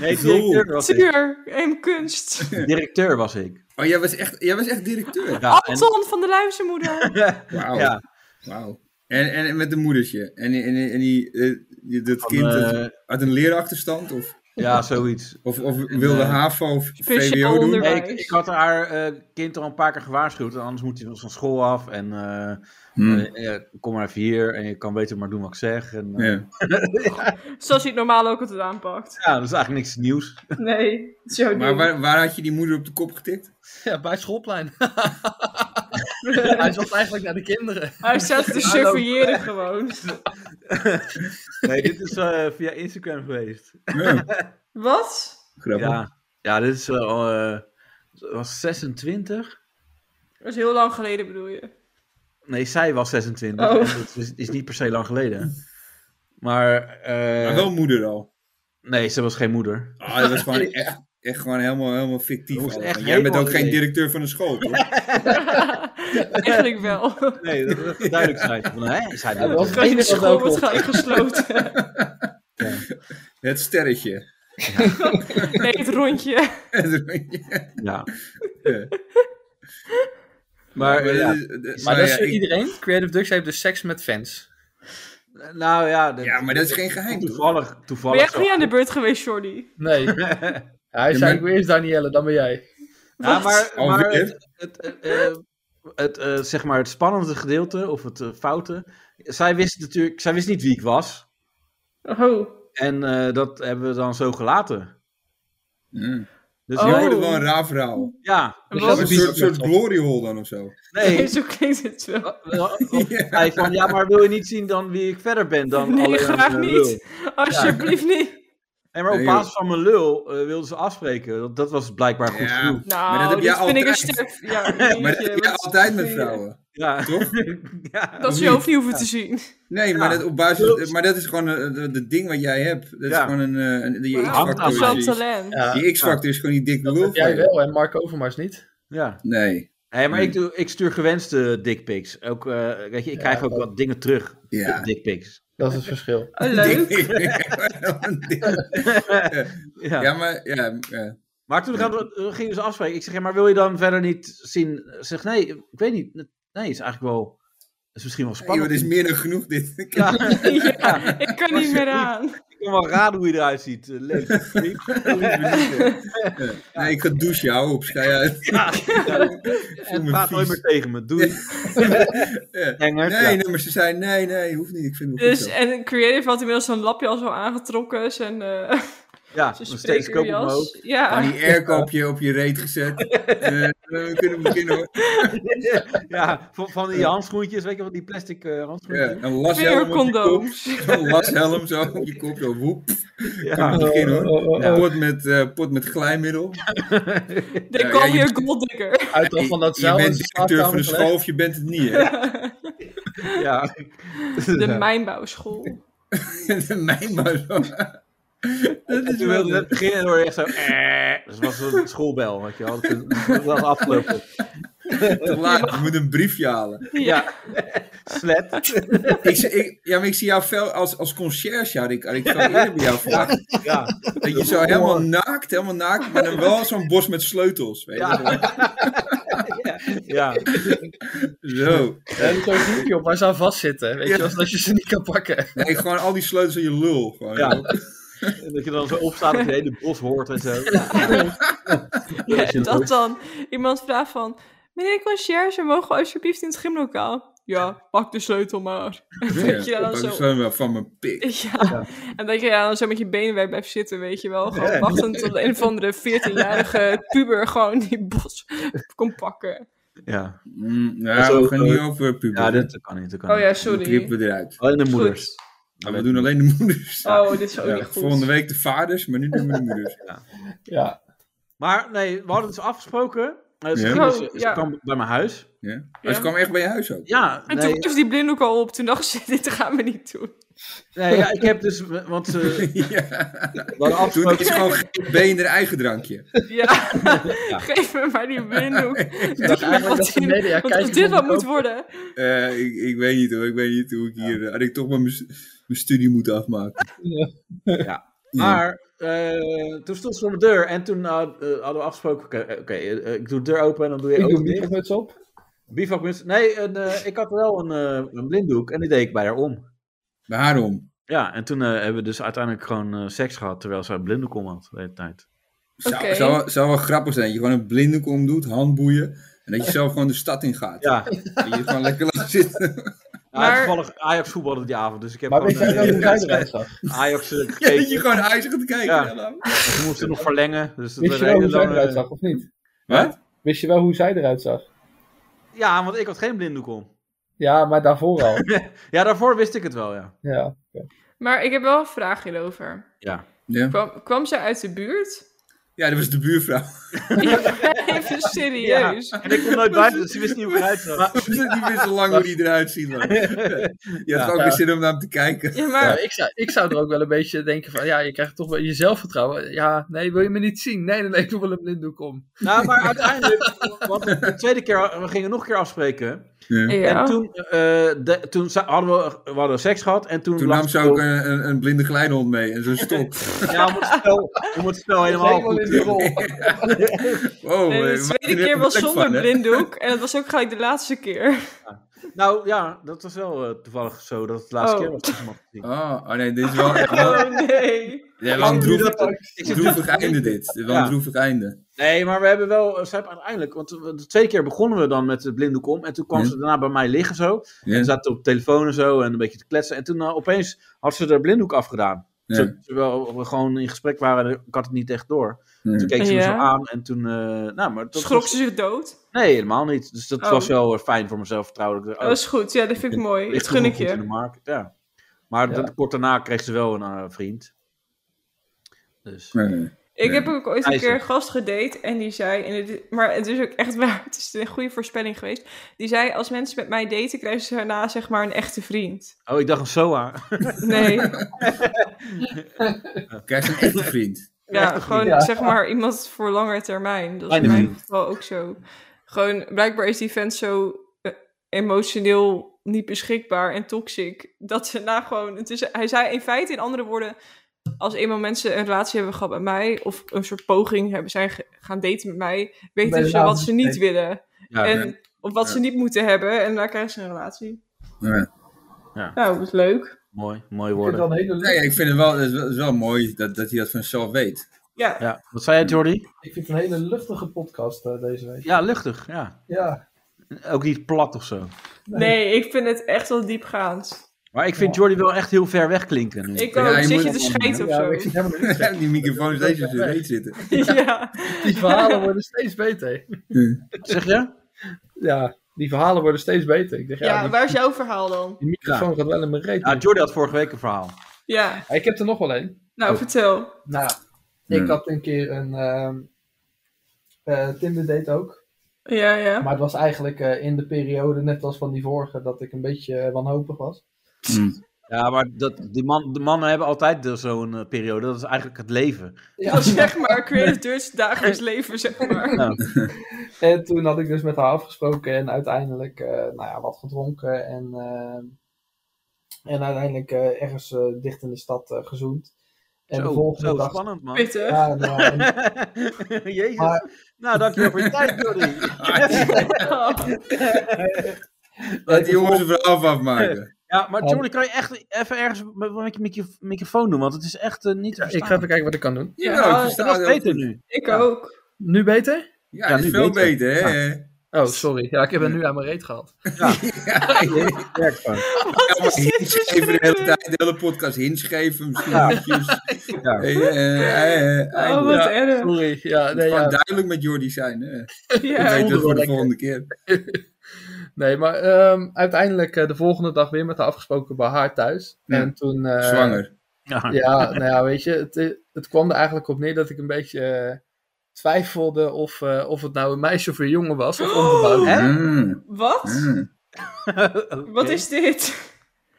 Speaker 4: nee,
Speaker 5: Zo.
Speaker 4: directeur was ik.
Speaker 2: Tuur. En kunst.
Speaker 4: Directeur was ik.
Speaker 5: Oh, jij was echt, jij was echt directeur.
Speaker 2: Oh,
Speaker 4: Ja, en- eh,
Speaker 2: Anton van de Luizenmoeder.
Speaker 5: Wauw.
Speaker 4: Ja.
Speaker 5: Wauw. En, en, en met een moedertje. En, en, en die, eh, die- dat kind dat
Speaker 4: eh,
Speaker 5: had een leerachterstand? Of,
Speaker 4: ja, zoiets.
Speaker 5: of, of wilde
Speaker 4: eh,
Speaker 5: HAVO of
Speaker 2: speciaal
Speaker 5: VWO doen?
Speaker 2: onderwijs.
Speaker 4: Nee, ik, ik had haar eh, kind al een paar keer gewaarschuwd. Anders moet hij van school af. En eh,
Speaker 5: Hmm,
Speaker 4: eh, eh, kom maar even hier. En je kan beter maar doen wat ik zeg. En, eh, ja.
Speaker 5: ja.
Speaker 2: Zoals je het normaal ook altijd aanpakt.
Speaker 4: dat is eigenlijk niks nieuws.
Speaker 2: Nee. Zo
Speaker 5: Maar
Speaker 2: maar
Speaker 5: waar, waar had je die moeder op de kop getikt?
Speaker 6: Ja, bij het schoolplein. Hij zat eigenlijk naar de kinderen.
Speaker 2: Hij staat te surveilleren gewoon.
Speaker 4: Nee, dit is eh, via Instagram geweest.
Speaker 5: Ja,
Speaker 2: Wat?
Speaker 5: grappig.
Speaker 4: Ja, ja dit is wel... eh, was 26?
Speaker 2: Dat is heel lang geleden bedoel je.
Speaker 4: Nee, zij was 26.
Speaker 2: Oh.
Speaker 4: En Dat is, is niet per se lang geleden. Maar... eh,
Speaker 5: Maar wel moeder al.
Speaker 4: Nee, ze was geen moeder.
Speaker 5: Ah, dat was gewoon echt, echt gewoon helemaal, helemaal fictief.
Speaker 4: Dat moest
Speaker 5: al.
Speaker 4: echt
Speaker 5: Jij bent
Speaker 4: helemaal
Speaker 5: ook geen
Speaker 4: niet.
Speaker 5: directeur van een school, toch?
Speaker 2: Eigenlijk wel.
Speaker 4: Nee, dat is duidelijk zijn. Van, hè, is hij
Speaker 6: dat
Speaker 4: moeder?
Speaker 6: is-
Speaker 2: Geen
Speaker 6: enige wat wel
Speaker 2: school wordt gelijk gesloten.
Speaker 5: Het sterretje. eh,
Speaker 2: Nee, het rondje.
Speaker 4: Ja.
Speaker 5: Ja.
Speaker 4: Maar, eh, ja.
Speaker 5: dat is- dat-
Speaker 6: Maar
Speaker 5: nou
Speaker 6: dat is
Speaker 5: ja,
Speaker 6: voor
Speaker 5: ik-
Speaker 6: iedereen. Creative Ducks heeft dus seks met fans.
Speaker 4: nou ja, dat-
Speaker 5: Ja, maar dat is geen geheim, toch?
Speaker 4: Toevallig,
Speaker 2: Ben
Speaker 4: toevallig.
Speaker 2: jij echt niet aan de beurt geweest, Jordi?
Speaker 6: Nee. Hij zei, ik eerst Danielle, dan ben jij.
Speaker 4: Ja,
Speaker 2: Wat?
Speaker 4: maar,
Speaker 5: Alweer?
Speaker 4: maar het, het, eh, eh, het, eh, zeg maar het spannende gedeelte, of het eh, foute. Zij wist natuurlijk, zij wist niet wie ik was.
Speaker 2: Oh.
Speaker 4: En eh, dat hebben we dan zo gelaten.
Speaker 5: Mm.
Speaker 4: Dus
Speaker 5: Je
Speaker 2: Oh.
Speaker 5: hoorde wel een raar verhaal.
Speaker 4: ja,
Speaker 2: En
Speaker 6: Dus
Speaker 5: Een
Speaker 6: dat
Speaker 2: wat?
Speaker 6: is-
Speaker 5: soort, soort glory hole dan of zo.
Speaker 4: nee.
Speaker 2: Zo klinkt het wel.
Speaker 5: Ja.
Speaker 4: Hij van, ja, maar wil je niet zien dan wie ik verder ben dan
Speaker 2: Nee,
Speaker 4: alleen
Speaker 2: graag
Speaker 4: een lul?
Speaker 2: niet. Alsjeblieft niet.
Speaker 4: Nee, maar op
Speaker 5: Nee, joh.
Speaker 4: basis van mijn lul eh, wilden ze afspreken. Dat, dat was blijkbaar goed
Speaker 5: Ja.
Speaker 4: genoeg.
Speaker 2: Nou,
Speaker 5: dat heb
Speaker 2: dit
Speaker 5: jij
Speaker 2: vind ik een
Speaker 5: altijd.
Speaker 2: sterf. Ja,
Speaker 5: Maar
Speaker 2: jeetje,
Speaker 5: dat heb je
Speaker 2: wat is
Speaker 5: altijd met
Speaker 2: dit?
Speaker 5: vrouwen,
Speaker 4: Ja.
Speaker 5: toch?
Speaker 4: ja.
Speaker 2: Dat ze je
Speaker 5: Of
Speaker 2: hoofd niet hoeven te zien.
Speaker 5: Nee, maar, dat op basis, maar dat is gewoon het ding wat jij hebt. Dat is
Speaker 4: Ja.
Speaker 5: gewoon een, eh, een die
Speaker 2: Wauw,
Speaker 4: hangt aan
Speaker 5: X-factor.
Speaker 2: Zo'n
Speaker 5: is-
Speaker 2: talent.
Speaker 6: Ja,
Speaker 5: Die X-factor is gewoon die dikke lul
Speaker 6: dat
Speaker 5: van
Speaker 6: jij
Speaker 5: je.
Speaker 6: wel en Mark Overmars niet.
Speaker 4: ja.
Speaker 5: Nee,
Speaker 4: Hé, maar
Speaker 5: Nee.
Speaker 4: ik, doe, ik stuur gewenste dickpics. Ook, eh, weet je, ik krijg ook
Speaker 6: dat-
Speaker 4: wat dingen terug.
Speaker 5: ja.
Speaker 4: op Dickpics.
Speaker 6: Dat is het verschil.
Speaker 2: Oh, leuk.
Speaker 4: Ja.
Speaker 5: ja, maar ja, ja.
Speaker 4: Maar toen gaan we- eh, gingen ze afspreken. Ik zeg, ja, maar wil je dan verder niet zien? Ze zegt, nee, ik weet niet. Nee, is eigenlijk wel... is misschien wel
Speaker 5: Hey, joh,
Speaker 4: spannend.
Speaker 5: dit is meer dan genoeg dit. Ik heb-
Speaker 4: Ja,
Speaker 2: Ja, ik kan niet meer aan.
Speaker 4: ik kan wel raden hoe je eruit ziet. Eh, Leuk.
Speaker 5: Nee, ik ga douchen, hou op, schij uit.
Speaker 4: en
Speaker 5: me
Speaker 4: praat
Speaker 5: vies.
Speaker 4: nooit meer tegen me. Doei.
Speaker 5: Ja.
Speaker 4: Engert.
Speaker 5: Nee,
Speaker 4: ja.
Speaker 5: nee, maar ze zei nee, nee, hoeft niet. Ik vind het wel
Speaker 2: Dus,
Speaker 5: goed zo.
Speaker 2: en Creative had inmiddels zo'n lapje al zo aangetrokken. Zijn, eh
Speaker 4: ja,
Speaker 2: zijn
Speaker 4: nog steeds koop omhoog.
Speaker 2: spreekuurjas. Ja.
Speaker 5: Gewoon die airco op je, op je reet gezet. Eh, we kunnen beginnen hoor.
Speaker 4: ja, van, van die handschoentjes, weet je wat, die plastic eh,
Speaker 5: Ja,
Speaker 4: handschoentjes.
Speaker 5: een lashelm op je kop.
Speaker 2: Vingercondooms.
Speaker 5: Zo'n lashelm zo op je kop, zo woep.
Speaker 4: Ja.
Speaker 5: Kunnen we beginnen hoor.
Speaker 6: Oh, oh, oh.
Speaker 5: Pot met, eh, pot met glijmiddel.
Speaker 2: They
Speaker 5: Ja,
Speaker 2: call
Speaker 5: ja,
Speaker 2: me
Speaker 5: je-
Speaker 2: a gold digger.
Speaker 6: Uit dan van dat
Speaker 5: je
Speaker 6: zeil in
Speaker 5: bent
Speaker 6: de
Speaker 5: directeur van de
Speaker 6: slaapkamer gelegd.
Speaker 5: school of je bent het niet, hè?
Speaker 4: Ja.
Speaker 2: De
Speaker 4: Ja.
Speaker 2: mijnbouwschool.
Speaker 5: Mijn maar zo. Dat
Speaker 4: En
Speaker 5: is
Speaker 4: toen wilde
Speaker 5: wel
Speaker 4: net beginnen en hoorde je echt zo... eh. Dus het was een schoolbel, weet je wel. Dat was afgelopen.
Speaker 5: Te laat, je moet een briefje halen.
Speaker 4: Ja. Slet.
Speaker 5: Ik, zie- ik, ja, maar ik zie jou fel als, als concierge, Arik. Arik, ik zou eerder bij jou vragen.
Speaker 4: Ja.
Speaker 5: Dat je zo helemaal naakt, helemaal naakt, maar dan wel zo'n bos met sleutels. Weet je?
Speaker 4: ja.
Speaker 5: Zo.
Speaker 6: En zo'n briefje op waar ze aan vastzitten. Weet je, wel, zodat je ze niet kan pakken.
Speaker 5: Nee, gewoon al die sleutels in je lul. Gewoon,
Speaker 4: Ja. En dat je dan zo opstaat dat je hele bos hoort en zo.
Speaker 2: Ja, dat dan. Iemand vraagt van... Meneer de conciërge, mogen we alsjeblieft in het gymlokaal? Ja, pak de sleutel maar. dat je dan
Speaker 5: dat
Speaker 2: zo-
Speaker 5: is wel van mijn pik.
Speaker 2: Ja. En dat je ja, dan zo met je benen weer blijft zitten, weet je wel. Gewoon wachten tot een van de 14-jarige puber gewoon die bos kon pakken.
Speaker 4: Ja.
Speaker 5: Mm,
Speaker 4: Dat is
Speaker 5: nou, we
Speaker 4: ook,
Speaker 5: gaan
Speaker 4: eh,
Speaker 5: niet over puber.
Speaker 4: ja, dat kan niet. Dat kan
Speaker 2: Oh
Speaker 4: niet.
Speaker 2: ja,
Speaker 5: Dan knippen
Speaker 2: sorry.
Speaker 5: we eruit.
Speaker 4: Alleen de
Speaker 2: Goed.
Speaker 4: moeders.
Speaker 5: Maar we doen alleen de moeders.
Speaker 2: Oh, dit is ook
Speaker 5: Ja,
Speaker 2: niet goed.
Speaker 5: volgende week de vaders, maar nu doen we de moeders.
Speaker 8: Ja.
Speaker 4: Maar nee, we hadden het dus afgesproken. Eh, ze
Speaker 5: Ja.
Speaker 4: ging-
Speaker 2: Oh,
Speaker 4: ze- ze
Speaker 2: ja.
Speaker 4: kwam bij mijn huis.
Speaker 5: Ja. Maar
Speaker 2: Ja.
Speaker 5: Oh, ze kwam echt bij je huis ook.
Speaker 4: Ja,
Speaker 2: En
Speaker 4: nee,
Speaker 2: toen was die blinddoek al op. Toen dacht ze, dit gaan we niet doen.
Speaker 4: nee, ja, ik heb dus... Want ze
Speaker 5: Ja.
Speaker 4: we hadden
Speaker 5: Toen
Speaker 4: afgesproken...
Speaker 5: is gewoon geen been haar eigen drankje.
Speaker 2: Ja, geef me maar die blinddoek. Doe er
Speaker 6: eigenlijk dat
Speaker 2: wat
Speaker 6: de
Speaker 2: in.
Speaker 6: media
Speaker 2: Want als
Speaker 6: kijkers
Speaker 2: dit wat
Speaker 6: moeten
Speaker 2: moet worden...
Speaker 5: Eh, ik, ik weet niet hoor, ik weet niet hoe ik hier... eh, Had ik toch maar mijn s- mijn studie moeten afmaken.
Speaker 4: Maar eh, toen stond ze voor mijn deur en toen had- eh, hadden we afgesproken... Oké, oké, eh, ik doe de deur open en dan doe je
Speaker 8: Ik doe
Speaker 4: open
Speaker 8: niet
Speaker 4: dicht.
Speaker 8: echt muts op.
Speaker 4: Bivakmuts. Nee, een, eh, ik had wel een, eh, een blinddoek en die deed ik bij haar om.
Speaker 5: Bij haar om.
Speaker 4: Ja, en toen eh, hebben we dus uiteindelijk gewoon eh, seks gehad terwijl ze haar blinddoek om had de hele tijd.
Speaker 5: Zou,
Speaker 2: Oké.
Speaker 5: zou, zou wel grappig zijn dat je gewoon een blinddoek omdoet, handboeien. En dat je zelf gewoon de stad in gaat.
Speaker 4: Ja,
Speaker 5: Dat je gewoon lekker laat zitten.
Speaker 4: maar...
Speaker 2: Maar-
Speaker 4: toevallig Ajax voetbalde die avond, dus ik heb
Speaker 8: Maar weet
Speaker 4: gewoon
Speaker 8: jij
Speaker 4: eh,
Speaker 8: wel hoe zij eruit zag?
Speaker 4: Ajax eh,
Speaker 5: Ja,
Speaker 4: gekeken.
Speaker 5: dat je gewoon ijzer gaat kijken.
Speaker 4: Ja.
Speaker 5: Hallo.
Speaker 4: Ze moesten nog verlengen. Dus dat
Speaker 8: Wist
Speaker 4: werd
Speaker 8: je
Speaker 4: een
Speaker 8: wel
Speaker 4: hele
Speaker 8: hoe zij
Speaker 4: lange-
Speaker 8: eruit zag, of niet?
Speaker 5: Wat?
Speaker 8: Wist je wel hoe zij eruit zag?
Speaker 4: Ja, want ik had geen blinddoek om.
Speaker 8: Ja, maar daarvoor al.
Speaker 4: Ja, daarvoor wist ik het wel, ja.
Speaker 8: Ja.
Speaker 2: Maar ik heb wel een vraag hierover.
Speaker 5: Ja.
Speaker 2: Kwam, kwam ze uit de buurt?
Speaker 5: ja, dat was de buurvrouw.
Speaker 2: Even serieus.
Speaker 4: En ik kon nooit buiten, dus ik wist niet hoe ik eruit zag.
Speaker 5: Die wist al lang hoe die eruit zien. man. Je had
Speaker 4: Ja.
Speaker 5: gewoon weer zin om naar hem te kijken.
Speaker 2: Ja,
Speaker 6: Ja,
Speaker 2: maar
Speaker 6: ik, zou, ik zou er ook wel een beetje denken van, ja, je krijgt toch wel je zelfvertrouwen. Ja, nee, wil je me niet zien? Nee, nee, nee, ik doe wel een blinddoek om.
Speaker 4: Nou, maar uiteindelijk, want de tweede keer, we gingen nog een keer afspreken.
Speaker 5: Ja.
Speaker 2: Ja.
Speaker 4: En toen, eh, de, toen za- hadden we, we hadden seks gehad. En toen,
Speaker 5: Toen
Speaker 4: lag
Speaker 5: nam ze ook eh. een, een, een blinde glijnhond mee en zo'n stok.
Speaker 4: Ja, om het spel, om het spel helemaal
Speaker 6: Helemaal in
Speaker 4: goed
Speaker 6: die rol.
Speaker 5: Wow,
Speaker 2: nee,
Speaker 5: we
Speaker 2: de
Speaker 5: maken Oh, eh, er
Speaker 2: tweede
Speaker 5: even
Speaker 2: keer was
Speaker 5: plek
Speaker 2: zonder
Speaker 5: van, hè?
Speaker 2: blinddoek. En dat was ook gelijk de laatste keer.
Speaker 4: Nou ja, dat was wel eh, toevallig zo dat het de laatste
Speaker 2: Oh.
Speaker 4: keer was. dat ze hem had gezien.
Speaker 5: Oh, oh nee, dit is wel, wel,
Speaker 2: Oh nee.
Speaker 5: ja, wel een
Speaker 4: Ik doe
Speaker 5: droevig,
Speaker 4: Oh, dat ook. Ik zit
Speaker 5: droevig einde dit. Dit is Wel
Speaker 4: Ja.
Speaker 5: een droevig einde.
Speaker 4: Nee, maar we hebben wel, eh, ze hebben uiteindelijk, want we- de tweede keer begonnen we dan met het blinddoek om. En toen kwam
Speaker 5: Ja.
Speaker 4: ze daarna bij mij liggen zo.
Speaker 5: Ja.
Speaker 4: En zaten op telefoon en zo en een beetje te kletsen. En toen eh, opeens had ze haar blinddoek afgedaan.
Speaker 5: Ja.
Speaker 4: Ter- Terwijl we gewoon in gesprek waren, ik had het niet echt door.
Speaker 5: Ja.
Speaker 4: Toen keek ze me
Speaker 2: Ja.
Speaker 4: zo aan en toen... eh, nou, maar dat
Speaker 2: Schrok
Speaker 4: was-
Speaker 2: ze zich dood?
Speaker 4: Nee, helemaal niet. Dus dat
Speaker 2: Oh.
Speaker 4: was wel eh, fijn voor mezelf vertrouwen. Ik dacht,
Speaker 2: Dat
Speaker 4: oh,
Speaker 2: was goed. Ja, dat vind ik mooi.
Speaker 4: ligt
Speaker 2: Dat gun ik
Speaker 4: goed in de
Speaker 2: je.
Speaker 4: markt. Ja. Maar
Speaker 8: Ja.
Speaker 4: dat- kort daarna kreeg ze wel een eh, vriend. Dus...
Speaker 5: Nee, nee.
Speaker 2: Ik heb ook ooit een
Speaker 4: IJzer.
Speaker 2: keer een gast gedate en die zei, en het, maar het is ook echt waar, het is een goede voorspelling geweest. Die zei, als mensen met mij daten, krijgen ze daarna zeg maar een echte vriend.
Speaker 4: Oh, ik dacht een SOA.
Speaker 2: Nee,
Speaker 5: Krijg je een echte vriend.
Speaker 2: ja, gewoon
Speaker 8: Ja.
Speaker 2: zeg maar iemand voor langere termijn. Dat is
Speaker 4: Kleine
Speaker 2: in mijn
Speaker 4: vriend.
Speaker 2: geval ook zo. Gewoon, blijkbaar is die vent zo eh, emotioneel niet beschikbaar en toxic, dat ze na gewoon, het is, hij zei in feite in andere woorden, als eenmaal mensen een relatie hebben gehad met mij, of een soort poging hebben zijn ge- gaan daten met mij, weten
Speaker 8: Bij
Speaker 2: ze
Speaker 8: de
Speaker 2: wat ze niet willen.
Speaker 4: Ja,
Speaker 2: En of wat
Speaker 5: Ja.
Speaker 2: ze niet moeten hebben. En daar krijgen ze een relatie.
Speaker 5: Ja.
Speaker 2: Nou, dat is leuk.
Speaker 4: mooi. Mooi
Speaker 8: Ik vind
Speaker 4: woorden.
Speaker 8: dat een hele
Speaker 5: Nee,
Speaker 8: leuke,
Speaker 5: ik vind het wel, het is wel, het is wel mooi dat, dat hij dat vanzelf weet.
Speaker 2: Ja.
Speaker 4: Ja. Wat zei jij, Jordi?
Speaker 8: ik vind het een hele luchtige podcast eh, deze week.
Speaker 4: Ja, luchtig. Ja.
Speaker 8: Ja.
Speaker 4: Ook niet plat of zo.
Speaker 2: Nee, ik vind het echt wel diepgaand.
Speaker 4: Maar ik vind Jordi wel echt heel ver weg klinken. nu.
Speaker 2: Ik
Speaker 5: Ja,
Speaker 2: ook.
Speaker 5: je
Speaker 2: Zit
Speaker 5: moet
Speaker 2: je
Speaker 5: het
Speaker 2: te
Speaker 5: allemaal
Speaker 2: scheiden
Speaker 6: Ja, maar
Speaker 2: of
Speaker 6: ik
Speaker 2: zo?
Speaker 6: zit helemaal niet.
Speaker 5: die microfoon is deze in zijn reet zitten.
Speaker 2: Ja.
Speaker 6: Die verhalen worden steeds beter.
Speaker 4: Zeg je?
Speaker 6: Ja, die verhalen worden steeds beter. Ik dacht, ja,
Speaker 2: Ja,
Speaker 6: die,
Speaker 2: waar is jouw verhaal dan?
Speaker 6: die microfoon gaat wel in mijn reet.
Speaker 4: Ja, Jordi had vorige week een verhaal.
Speaker 2: Ja,
Speaker 6: Ja, ik heb er nog wel één.
Speaker 5: Oh.
Speaker 2: nou vertel.
Speaker 8: Nou,
Speaker 5: Hmm.
Speaker 8: ik had een keer een ehm eh, Tinder date ook.
Speaker 2: Ja, ja.
Speaker 8: Maar het was eigenlijk eh, in de periode, net als van die vorige, dat ik een beetje eh, wanhopig was.
Speaker 4: Ja, maar dat, die man, de mannen hebben altijd dus zo'n eh, periode. Dat is eigenlijk het leven.
Speaker 8: Ja.
Speaker 2: Dat is zeg maar Creative Dutch dagelijks leven, zeg maar.
Speaker 8: En toen had ik dus met haar afgesproken en uiteindelijk eh, nou ja, wat gedronken en, eh, en uiteindelijk eh, ergens eh, dicht in de stad eh, gezoend. En de
Speaker 4: zo,
Speaker 8: volgende
Speaker 4: zo
Speaker 8: dag.
Speaker 4: spannend, man.
Speaker 2: Pittig.
Speaker 8: Ja, nou, en-
Speaker 4: Jezus.
Speaker 8: Maar-
Speaker 4: Nou, dankjewel voor je tijd, Jordi.
Speaker 2: Oh,
Speaker 5: Laat die jongens een verhaal afmaken.
Speaker 4: Ja, maar Jordi, kan je echt even ergens met, met je micro- microfoon doen? Want het is echt eh, niet te
Speaker 6: Ja, ik ga
Speaker 4: verstaan.
Speaker 6: even kijken wat ik kan doen.
Speaker 5: Ja,
Speaker 2: Ja,
Speaker 5: ik
Speaker 2: dat
Speaker 5: versta
Speaker 4: Dat is
Speaker 5: heel
Speaker 4: beter
Speaker 5: goed.
Speaker 4: nu.
Speaker 2: Ik ook.
Speaker 6: Nu beter?
Speaker 4: Ja,
Speaker 5: Ja, dat is
Speaker 4: nu
Speaker 5: veel
Speaker 4: beter.
Speaker 5: beter, hè?
Speaker 6: Oh, sorry. Ja, ik heb hem nu aan mijn reet gehaald.
Speaker 2: Wat is Oh, dit voor
Speaker 5: Even de hele
Speaker 2: shit?
Speaker 5: tijd, de hele podcast hinschrijven. Misschien
Speaker 4: Ja.
Speaker 5: netjes.
Speaker 4: Ja.
Speaker 5: Hey, eh, eh, eh,
Speaker 2: Oh, wat
Speaker 5: ja.
Speaker 2: erg.
Speaker 6: Sorry. Ja,
Speaker 5: Het
Speaker 6: nee,
Speaker 5: kan
Speaker 6: ja.
Speaker 5: duidelijk met Jordi zijn. Hè?
Speaker 2: Ja.
Speaker 5: Ik weet
Speaker 6: wel
Speaker 5: dat voor de
Speaker 6: lekker.
Speaker 5: volgende keer.
Speaker 6: nee maar ehm, uiteindelijk eh, de volgende dag weer met haar afgesproken bij haar thuis.
Speaker 5: Ja.
Speaker 6: En toen... eh,
Speaker 5: Zwanger.
Speaker 4: Ja.
Speaker 6: Ja, nou ja, weet je, het, het kwam er eigenlijk op neer dat ik een beetje eh, twijfelde of, eh, of het nou een meisje of een jongen was. Of ongebouwd.
Speaker 4: Hè?
Speaker 5: Mm,
Speaker 2: Wat?
Speaker 5: mm.
Speaker 4: Oké.
Speaker 2: Wat is dit?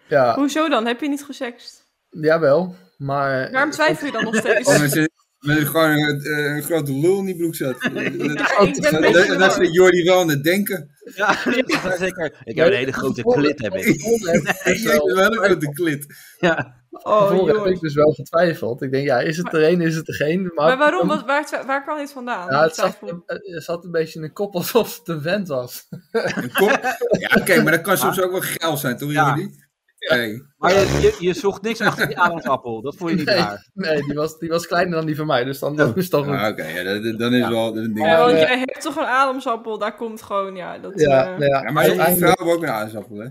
Speaker 6: Ja,
Speaker 2: Hoezo dan? Heb je niet gesext?
Speaker 6: jawel. Maar
Speaker 2: Waarom twijfel je dan nog steeds?
Speaker 5: Anders is met gewoon een, eh, een grote lul in die broek zat.
Speaker 2: ik ben een
Speaker 5: dat,
Speaker 2: beetje
Speaker 5: dat, dat
Speaker 2: verward.
Speaker 5: zit Jordi wel aan het denken.
Speaker 4: Ja, dat is wel zeker. Ik heb een hele grote klit, heb ik.
Speaker 5: Hij is wel een grote klit.
Speaker 4: Ja.
Speaker 2: Oh,
Speaker 6: Daarvoor heb
Speaker 2: joh.
Speaker 6: ik dus wel getwijfeld. Ik denk, ja, is het er een, is het er geen? Maar,
Speaker 2: Maar waarom? Wat, waar, twa- waar kwam dit vandaan?
Speaker 6: Ja, het zat,
Speaker 2: Twijfel.
Speaker 6: het zat een beetje in een kop alsof het een vent was.
Speaker 5: Een kop. Ja, oké, maar dat kan soms ook wel geil zijn, toch
Speaker 4: Ja.
Speaker 5: Jordi? Hey.
Speaker 4: Maar je, je, je zocht niks achter die aardappel. Dat vond je niet
Speaker 6: Nee.
Speaker 4: raar.
Speaker 6: Nee, die was, die was kleiner dan die van mij, dus dan dat is toch
Speaker 5: Ah,
Speaker 6: goed.
Speaker 5: oké, ja, dat- dan is wel een ding.
Speaker 2: Ja, want
Speaker 5: Ja,
Speaker 2: jij hebt toch een ademsappel, daar komt gewoon, ja, dat...
Speaker 6: Ja,
Speaker 2: eh,
Speaker 6: nou ja,
Speaker 5: maar die vrouwen
Speaker 6: uiteindelijk-
Speaker 5: hebben ook een aardappel, hè?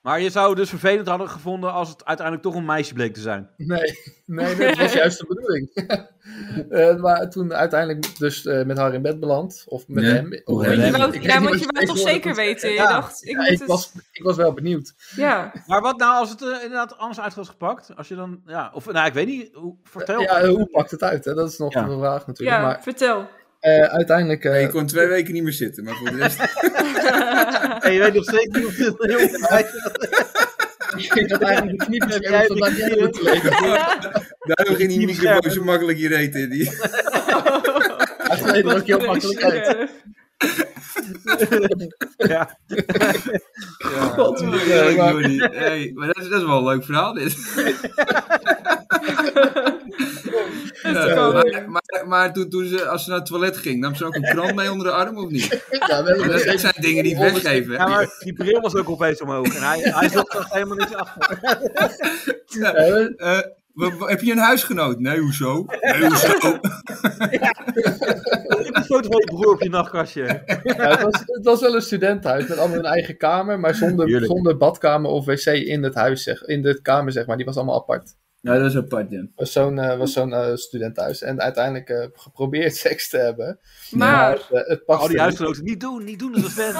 Speaker 4: Maar je zou het dus vervelend hadden gevonden als het uiteindelijk toch een meisje bleek te zijn.
Speaker 6: Nee, nee, nee, dat was juist de bedoeling. Eh, maar toen uiteindelijk dus eh, met haar in bed beland, of met
Speaker 5: Ja.
Speaker 6: hem. Of
Speaker 5: Ja,
Speaker 6: met
Speaker 2: Je wou, ja,
Speaker 6: hem. Ik weet
Speaker 2: want
Speaker 6: niet
Speaker 2: je
Speaker 6: wat
Speaker 2: wou
Speaker 6: ik
Speaker 2: toch
Speaker 6: wilde
Speaker 2: zeker
Speaker 6: toen
Speaker 2: weten. Je
Speaker 6: zeggen. Ja.
Speaker 2: dacht, ik
Speaker 6: Ja,
Speaker 2: moet
Speaker 6: ik,
Speaker 2: het...
Speaker 6: was, ik was wel benieuwd.
Speaker 2: Ja,
Speaker 4: Maar wat nou als het eh, inderdaad anders uit was gepakt? Als je dan, ja, of nou, ik weet niet, hoe, vertel.
Speaker 6: Ja, eh, hoe pakt het uit? Hè? Dat is nog
Speaker 4: Ja.
Speaker 6: de vraag natuurlijk.
Speaker 2: ja
Speaker 6: Maar
Speaker 2: vertel.
Speaker 6: eh, uiteindelijk... eh,
Speaker 5: Nee, ik kon twee weken niet meer zitten, maar voor de rest...
Speaker 4: En je weet nog steeds niet of het een jongen meisje
Speaker 6: ik had eigenlijk de knieën
Speaker 4: Jij hebt
Speaker 6: van laat
Speaker 4: de
Speaker 6: jij moeten leven.
Speaker 5: Daarom ging die
Speaker 4: Die
Speaker 5: microfoon
Speaker 4: schermen.
Speaker 5: zo makkelijk je reet in. Die...
Speaker 6: Hij gleed er ook heel makkelijk uit.
Speaker 4: Ja.
Speaker 5: God,
Speaker 6: heerlijk, maar-
Speaker 5: maar dat is, dat is wel een leuk verhaal, dit. Ja,
Speaker 2: kan.
Speaker 5: maar maar, maar toen, toen ze, als ze naar het toilet ging, nam ze ook een krant mee onder de arm, of niet?
Speaker 6: Ja, we hebben
Speaker 5: Dat,
Speaker 6: best
Speaker 5: dat zijn dingen die ik weggeven. hè?
Speaker 4: ja, maar die bril was ook opeens omhoog. En hij, hij zat er helemaal niks achter.
Speaker 5: Ja, eh, wa- wa- heb je een huisgenoot? Nee, hoezo? Nee, hoezo?
Speaker 4: Ik heb een foto van je broer op je nachtkastje.
Speaker 6: Ja, het, was, het was wel een studentenhuis met allemaal een eigen kamer, maar zonder,
Speaker 4: Tuurlijk.
Speaker 6: zonder badkamer of wc in het huis, zeg, in de kamer, zeg maar. Die was allemaal apart.
Speaker 5: Nou, dat is apart, ja.
Speaker 6: was zo'n eh, was zo'n eh, studentenhuis. En uiteindelijk eh, geprobeerd seks te hebben.
Speaker 2: Maar,
Speaker 6: eh, het
Speaker 4: Al
Speaker 6: paste
Speaker 4: Oh, die
Speaker 6: niet.
Speaker 4: huisgenoten, niet doen, niet doen, dat is een vent.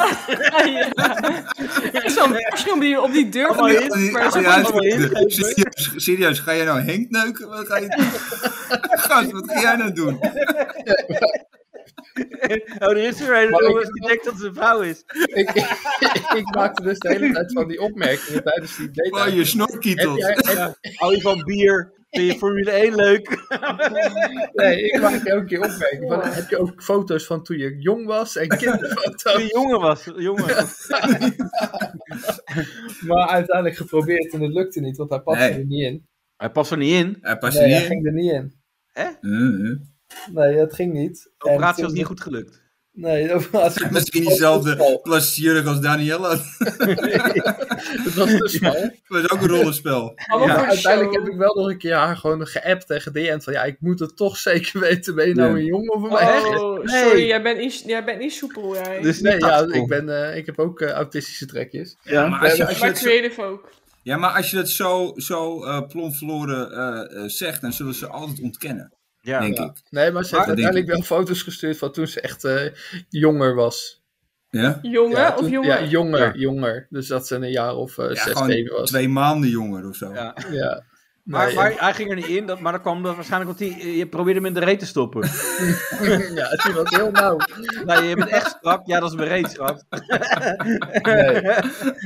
Speaker 2: ja. Zo'n pasje om die, op die deur van die
Speaker 5: Die-
Speaker 2: maar zo-
Speaker 5: die huisgenoot-
Speaker 4: ingeven.
Speaker 5: serieus, serieus, ga jij nou Henk neuken? Wat ga je Gast, wat ga jij nou doen?
Speaker 4: Oh, er is er
Speaker 6: Maar
Speaker 4: een
Speaker 6: ik-
Speaker 4: jongens die denkt dat ze een vrouw is.
Speaker 6: Ik, ik maakte dus de hele tijd van die opmerkingen tijdens die date.
Speaker 5: Oh, je
Speaker 6: Heb
Speaker 5: snorkietels.
Speaker 6: jij- heb-
Speaker 4: Hou je Oh, van bier? Vind je Formule 1 leuk?
Speaker 6: nee, ik maakte elke keer opmerkingen. Van, heb je ook foto's van toen je jong was en
Speaker 4: Toen
Speaker 6: kinderfoto's?
Speaker 4: je jongen was. Jongen.
Speaker 6: Maar uiteindelijk geprobeerd en het lukte niet, want hij paste
Speaker 5: Nee.
Speaker 6: er niet in.
Speaker 4: Hij past er niet in.
Speaker 5: Hij past er
Speaker 6: Nee,
Speaker 5: niet
Speaker 6: hij
Speaker 5: in.
Speaker 6: ging er niet in.
Speaker 5: Eh, eh.
Speaker 6: Nee, het ging niet.
Speaker 4: De operatie
Speaker 6: En
Speaker 4: was
Speaker 6: toen-
Speaker 4: niet goed gelukt.
Speaker 6: Nee, de operatie
Speaker 5: Misschien diezelfde plasjurk als Daniela. Het
Speaker 6: Het was te smal.
Speaker 5: was ook een rollenspel.
Speaker 2: allemaal
Speaker 6: Maar
Speaker 2: voor
Speaker 6: uiteindelijk heb
Speaker 2: show.
Speaker 6: ik wel nog een keer haar gewoon geappt en gedm'd van ja, ik moet het toch zeker weten, ben je nou
Speaker 5: Ja.
Speaker 6: een jongen of een meisje?
Speaker 2: Oh,
Speaker 4: Nee.
Speaker 2: sorry, jij bent niet, jij bent niet soepel, jij.
Speaker 4: Dus
Speaker 6: Nee,
Speaker 4: niet
Speaker 6: ja,
Speaker 4: tactical.
Speaker 6: ik, ben, eh, ik heb ook eh, autistische trekjes.
Speaker 5: Ja, maar als je, als je
Speaker 2: maar
Speaker 5: dat zo,
Speaker 2: creative ook.
Speaker 5: ja, maar als je dat zo, zo eh, plomp verloren eh, eh, zegt, dan zullen ze altijd ontkennen,
Speaker 4: Ja.
Speaker 5: denk
Speaker 6: Ja.
Speaker 5: ik.
Speaker 6: Nee, maar ze
Speaker 5: Maar-
Speaker 6: heeft uiteindelijk wel foto's gestuurd van toen ze echt eh, jonger was.
Speaker 5: Ja?
Speaker 2: Jongen
Speaker 6: Ja,
Speaker 2: of
Speaker 6: toen-
Speaker 2: jongen?
Speaker 6: Ja, jonger,
Speaker 4: Ja.
Speaker 6: jonger. Dus dat ze een jaar of eh,
Speaker 5: Ja,
Speaker 6: zes, zeven
Speaker 5: gewoon
Speaker 6: was.
Speaker 5: twee maanden jonger of zo.
Speaker 4: Ja.
Speaker 6: Ja.
Speaker 4: Maar,
Speaker 6: Nee,
Speaker 4: maar hij ging er niet in, dat, maar dan kwam dat waarschijnlijk omdat hij, je probeerde hem in de reet te stoppen.
Speaker 6: ja, het is wel heel nauw.
Speaker 4: Nee, je bent echt strak. Ja, dat is mijn reet strak.
Speaker 6: Nee.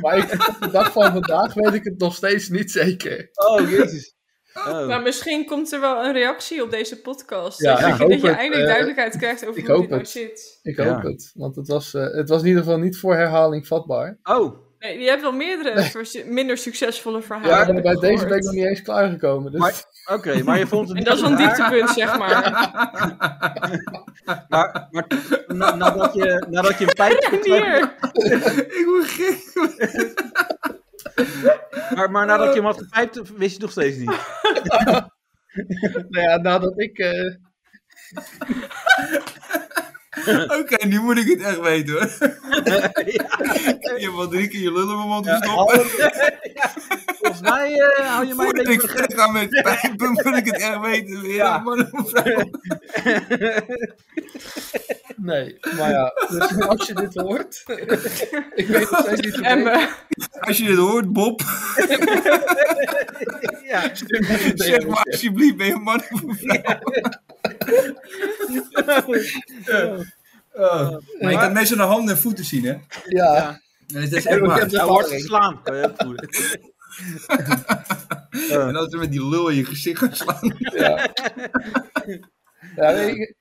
Speaker 6: Maar ik, op de dag van vandaag weet ik het nog steeds niet zeker.
Speaker 4: Oh, jezus. Oh.
Speaker 2: Maar Nou, misschien komt er wel een reactie op deze podcast.
Speaker 6: Ja,
Speaker 2: dat je,
Speaker 6: ik hoop
Speaker 2: dat je
Speaker 6: het,
Speaker 2: eindelijk
Speaker 6: eh,
Speaker 2: duidelijkheid krijgt over
Speaker 6: ik
Speaker 2: hoe
Speaker 6: hoop
Speaker 2: dit nou
Speaker 6: het.
Speaker 2: zit.
Speaker 6: Ik hoop
Speaker 4: Ja.
Speaker 6: het. Want het was, eh, het was in ieder geval niet voor herhaling vatbaar.
Speaker 4: oh.
Speaker 2: Nee, je hebt wel meerdere vers- minder succesvolle verhalen.
Speaker 6: Ja, en bij
Speaker 2: gehoord.
Speaker 6: deze ben ik nog niet eens klaargekomen. Dus
Speaker 4: Maar- Oké, maar je vond het
Speaker 2: En
Speaker 4: niet
Speaker 2: dat is wel een
Speaker 4: raar,
Speaker 2: dieptepunt, zeg maar.
Speaker 4: Maar, maar na- nadat, je, nadat je een pijpje...
Speaker 2: Hier.
Speaker 5: Ik word gek.
Speaker 4: Maar, maar nadat je hem had gepijpt, wist je het nog steeds niet.
Speaker 6: nou ja, nadat ik. eh,
Speaker 5: Oké, nu moet ik het echt weten hoor. Je hebt al drie keer je lullen in mijn mond gestopt.
Speaker 4: Volgens mij eh, hou je mij een
Speaker 5: Voordat ik
Speaker 4: beetje voor de
Speaker 5: verder ga met pijpen, moet ik het echt weten. Ja, man, vrouw.
Speaker 6: nee, maar ja. Dus als je dit hoort. ik weet nog steeds niet. of
Speaker 2: En eh,
Speaker 6: ik-
Speaker 2: we-
Speaker 5: Als je dit hoort, Bob,
Speaker 4: gek. Ja.
Speaker 5: zeg maar alsjeblieft, ben je een man of een vrouw? Oh. Maar je kan mensen naar handen en voeten zien, hè?
Speaker 6: Ja,
Speaker 5: En dat is
Speaker 6: ik
Speaker 5: echt
Speaker 6: heb
Speaker 5: waar.
Speaker 6: de
Speaker 4: Hij hoort te
Speaker 6: ervaring.
Speaker 4: slaan, Oh, kan je ook voelen. eh,
Speaker 5: En als ze met die lul in je gezicht gaan slaan.
Speaker 6: Ja, nee, ik-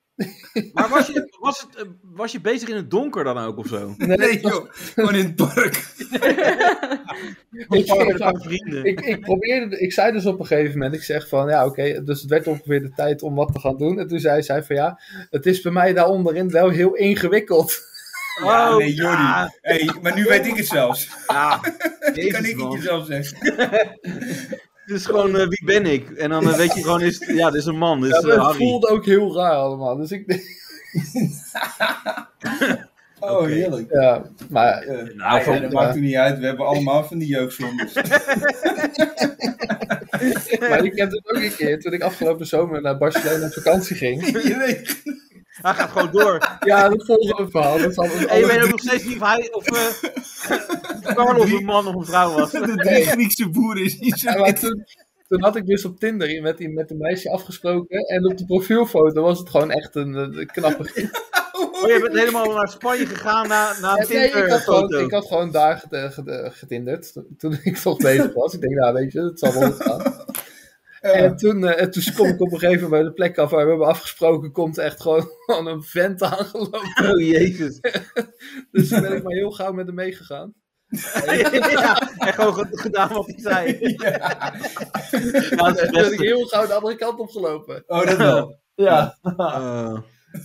Speaker 4: Maar was je, was, het, eh, was je bezig in het donker dan ook of zo?
Speaker 5: Nee, joh. Gewoon in het park.
Speaker 6: ik-
Speaker 4: Met
Speaker 6: ik-
Speaker 4: een paar vrienden.
Speaker 6: ik, ik probeerde, ik zei dus op een gegeven moment, ik zeg van ja, oké, dus het werd ongeveer de tijd om wat te gaan doen. En toen zei zij van ja, het is bij mij daar onderin wel heel ingewikkeld.
Speaker 5: Ja,
Speaker 4: Oh,
Speaker 5: nee, Jordi.
Speaker 4: ja.
Speaker 5: Hey, maar nu weet ik het zelfs.
Speaker 4: Ja,
Speaker 5: Nu kan
Speaker 4: Jezus,
Speaker 5: ik het
Speaker 4: man.
Speaker 5: je zelf zeggen.
Speaker 4: Het is gewoon eh, wie ben ik? En dan eh, weet je gewoon, is, het- ja, dit is een man, dit
Speaker 6: Ja,
Speaker 4: is eh,
Speaker 6: maar het
Speaker 4: Harry.
Speaker 6: voelde ook heel raar allemaal. Dus ik,
Speaker 5: Oh, heerlijk.
Speaker 6: ja, maar
Speaker 5: Eh,
Speaker 4: Nou,
Speaker 5: ja,
Speaker 4: van-
Speaker 5: dat maakt toen niet uit. We hebben allemaal van die jeugdzondes.
Speaker 6: Maar ik heb het ook een keer, toen ik afgelopen zomer naar Barcelona op vakantie ging.
Speaker 5: Je weet-
Speaker 4: Hij gaat gewoon door.
Speaker 6: Ja, dat volgende verhaal. Dat zal het
Speaker 4: En je weet ook nog steeds niet of hij of eh, of Carlos een man of een vrouw was.
Speaker 5: De drie Griekse boeren is niet zo...
Speaker 6: Ja, maar toen, toen had ik dus op Tinder met, die, met een meisje afgesproken. En op de profielfoto was het gewoon echt een, eh, knappe giet.
Speaker 4: Oh, je bent helemaal naar Spanje gegaan na, na een
Speaker 6: Nee, ik had, gewoon,
Speaker 4: Tinder-foto.
Speaker 6: ik had gewoon daar gete- gete- getinderd. Toen- Toen ik toch bezig was. Ik denk, nou weet je, dat zal wel goed gaan. En toen, eh, en toen kom ik op een gegeven moment bij de plek af waar we hebben afgesproken. Komt echt gewoon een vent aangelopen.
Speaker 4: Oh, jezus.
Speaker 6: Dus toen ben ik maar heel gauw met hem meegegaan.
Speaker 4: ja, en gewoon ge- gedaan wat hij zei. Ja, dat is
Speaker 6: Toen
Speaker 4: het
Speaker 6: ben ik
Speaker 4: beste.
Speaker 6: heel gauw de andere kant opgelopen.
Speaker 5: Oh, dat wel.
Speaker 6: Ja.
Speaker 4: Eh,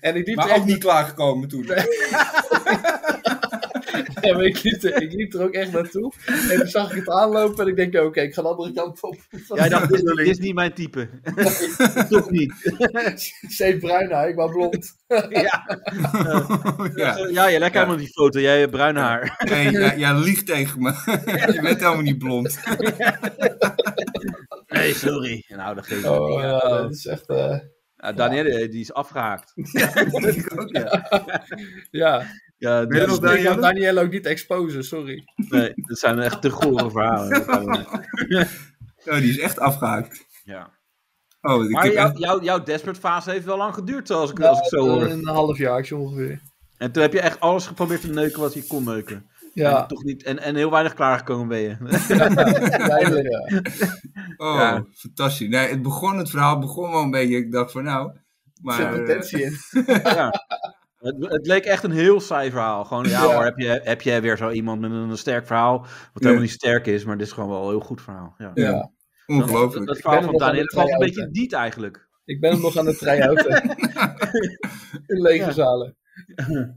Speaker 6: En ik liep, er,
Speaker 5: Maar ook
Speaker 6: echt,
Speaker 5: niet klaargekomen toen.
Speaker 6: ja, maar ik, liep er, ik liep er ook echt naartoe. En toen zag ik het aanlopen en ik denk, oké, ik ga de andere kant op.
Speaker 4: jij dacht, dit, dit is niet mijn type. Toch niet.
Speaker 6: C. bruin haar, ik was blond.
Speaker 4: Ja,
Speaker 5: Ja.
Speaker 4: ja je lekker helemaal die foto. Jij hebt bruin haar.
Speaker 5: Nee, jij, jij liegt tegen me. Je bent helemaal niet blond.
Speaker 4: Nee, sorry. Nou, dat geeft niet.
Speaker 6: Oh, ja, dat is echt... eh,
Speaker 4: Ja, Danielle, die is afgehaakt.
Speaker 6: ja,
Speaker 4: Ja, die-
Speaker 5: Ben je nog
Speaker 6: ik
Speaker 5: Danielle?
Speaker 6: kan Danielle ook niet exposen, sorry.
Speaker 4: nee, eh, dat zijn echt te gore verhalen. Dat gaan we niet.
Speaker 5: Oh, die is echt afgehaakt.
Speaker 4: Ja.
Speaker 5: Oh, ik
Speaker 4: Maar
Speaker 5: heb
Speaker 4: jou,
Speaker 5: echt-
Speaker 4: jouw- jouw desperate fase heeft wel lang geduurd, als ik, als ik zo hoor.
Speaker 6: Een half jaar ongeveer.
Speaker 4: En toen heb je echt alles geprobeerd te neuken wat je kon neuken. En,
Speaker 6: Ja,
Speaker 4: toch niet, en, en heel weinig klaargekomen ben je.
Speaker 6: ja, ja, ja.
Speaker 5: oh
Speaker 4: Ja.
Speaker 5: fantastisch. Nee, het, begon, het verhaal begon wel een beetje. Ik dacht van nou...
Speaker 6: Er zit
Speaker 5: Maar,
Speaker 6: potentie in.
Speaker 4: Het, het leek echt een heel saai verhaal. Gewoon, ja,
Speaker 6: Ja.
Speaker 4: hoor, heb je, heb je weer zo iemand met een, sterk verhaal. Wat helemaal niet sterk is, maar dit is gewoon wel een heel goed verhaal. Ja.
Speaker 5: Ja,
Speaker 6: Ja.
Speaker 4: Dat,
Speaker 5: ongelooflijk.
Speaker 4: dat verhaal
Speaker 6: Ik ben
Speaker 4: van
Speaker 6: nog aan
Speaker 4: Daniel
Speaker 6: de
Speaker 4: valt een
Speaker 6: try-out,
Speaker 4: beetje diet eigenlijk.
Speaker 6: Ik ben hem nog aan de try-outen. In lege zalen.
Speaker 5: Ja.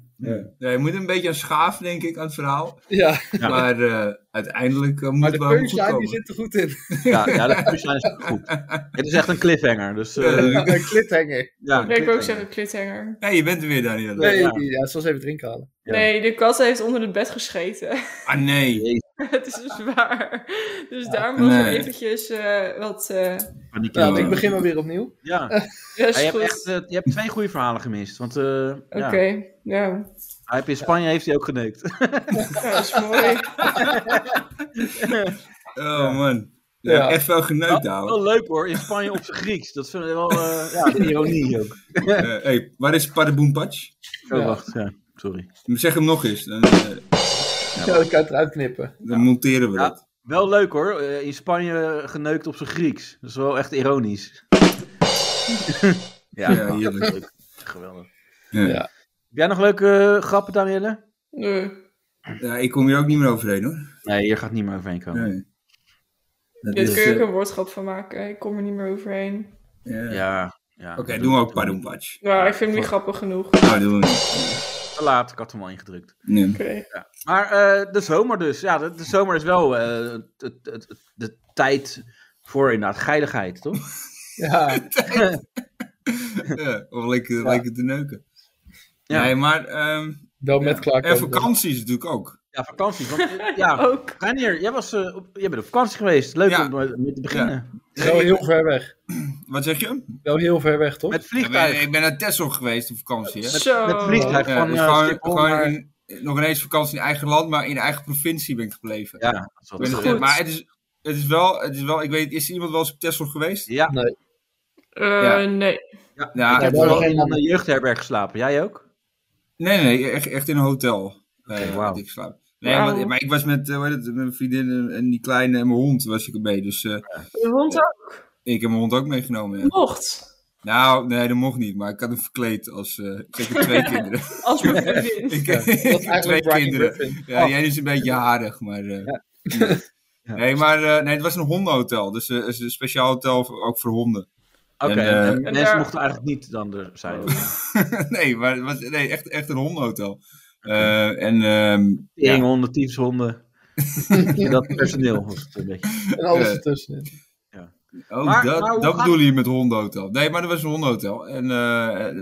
Speaker 5: Ja, je moet een beetje aan schaaf, denk ik, aan het verhaal.
Speaker 6: Ja,
Speaker 5: Maar eh, uiteindelijk eh, moet
Speaker 6: maar de
Speaker 5: het wel goed
Speaker 6: punchline
Speaker 5: komen.
Speaker 6: die zit er goed in.
Speaker 4: Ja, ja dat punchline is goed. Het is echt een cliffhanger. Dus, eh, ja,
Speaker 6: Een
Speaker 4: een
Speaker 6: cliffhanger.
Speaker 2: Ik wil ook
Speaker 4: cliffhanger.
Speaker 2: zeggen cliffhanger.
Speaker 5: Nee, je bent er weer, Daniel.
Speaker 6: Nee,
Speaker 4: Ja.
Speaker 6: ja, ze was even drinken halen.
Speaker 4: Ja.
Speaker 2: Nee, de kat heeft onder het bed gescheten.
Speaker 5: Ah, nee.
Speaker 2: Het is dus waar. Dus daar moet
Speaker 5: nee.
Speaker 2: je eventjes eh, wat... eh
Speaker 4: Van die
Speaker 6: Nou,
Speaker 4: kilo.
Speaker 6: ik begin maar weer opnieuw.
Speaker 4: Ja.
Speaker 2: rest
Speaker 4: Ja, je,
Speaker 2: goed.
Speaker 4: hebt echt, eh, je hebt twee goede verhalen gemist. Want eh,
Speaker 2: Oké,
Speaker 4: ja,
Speaker 2: nou,
Speaker 4: hij heeft in Spanje heeft hij ook geneukt.
Speaker 2: dat is mooi.
Speaker 5: Oh, man. Daar heb
Speaker 6: Ja.
Speaker 5: ik echt veel genoten,
Speaker 4: Wel,
Speaker 5: ouwe.
Speaker 4: wel leuk hoor, in Spanje op zijn Grieks. Dat vind ik wel eh, ja, de ironie ook.
Speaker 5: Eh, hey, waar is Paddenboen Patch?
Speaker 4: Oh, wacht, ja, sorry.
Speaker 5: Zeg hem nog eens, dan, eh,
Speaker 6: Ja, dat kan je eruit knippen.
Speaker 5: dan monteren we
Speaker 4: Ja.
Speaker 5: dat.
Speaker 4: Wel leuk hoor, eh, in Spanje geneukt op zijn Grieks. Dat is wel echt ironisch. ja,
Speaker 5: Ja, heerlijk.
Speaker 4: geweldig.
Speaker 5: Ja.
Speaker 6: Ja.
Speaker 4: Heb jij nog leuke eh, grappen, Danielle?
Speaker 2: Nee.
Speaker 5: Ja, ik kom hier ook niet meer overheen hoor.
Speaker 4: Nee, hier gaat niet meer overheen komen.
Speaker 5: Nee. Dat
Speaker 2: Dit
Speaker 5: is,
Speaker 2: kun je ook
Speaker 5: eh,
Speaker 2: een woordschap van maken. Ik kom er niet meer overheen.
Speaker 5: ja.
Speaker 4: Ja, ja.
Speaker 5: Oké, doen we ook Paddenboen Patch.
Speaker 2: Nou, ik vind hem niet grappig genoeg. Oké.
Speaker 5: Nou, doen we niet.
Speaker 4: Te laat, ik had hem al ingedrukt.
Speaker 5: Nee.
Speaker 4: Maar eh, de zomer dus. Ja, de, de zomer is wel eh, het- het- het- de tijd voor inderdaad geiligheid, toch?
Speaker 6: Ja,
Speaker 5: Ja, of lekker, lekker te neuken.
Speaker 4: Ja.
Speaker 5: Nee, maar... ehm,
Speaker 6: dan met
Speaker 5: ja.
Speaker 6: Clark.
Speaker 5: En
Speaker 6: ook nog.
Speaker 5: vakanties natuurlijk ook.
Speaker 4: Ja, vakantie. Want, eh, ja,
Speaker 2: Ook.
Speaker 4: Reinier, jij, was, eh, op, jij bent op vakantie geweest. Leuk
Speaker 5: Ja.
Speaker 4: om met, met te beginnen.
Speaker 6: Wel heel ver weg.
Speaker 5: Wat zeg je?
Speaker 6: Wel heel ver weg, toch?
Speaker 4: Met
Speaker 5: Ik ben,
Speaker 4: vliegtuig.
Speaker 5: ik ben naar Texel geweest op vakantie. Hè?
Speaker 2: Zo.
Speaker 4: Met vliegtuig
Speaker 5: Ja,
Speaker 4: van
Speaker 5: dus
Speaker 4: eh,
Speaker 5: gewoon,
Speaker 4: Schiphol
Speaker 5: gewoon
Speaker 4: naar-
Speaker 5: in- nog ineens vakantie in eigen land, maar in eigen provincie ben ik gebleven.
Speaker 4: Ja, dat is
Speaker 5: Ik ben-
Speaker 4: wel-
Speaker 2: goed.
Speaker 5: Maar het is, het, is wel, het is wel... Ik weet, is er iemand wel eens op Texel geweest?
Speaker 4: Ja,
Speaker 2: Eh,
Speaker 5: Ja.
Speaker 2: Nee.
Speaker 5: Ja,
Speaker 4: ik heb
Speaker 5: het is
Speaker 6: daar
Speaker 4: wel
Speaker 6: geen
Speaker 4: in een
Speaker 6: mannen.
Speaker 4: jeugdherberg geslapen. Jij ook?
Speaker 5: Nee, nee, echt, echt in een hotel. eh
Speaker 4: wauw.
Speaker 5: had Ik slaap. Nee,
Speaker 2: Wauw.
Speaker 5: maar, maar ik was met, eh, hoe heet het, met mijn vriendin en, en die kleine en mijn hond was ik erbij. Dus eh,
Speaker 2: De hond ook.
Speaker 5: ik heb mijn hond ook meegenomen. ja.
Speaker 2: Mocht.
Speaker 5: Nou, nee, dat mocht niet. Maar ik had hem verkleed als... eh, ik heb twee kinderen.
Speaker 2: Als mijn vriendin.
Speaker 5: ik,
Speaker 6: Dat
Speaker 5: ik
Speaker 6: is
Speaker 5: heb twee
Speaker 6: eigenlijk Brian
Speaker 5: kinderen.
Speaker 6: Griffin.
Speaker 5: Ja, jij is een beetje harig, maar... eh,
Speaker 4: Ja.
Speaker 5: Nee, maar eh, nee, het was een hondenhotel. Dus eh, het is een speciaal hotel voor- ook voor honden.
Speaker 4: Oké,
Speaker 5: En, eh, Oh.
Speaker 4: en
Speaker 5: en
Speaker 4: mensen
Speaker 2: daar-
Speaker 4: mochten eigenlijk niet dan er zijn.
Speaker 5: nee, maar het was nee, echt, echt een hondenhotel. Eh, en ehm,
Speaker 4: Ja.
Speaker 5: Ja.
Speaker 4: honden, tiefshonden. dat personeel was het een beetje.
Speaker 6: En alles
Speaker 5: eh,
Speaker 6: ertussenin.
Speaker 5: Oh,
Speaker 4: Maar-
Speaker 5: dat,
Speaker 2: nou,
Speaker 4: maar hoe
Speaker 5: dat
Speaker 4: gaat-
Speaker 5: bedoel je met hondenhotel. Nee, maar dat was een hondenhotel. En eh,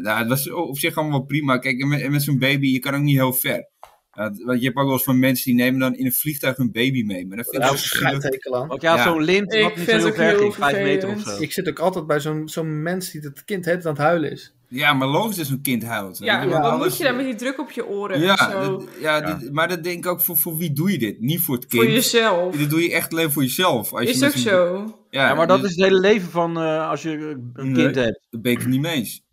Speaker 5: nou, het was op zich allemaal wel prima. Kijk, en met, en met zo'n baby, je kan ook niet heel ver. Ja, want je hebt ook wel eens van mensen die nemen dan in een vliegtuig hun baby mee. Maar dat vind ik zo
Speaker 6: Ja,
Speaker 5: zielig.
Speaker 6: scheidtekel aan.
Speaker 4: Want jij had
Speaker 5: Ja.
Speaker 4: zo'n lint
Speaker 2: Ik
Speaker 4: wat niet
Speaker 2: vind
Speaker 4: zo heel
Speaker 2: het ook
Speaker 4: ver
Speaker 2: heel
Speaker 4: ging, vijf meter of
Speaker 2: vervelend.
Speaker 4: zo.
Speaker 6: Ik zit ook altijd bij zo'n zo'n mens die het kind heeft aan het huilen is.
Speaker 5: Ja, maar logisch is een kind huilt.
Speaker 2: Ja,
Speaker 5: Want
Speaker 2: wat
Speaker 5: anders-
Speaker 2: moet je dan met die druk op je oren?
Speaker 5: Ja,
Speaker 2: en zo?
Speaker 5: dat- ja, dit- maar dat denk ik ook, voor, voor wie doe je dit? Niet voor het kind.
Speaker 2: Voor jezelf.
Speaker 5: Dit doe je echt alleen voor jezelf. Als
Speaker 2: Is
Speaker 5: je met
Speaker 2: ook
Speaker 5: zo'n-
Speaker 2: zo.
Speaker 5: Ja,
Speaker 4: Ja, maar dat
Speaker 5: dus-
Speaker 4: is het hele leven van eh, als je een
Speaker 5: Nee.
Speaker 4: kind hebt.
Speaker 5: Dat ben ik het niet mee eens.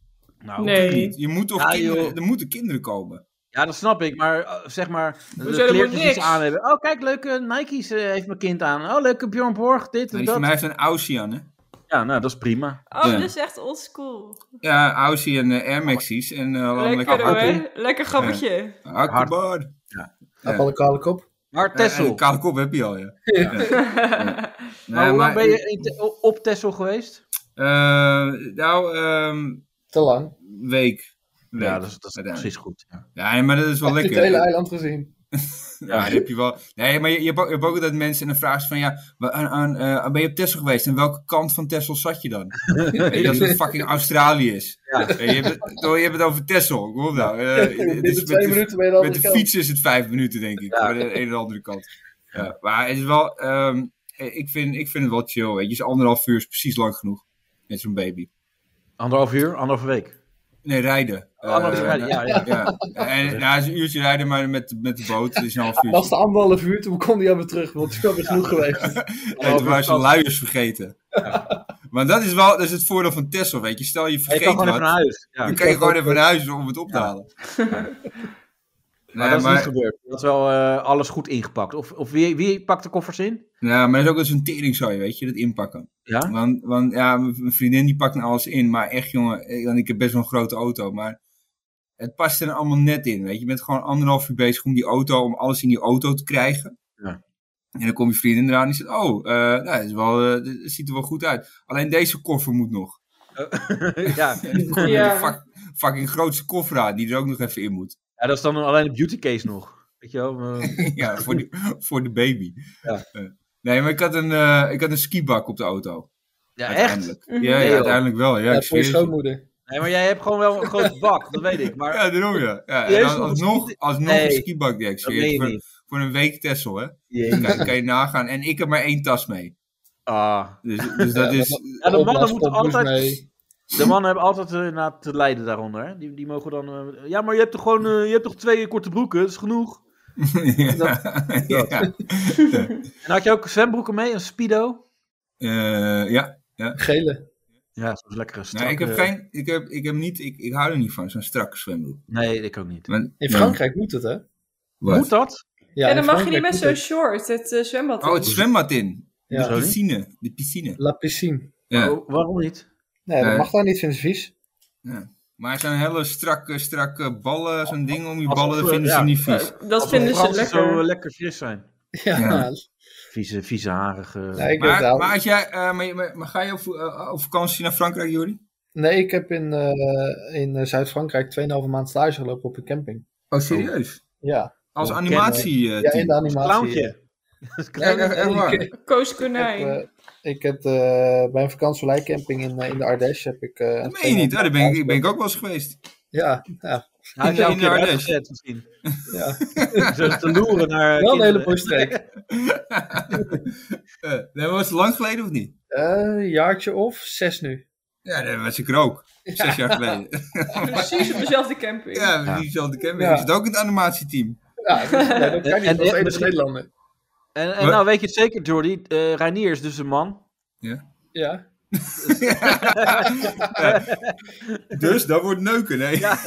Speaker 4: Nou,
Speaker 2: Nee.
Speaker 5: Niet. Je moet toch
Speaker 4: Ja,
Speaker 5: kinderen,
Speaker 4: joh.
Speaker 5: er moeten kinderen komen.
Speaker 4: Ja, dat snap ik, maar eh, zeg maar, de
Speaker 2: Hoezo, dat moet
Speaker 4: kleertjes die ze
Speaker 2: niks.
Speaker 4: aan hebben. Oh, kijk, leuke Nike's eh, heeft mijn kind aan. Oh, leuke Bjorn Borg, dit en
Speaker 5: Nee,
Speaker 4: dat.
Speaker 5: Voor mij heeft een Aussie aan, hè?
Speaker 4: Ja, nou, dat is prima.
Speaker 2: Oh,
Speaker 5: Ja.
Speaker 2: dat is echt oldschool.
Speaker 5: Ja, Aussie en eh, Air Maxies. En eh
Speaker 2: Lekker
Speaker 5: landelijke
Speaker 2: hoor.
Speaker 5: hakken.
Speaker 2: Lekker grappetje.
Speaker 5: Akkebar. Ja.
Speaker 6: Op alle kale kop.
Speaker 4: Maar
Speaker 5: Eh, En
Speaker 4: Tessel,
Speaker 5: een kale kop heb je al, ja.
Speaker 4: maar
Speaker 5: Nee,
Speaker 4: hoe
Speaker 5: maar-
Speaker 4: lang ben je in Te- o- op Tessel geweest?
Speaker 5: Eh, nou, ehm,
Speaker 6: Te lang.
Speaker 5: week. Een
Speaker 4: Ja,
Speaker 5: week,
Speaker 4: dat is, dat is
Speaker 5: uiteindelijk.
Speaker 4: precies goed. Ja.
Speaker 5: Ja, nee, maar dat is wel
Speaker 6: Ik heb
Speaker 5: lekker.
Speaker 6: het hele eiland gezien.
Speaker 5: Ja, dat heb je wel. Nee, maar je, je, hebt ook, je hebt ook altijd mensen en dan vragen ze van ja, wa- aan, aan, eh, ben je op Texel geweest? En welke kant van Texel zat je dan? Weet je, dat het fucking Australië is. Weet Je, je, hebt het, je hebt het over Texel. Kom op nou. Eh,
Speaker 6: Binnen
Speaker 5: het is met
Speaker 6: twee
Speaker 5: de-
Speaker 6: minuten ben je aan de
Speaker 5: Met
Speaker 6: andere
Speaker 5: de
Speaker 6: kant.
Speaker 5: fiets is het vijf minuten, denk ik. Van de ene en andere kant. Ja, maar het is wel... ehm, ik, vind, ik vind het wel chill, weet je. Dus anderhalf uur is precies lang genoeg. Met zo'n baby.
Speaker 4: Anderhalf uur, anderhalve week.
Speaker 5: Nee, rijden.
Speaker 4: Anderhalf
Speaker 5: Eh,
Speaker 4: uur, ja, ja.
Speaker 5: ja. En, nou, het is een uurtje rijden, maar met, met de boot. Het is een half uurtje.
Speaker 6: Was de anderhalf uur, toen kwam hij aan me terug, want ik was weer genoeg geweest.
Speaker 5: Nee, toen waren ze luiers vergeten. Maar dat is wel dat is het voordeel van Tesla, weet je. Stel je
Speaker 4: Je
Speaker 5: vergeet
Speaker 4: kan gewoon
Speaker 5: wat,
Speaker 4: even naar huis. Ja.
Speaker 5: dan kan je gewoon even naar huis om het op te halen.
Speaker 4: Maar
Speaker 5: Nee,
Speaker 4: dat is
Speaker 5: maar-
Speaker 4: niet gebeurd. Dat is wel eh, alles goed ingepakt. Of, of wie, wie pakt de koffers in?
Speaker 5: Ja, nou, maar dat is ook wel zo'n tering zo, weet je, dat inpakken.
Speaker 4: Ja?
Speaker 5: Want, want ja, mijn mijn vriendin die pakt nou alles in, maar echt jongen, eh, want ik heb best wel een grote auto, maar het past er allemaal net in, weet je. Je bent gewoon anderhalf uur bezig om die auto, om alles in die auto te krijgen.
Speaker 4: Ja.
Speaker 5: En dan komt je vriendin eraan en die zegt, oh, eh nou, dat, is wel, eh, dat ziet er wel goed uit. Alleen deze koffer moet nog.
Speaker 4: ja.
Speaker 5: Gewoon
Speaker 2: Ja.
Speaker 5: met een fuck- fucking grootste koffer aan, die er ook nog even in moet.
Speaker 4: ja, dat is dan alleen de beauty case nog. Weet je wel? eh,
Speaker 5: ja, voor, die, voor de baby.
Speaker 4: Ja.
Speaker 5: Eh, nee, maar ik had een, eh, ik had een skibak op de auto.
Speaker 4: ja, echt?
Speaker 5: uiteindelijk.
Speaker 2: Mhm.
Speaker 5: Ja, ja,
Speaker 4: joh.
Speaker 5: uiteindelijk wel. Ja,
Speaker 6: Ja,
Speaker 5: ik
Speaker 6: voor
Speaker 5: zweer
Speaker 6: je
Speaker 5: het je.
Speaker 6: schoonmoeder.
Speaker 4: Nee, maar jij hebt gewoon wel een grote bak, dat weet ik. Maar
Speaker 5: Ja, daarom ja. ja en
Speaker 4: Serieus,
Speaker 5: dan
Speaker 4: nog een
Speaker 5: alsnog,
Speaker 4: ski-
Speaker 5: alsnog
Speaker 4: Nee.
Speaker 5: een skibak, ja,
Speaker 4: dat
Speaker 5: ik zweer
Speaker 4: weet
Speaker 5: het je,
Speaker 4: je
Speaker 5: voor,
Speaker 4: niet. Ah.
Speaker 5: voor een week Tessel, hè.
Speaker 4: Jeetje.
Speaker 5: Kan, kan je nagaan. En ik heb maar één tas mee.
Speaker 4: Ah.
Speaker 5: Dus, dus dat
Speaker 6: Ja,
Speaker 5: is...
Speaker 4: Ja, de mannen moeten
Speaker 6: Opblaaspop moest
Speaker 4: altijd...
Speaker 6: mee.
Speaker 4: De mannen hebben altijd eh, na te lijden daaronder. Hè? Die, die mogen dan... eh, ja, maar je hebt toch gewoon... eh, je hebt toch twee korte broeken? Dat is genoeg.
Speaker 5: ja.
Speaker 4: En had je ook zwembroeken mee? Een speedo?
Speaker 5: Eh, ja.
Speaker 6: Gele.
Speaker 4: Ja, zo'n lekkere strak.
Speaker 5: Nou, ik heb geen. Ik heb, ik heb niet. Ik, ik hou er niet van zo'n strakke zwembroek.
Speaker 4: Nee, ik ook niet.
Speaker 5: Want-
Speaker 6: In
Speaker 5: ja,
Speaker 6: Frankrijk moet het, hè?
Speaker 5: wat?
Speaker 4: Moet dat?
Speaker 6: Ja,
Speaker 2: en dan mag je niet met
Speaker 6: met
Speaker 2: zo'n short het eh, zwembad
Speaker 5: Oh,
Speaker 2: in.
Speaker 5: het zwembad in.
Speaker 6: Ja.
Speaker 5: De piscine. De piscine.
Speaker 6: La piscine.
Speaker 5: Ja.
Speaker 4: Oh, waarom niet?
Speaker 6: Nee, dat
Speaker 5: Nee.
Speaker 6: mag daar niet, vinden ze vies.
Speaker 5: Maar zo'n hele strakke, strakke ballen, zo'n ding om je
Speaker 4: Als-
Speaker 5: ballen, dat vinden ze
Speaker 4: ja,
Speaker 5: niet vies.
Speaker 2: Dat
Speaker 4: Als
Speaker 2: vinden
Speaker 4: de
Speaker 2: ze
Speaker 4: Fransen
Speaker 2: lekker.
Speaker 4: zo eh, lekker fris zijn.
Speaker 6: Ja,
Speaker 5: Ja.
Speaker 4: Vieze, vieze harige...
Speaker 6: Nou, ik weet
Speaker 5: Maar,
Speaker 6: wel.
Speaker 5: maar, als jij, eh, maar, maar, maar ga je op, eh, op vakantie naar Frankrijk, Jori?
Speaker 6: Nee, ik heb in, eh, in eh, Zuid-Frankrijk 2,5 maand stage gelopen op een camping.
Speaker 5: Oh, serieus?
Speaker 6: Ja,
Speaker 5: Als
Speaker 4: Oh,
Speaker 5: animatie. eh,
Speaker 6: ja
Speaker 5: team.
Speaker 6: in de animatie.
Speaker 4: Clowntje.
Speaker 5: Ja, echt- echt waar.
Speaker 2: Koos
Speaker 6: Ik heb,
Speaker 2: Konijn.
Speaker 6: eh, ik heb eh, bij een vakantieleikamping in, eh, in de Ardèche heb ik... eh,
Speaker 5: Dat meen je niet. Oh, daar ben ik, ben ik
Speaker 6: gelopen.
Speaker 5: ook wel eens geweest.
Speaker 6: Ja, ja,
Speaker 4: Hij heeft jou een
Speaker 5: In de
Speaker 4: keer
Speaker 5: Ardennen.
Speaker 4: uitgezet misschien.
Speaker 6: ja.
Speaker 4: Zo te loeren naar
Speaker 6: wel een
Speaker 4: kinderen.
Speaker 6: hele mooie streek.
Speaker 5: Eh, nee, maar was het lang geleden of niet?
Speaker 6: Eh, een jaartje of zes nu.
Speaker 5: Ja, dat was ik er ook. Zes jaar geleden.
Speaker 2: Precies op dezelfde camping.
Speaker 5: Ja, we zien zelf de camping.
Speaker 6: Ja.
Speaker 5: Ik zit ook in het animatieteam.
Speaker 6: Ja, dus, dat, ja, dat kan niet.
Speaker 4: En-
Speaker 6: als
Speaker 4: en-
Speaker 6: enige
Speaker 4: misschien-
Speaker 6: Nederlander.
Speaker 4: En, en
Speaker 5: Wat?
Speaker 4: nou weet je het zeker, Jordi. eh Reinier is dus een man.
Speaker 6: Ja.
Speaker 5: Dus dat wordt neuken, hè? Ja,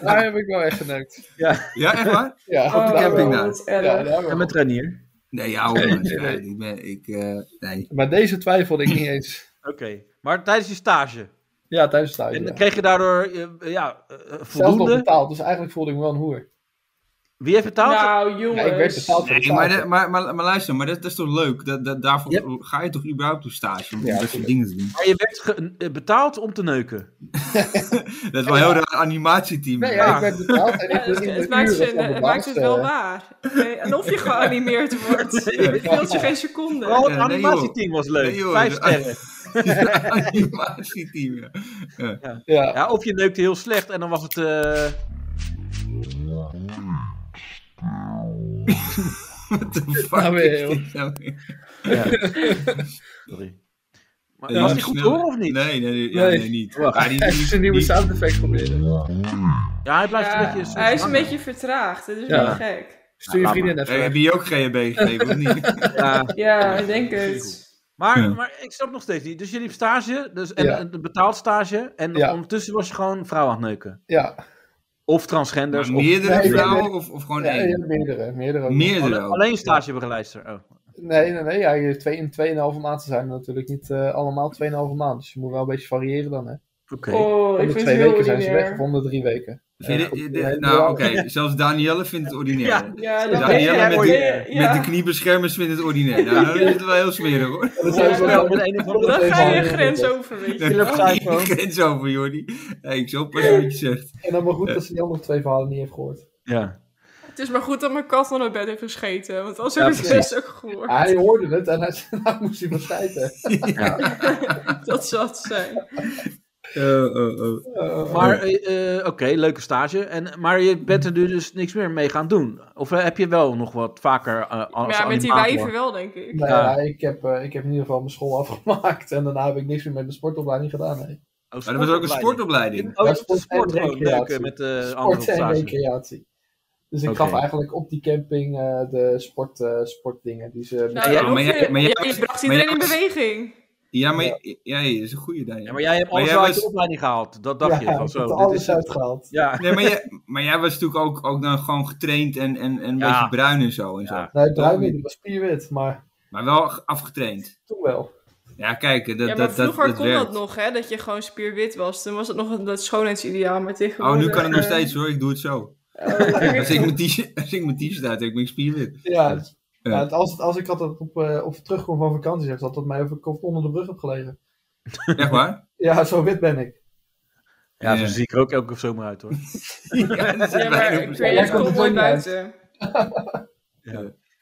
Speaker 6: Daar heb ik wel echt geneukt.
Speaker 5: echt waar?
Speaker 6: Ja,
Speaker 2: Oh,
Speaker 5: de camping daar.
Speaker 2: wat erg.
Speaker 6: Ja, daar wel.
Speaker 4: En met Reinier.
Speaker 5: Nee, ja, hoor.
Speaker 6: nee,
Speaker 5: Ja,
Speaker 6: nee.
Speaker 5: Ik ben, ik, eh, nee.
Speaker 6: Maar deze twijfelde ik niet eens.
Speaker 4: Oké. Maar tijdens je stage.
Speaker 6: Ja, tijdens stage.
Speaker 4: En
Speaker 6: ja.
Speaker 4: kreeg je daardoor eh, ja, eh,
Speaker 6: Zelf nog
Speaker 4: voldoende?
Speaker 6: betaald, dus eigenlijk voelde ik me wel een hoer.
Speaker 4: Wie heeft betaald?
Speaker 2: Nou, jongens.
Speaker 6: Ja, ik werd betaald voor de
Speaker 5: Nee, maar,
Speaker 6: stage.
Speaker 5: de- maar, maar, maar luister, maar dat, dat is toch leuk? Dat, dat, daarvoor
Speaker 4: Ja.
Speaker 5: ga je toch überhaupt op stage om
Speaker 6: Ja,
Speaker 5: dat soort dingen te doen?
Speaker 4: Maar je werd ge- eh, betaald om te neuken.
Speaker 5: Dat is wel een heel raar animatieteam.
Speaker 6: Nee, ja,
Speaker 5: ja.
Speaker 6: ik werd betaald en ik
Speaker 2: Ja, het,
Speaker 6: werd in
Speaker 2: het
Speaker 6: de
Speaker 2: maakt
Speaker 6: uren
Speaker 2: ze-
Speaker 6: van de
Speaker 2: het maakt
Speaker 6: baas,
Speaker 2: het wel
Speaker 6: eh,
Speaker 2: waar. Nee, en of je geanimeerd wordt, het scheelt je geen seconde.
Speaker 4: Vooral Oh, het
Speaker 5: nee, joh.
Speaker 4: animatieteam was leuk.
Speaker 5: Nee, joh.
Speaker 4: Vijf sterren.
Speaker 5: animatieteam. ja.
Speaker 6: Ja,
Speaker 4: Ja, of je neukte heel slecht en dan was het... eh,
Speaker 5: What the fuck
Speaker 6: Nou weer,
Speaker 5: is
Speaker 6: joh.
Speaker 5: dit nou weer?
Speaker 4: Sorry. Maar,
Speaker 5: Ja,
Speaker 4: was die goed
Speaker 5: snel.
Speaker 4: door of niet?
Speaker 5: Nee, nee, nee, ja,
Speaker 6: Nee.
Speaker 5: nee niet.
Speaker 4: Wacht.
Speaker 5: Ja, die- die-
Speaker 6: echt een nieuwe
Speaker 5: die-
Speaker 6: sound effect proberen.
Speaker 4: Ja, hij blijft
Speaker 2: Ja,
Speaker 4: een beetje...
Speaker 2: hij is een beetje vertraagd, dat is
Speaker 6: Ja.
Speaker 2: wel gek.
Speaker 6: Stuur je
Speaker 4: laat
Speaker 6: vriendin
Speaker 5: Hey,
Speaker 6: even.
Speaker 5: heb je je ook GHB gegeven of niet?
Speaker 4: Ja.
Speaker 2: Ja, ik denk het.
Speaker 4: Maar,
Speaker 5: Ja.
Speaker 4: maar ik snap nog steeds niet. Dus je liep stage, dus, en
Speaker 6: Ja.
Speaker 4: een een betaald stage. En
Speaker 6: Ja.
Speaker 4: ondertussen was je gewoon vrouw aan het neuken.
Speaker 6: Ja,
Speaker 5: Oh,
Speaker 4: Of transgenders.
Speaker 5: Maar
Speaker 4: of
Speaker 5: meerdere
Speaker 6: Nee,
Speaker 5: vrouwen of, of gewoon
Speaker 6: ja, ja,
Speaker 5: één?
Speaker 6: meerdere. meerdere ook.
Speaker 5: meerdere
Speaker 4: alle-
Speaker 5: ook.
Speaker 4: alleen stagebegeleider. Oh.
Speaker 6: Nee, nee, nee. Ja, je twee, in 2,5 maanden zijn er natuurlijk niet eh, allemaal 2,5 maanden. Dus je moet wel een beetje variëren dan. Hè.
Speaker 4: Oké.
Speaker 2: Oh,
Speaker 6: Om
Speaker 2: ik
Speaker 6: de
Speaker 2: vind
Speaker 6: twee
Speaker 2: het heel
Speaker 6: weken zijn ze weg, of
Speaker 2: ordinair.
Speaker 6: om de drie weken.
Speaker 5: Vind je
Speaker 6: Ja,
Speaker 5: dit-
Speaker 6: goed,
Speaker 5: dit-
Speaker 6: ja,
Speaker 5: nou, oké.
Speaker 6: ja.
Speaker 5: Zelfs Danielle vindt het ordinair.
Speaker 4: Ja.
Speaker 2: Ja, dat
Speaker 5: Danielle
Speaker 2: ja,
Speaker 5: met
Speaker 2: ja,
Speaker 5: die-
Speaker 2: ja, ja.
Speaker 5: Met de kniebeschermers vindt het ordinair. Nou, dat is het wel heel smerig hoor.
Speaker 2: zijn
Speaker 6: Dat zijn
Speaker 2: Ja, ze
Speaker 6: ze
Speaker 2: wel wel
Speaker 6: wel
Speaker 4: met met een of andere-
Speaker 2: Dan ga je
Speaker 6: Ja.
Speaker 2: grens over, weet je.
Speaker 4: Philip Psycho.
Speaker 5: Ik grens over, Jordi. Hey, ik zal pas wat je zegt.
Speaker 6: En dan maar goed dat ze die andere twee verhalen niet heeft gehoord.
Speaker 4: Ja.
Speaker 2: Het is maar goed dat mijn kat van het bed heeft gescheten, want als ik
Speaker 4: Ja,
Speaker 2: het
Speaker 4: precies.
Speaker 2: best ook gehoord.
Speaker 6: Hij hoorde het en hij nou moest hij van spijten.
Speaker 2: Dat zou het zijn.
Speaker 5: Eh,
Speaker 6: Oh,
Speaker 5: eh, eh.
Speaker 6: Eh,
Speaker 4: Maar, eh, eh, oké, leuke stage. En, maar je bent er nu dus niks meer mee gaan doen. Of eh, heb je wel nog wat vaker eh
Speaker 2: Maar
Speaker 4: als
Speaker 2: ja, met die
Speaker 4: animator?
Speaker 2: wijven wel, denk ik.
Speaker 6: nou ja, ik heb, eh, ik heb in ieder geval mijn school afgemaakt. En daarna heb ik niks meer met de sportopleiding gedaan. Nee.
Speaker 4: Oh,
Speaker 5: Maar dat was ook een sportopleiding.
Speaker 4: Oh,
Speaker 6: Ja,
Speaker 4: dat is
Speaker 6: sport-
Speaker 4: sport
Speaker 6: en
Speaker 4: gewoon
Speaker 6: recreatie.
Speaker 4: neuken met de andere
Speaker 6: Sport en
Speaker 4: stage.
Speaker 6: recreatie. Dus ik
Speaker 4: Oké.
Speaker 6: gaf eigenlijk op die camping eh, de sport, eh, sportdingen die ze...
Speaker 2: Nou,
Speaker 4: Ja,
Speaker 2: ja,
Speaker 5: maar
Speaker 2: maar
Speaker 5: jij- maar jij-
Speaker 2: je bracht
Speaker 5: maar jij-
Speaker 2: iedereen in beweging.
Speaker 5: Ja, maar ja. ja, dat is een goede Danielle.
Speaker 4: Ja, maar jij hebt
Speaker 5: Maar
Speaker 4: alles
Speaker 5: jij dus-
Speaker 4: uit
Speaker 5: was-
Speaker 4: de opleiding gehaald. Dat
Speaker 6: ja,
Speaker 4: dacht je. Van,
Speaker 6: ik
Speaker 4: zo,
Speaker 6: heb er
Speaker 4: dit
Speaker 6: alles
Speaker 4: is het.
Speaker 6: uitgehaald.
Speaker 4: Ja.
Speaker 5: Nee, maar jij, maar jij was natuurlijk ook, ook dan gewoon getraind en, en, en een
Speaker 4: Ja.
Speaker 5: beetje bruin en zo. En zo.
Speaker 4: Ja.
Speaker 6: Nee, druim niet, Nou, het was spierwit, maar
Speaker 5: Maar wel ge- afgetraind.
Speaker 6: toen wel.
Speaker 5: Ja, kijk, dat,
Speaker 2: ja, maar
Speaker 5: dat, dat,
Speaker 2: vroeger
Speaker 5: dat
Speaker 2: kon
Speaker 5: werkt.
Speaker 2: dat nog, hè? Dat je gewoon spierwit was. Toen was het nog een- dat schoonheidsideaal, maar
Speaker 5: Oh,
Speaker 2: tegenwoordig...
Speaker 5: nu kan het nog
Speaker 2: eh,
Speaker 5: steeds hoor, ik doe het zo.
Speaker 2: oh,
Speaker 5: Als ik mijn t-shirt- als ik mijn t-shirt uit heb, ben ik spierwit.
Speaker 6: Ja, het-
Speaker 5: Ja.
Speaker 6: ja, het- als, het- als ik altijd op, eh, op terugkom van vakantie, zegt dat dat mij over kop onder de brug heb gelegen.
Speaker 5: Echt waar?
Speaker 6: Ja, zo wit ben ik.
Speaker 4: Ja, zo
Speaker 5: Ja.
Speaker 4: zie ik er ook elke zomer uit hoor.
Speaker 5: Ja, dat zit
Speaker 2: Ja, maar
Speaker 5: bijna op
Speaker 2: ik
Speaker 5: mijn-
Speaker 2: weet
Speaker 6: Jij
Speaker 2: het
Speaker 6: komt
Speaker 2: komt
Speaker 6: er
Speaker 2: mooi
Speaker 6: ook niet uit.
Speaker 2: buiten.
Speaker 5: Maar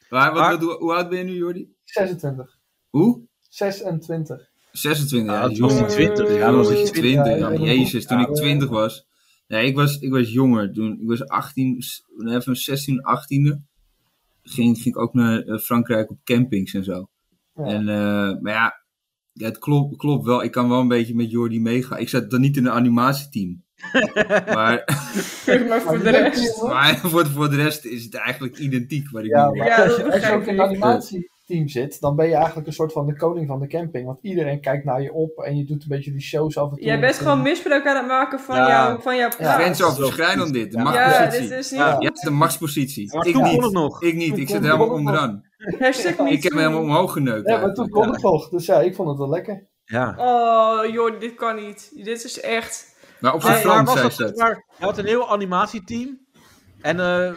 Speaker 5: wat-
Speaker 4: Maar-
Speaker 5: wat- hoe oud ben je nu, Jordi?
Speaker 6: 26.
Speaker 5: Hoe?
Speaker 6: 26.
Speaker 5: 26
Speaker 4: Ja,
Speaker 5: jaar.
Speaker 4: toen was hij
Speaker 5: jong.
Speaker 4: 20. Ja,
Speaker 5: Toen
Speaker 4: dat
Speaker 5: was
Speaker 4: was
Speaker 5: ik
Speaker 4: iets.
Speaker 5: 20.
Speaker 6: Ja,
Speaker 5: Ja,
Speaker 6: ja,
Speaker 5: jezus, toen
Speaker 6: ja.
Speaker 5: ik 20 was. Nee, ik was, ik was jonger. Toen, ik was 18, s- nee, van 16, 18e. Ging, ging ik ook naar eh, Frankrijk op campings en zo.
Speaker 6: Ja.
Speaker 5: En, eh, maar ja, ja, het klopt, klopt wel. Ik kan wel een beetje met Jordi meegaan. Ik zat dan niet in een animatieteam. maar
Speaker 2: Maar voor de rest...
Speaker 5: maar voor, voor de rest is het eigenlijk identiek wat ik
Speaker 6: Ja,
Speaker 5: nu-
Speaker 6: maar
Speaker 2: Ja, dat
Speaker 6: als je
Speaker 2: begrijp
Speaker 6: ook in
Speaker 2: ik.
Speaker 6: animatie team zit, dan ben je eigenlijk een soort van de koning van de camping. Want iedereen kijkt naar je op en je doet een beetje die shows af en toe.
Speaker 2: Jij bent gewoon mis met elkaar aan het maken van,
Speaker 4: Ja.
Speaker 2: jouw, van jouw
Speaker 6: Ja.
Speaker 2: plaats.
Speaker 5: Grenzen overschrijden dan dit. De
Speaker 2: Ja,
Speaker 5: machtspositie.
Speaker 2: dit is niet
Speaker 4: Ja.
Speaker 2: goed.
Speaker 5: Ja, de machtspositie.
Speaker 4: Maar
Speaker 5: ik
Speaker 4: toen kon
Speaker 5: niet.
Speaker 4: het nog.
Speaker 5: Ik niet. Ik zit
Speaker 6: kon-
Speaker 5: helemaal
Speaker 6: kon-
Speaker 5: onderaan.
Speaker 2: Hashtag me
Speaker 5: Ik heb
Speaker 2: too.
Speaker 5: hem helemaal omhoog geneukt.
Speaker 6: Ja, maar toen
Speaker 5: eigenlijk.
Speaker 6: kon het nog. Dus ja, ik vond het wel lekker.
Speaker 4: Ja.
Speaker 2: Oh, joh, dit kan niet. Dit is echt...
Speaker 5: Maar op zijn
Speaker 4: Hey, waar
Speaker 5: Frans
Speaker 4: was
Speaker 5: zei
Speaker 4: dat,
Speaker 5: ze
Speaker 4: zeg
Speaker 5: het.
Speaker 4: maar, je had een heel animatieteam. En eh,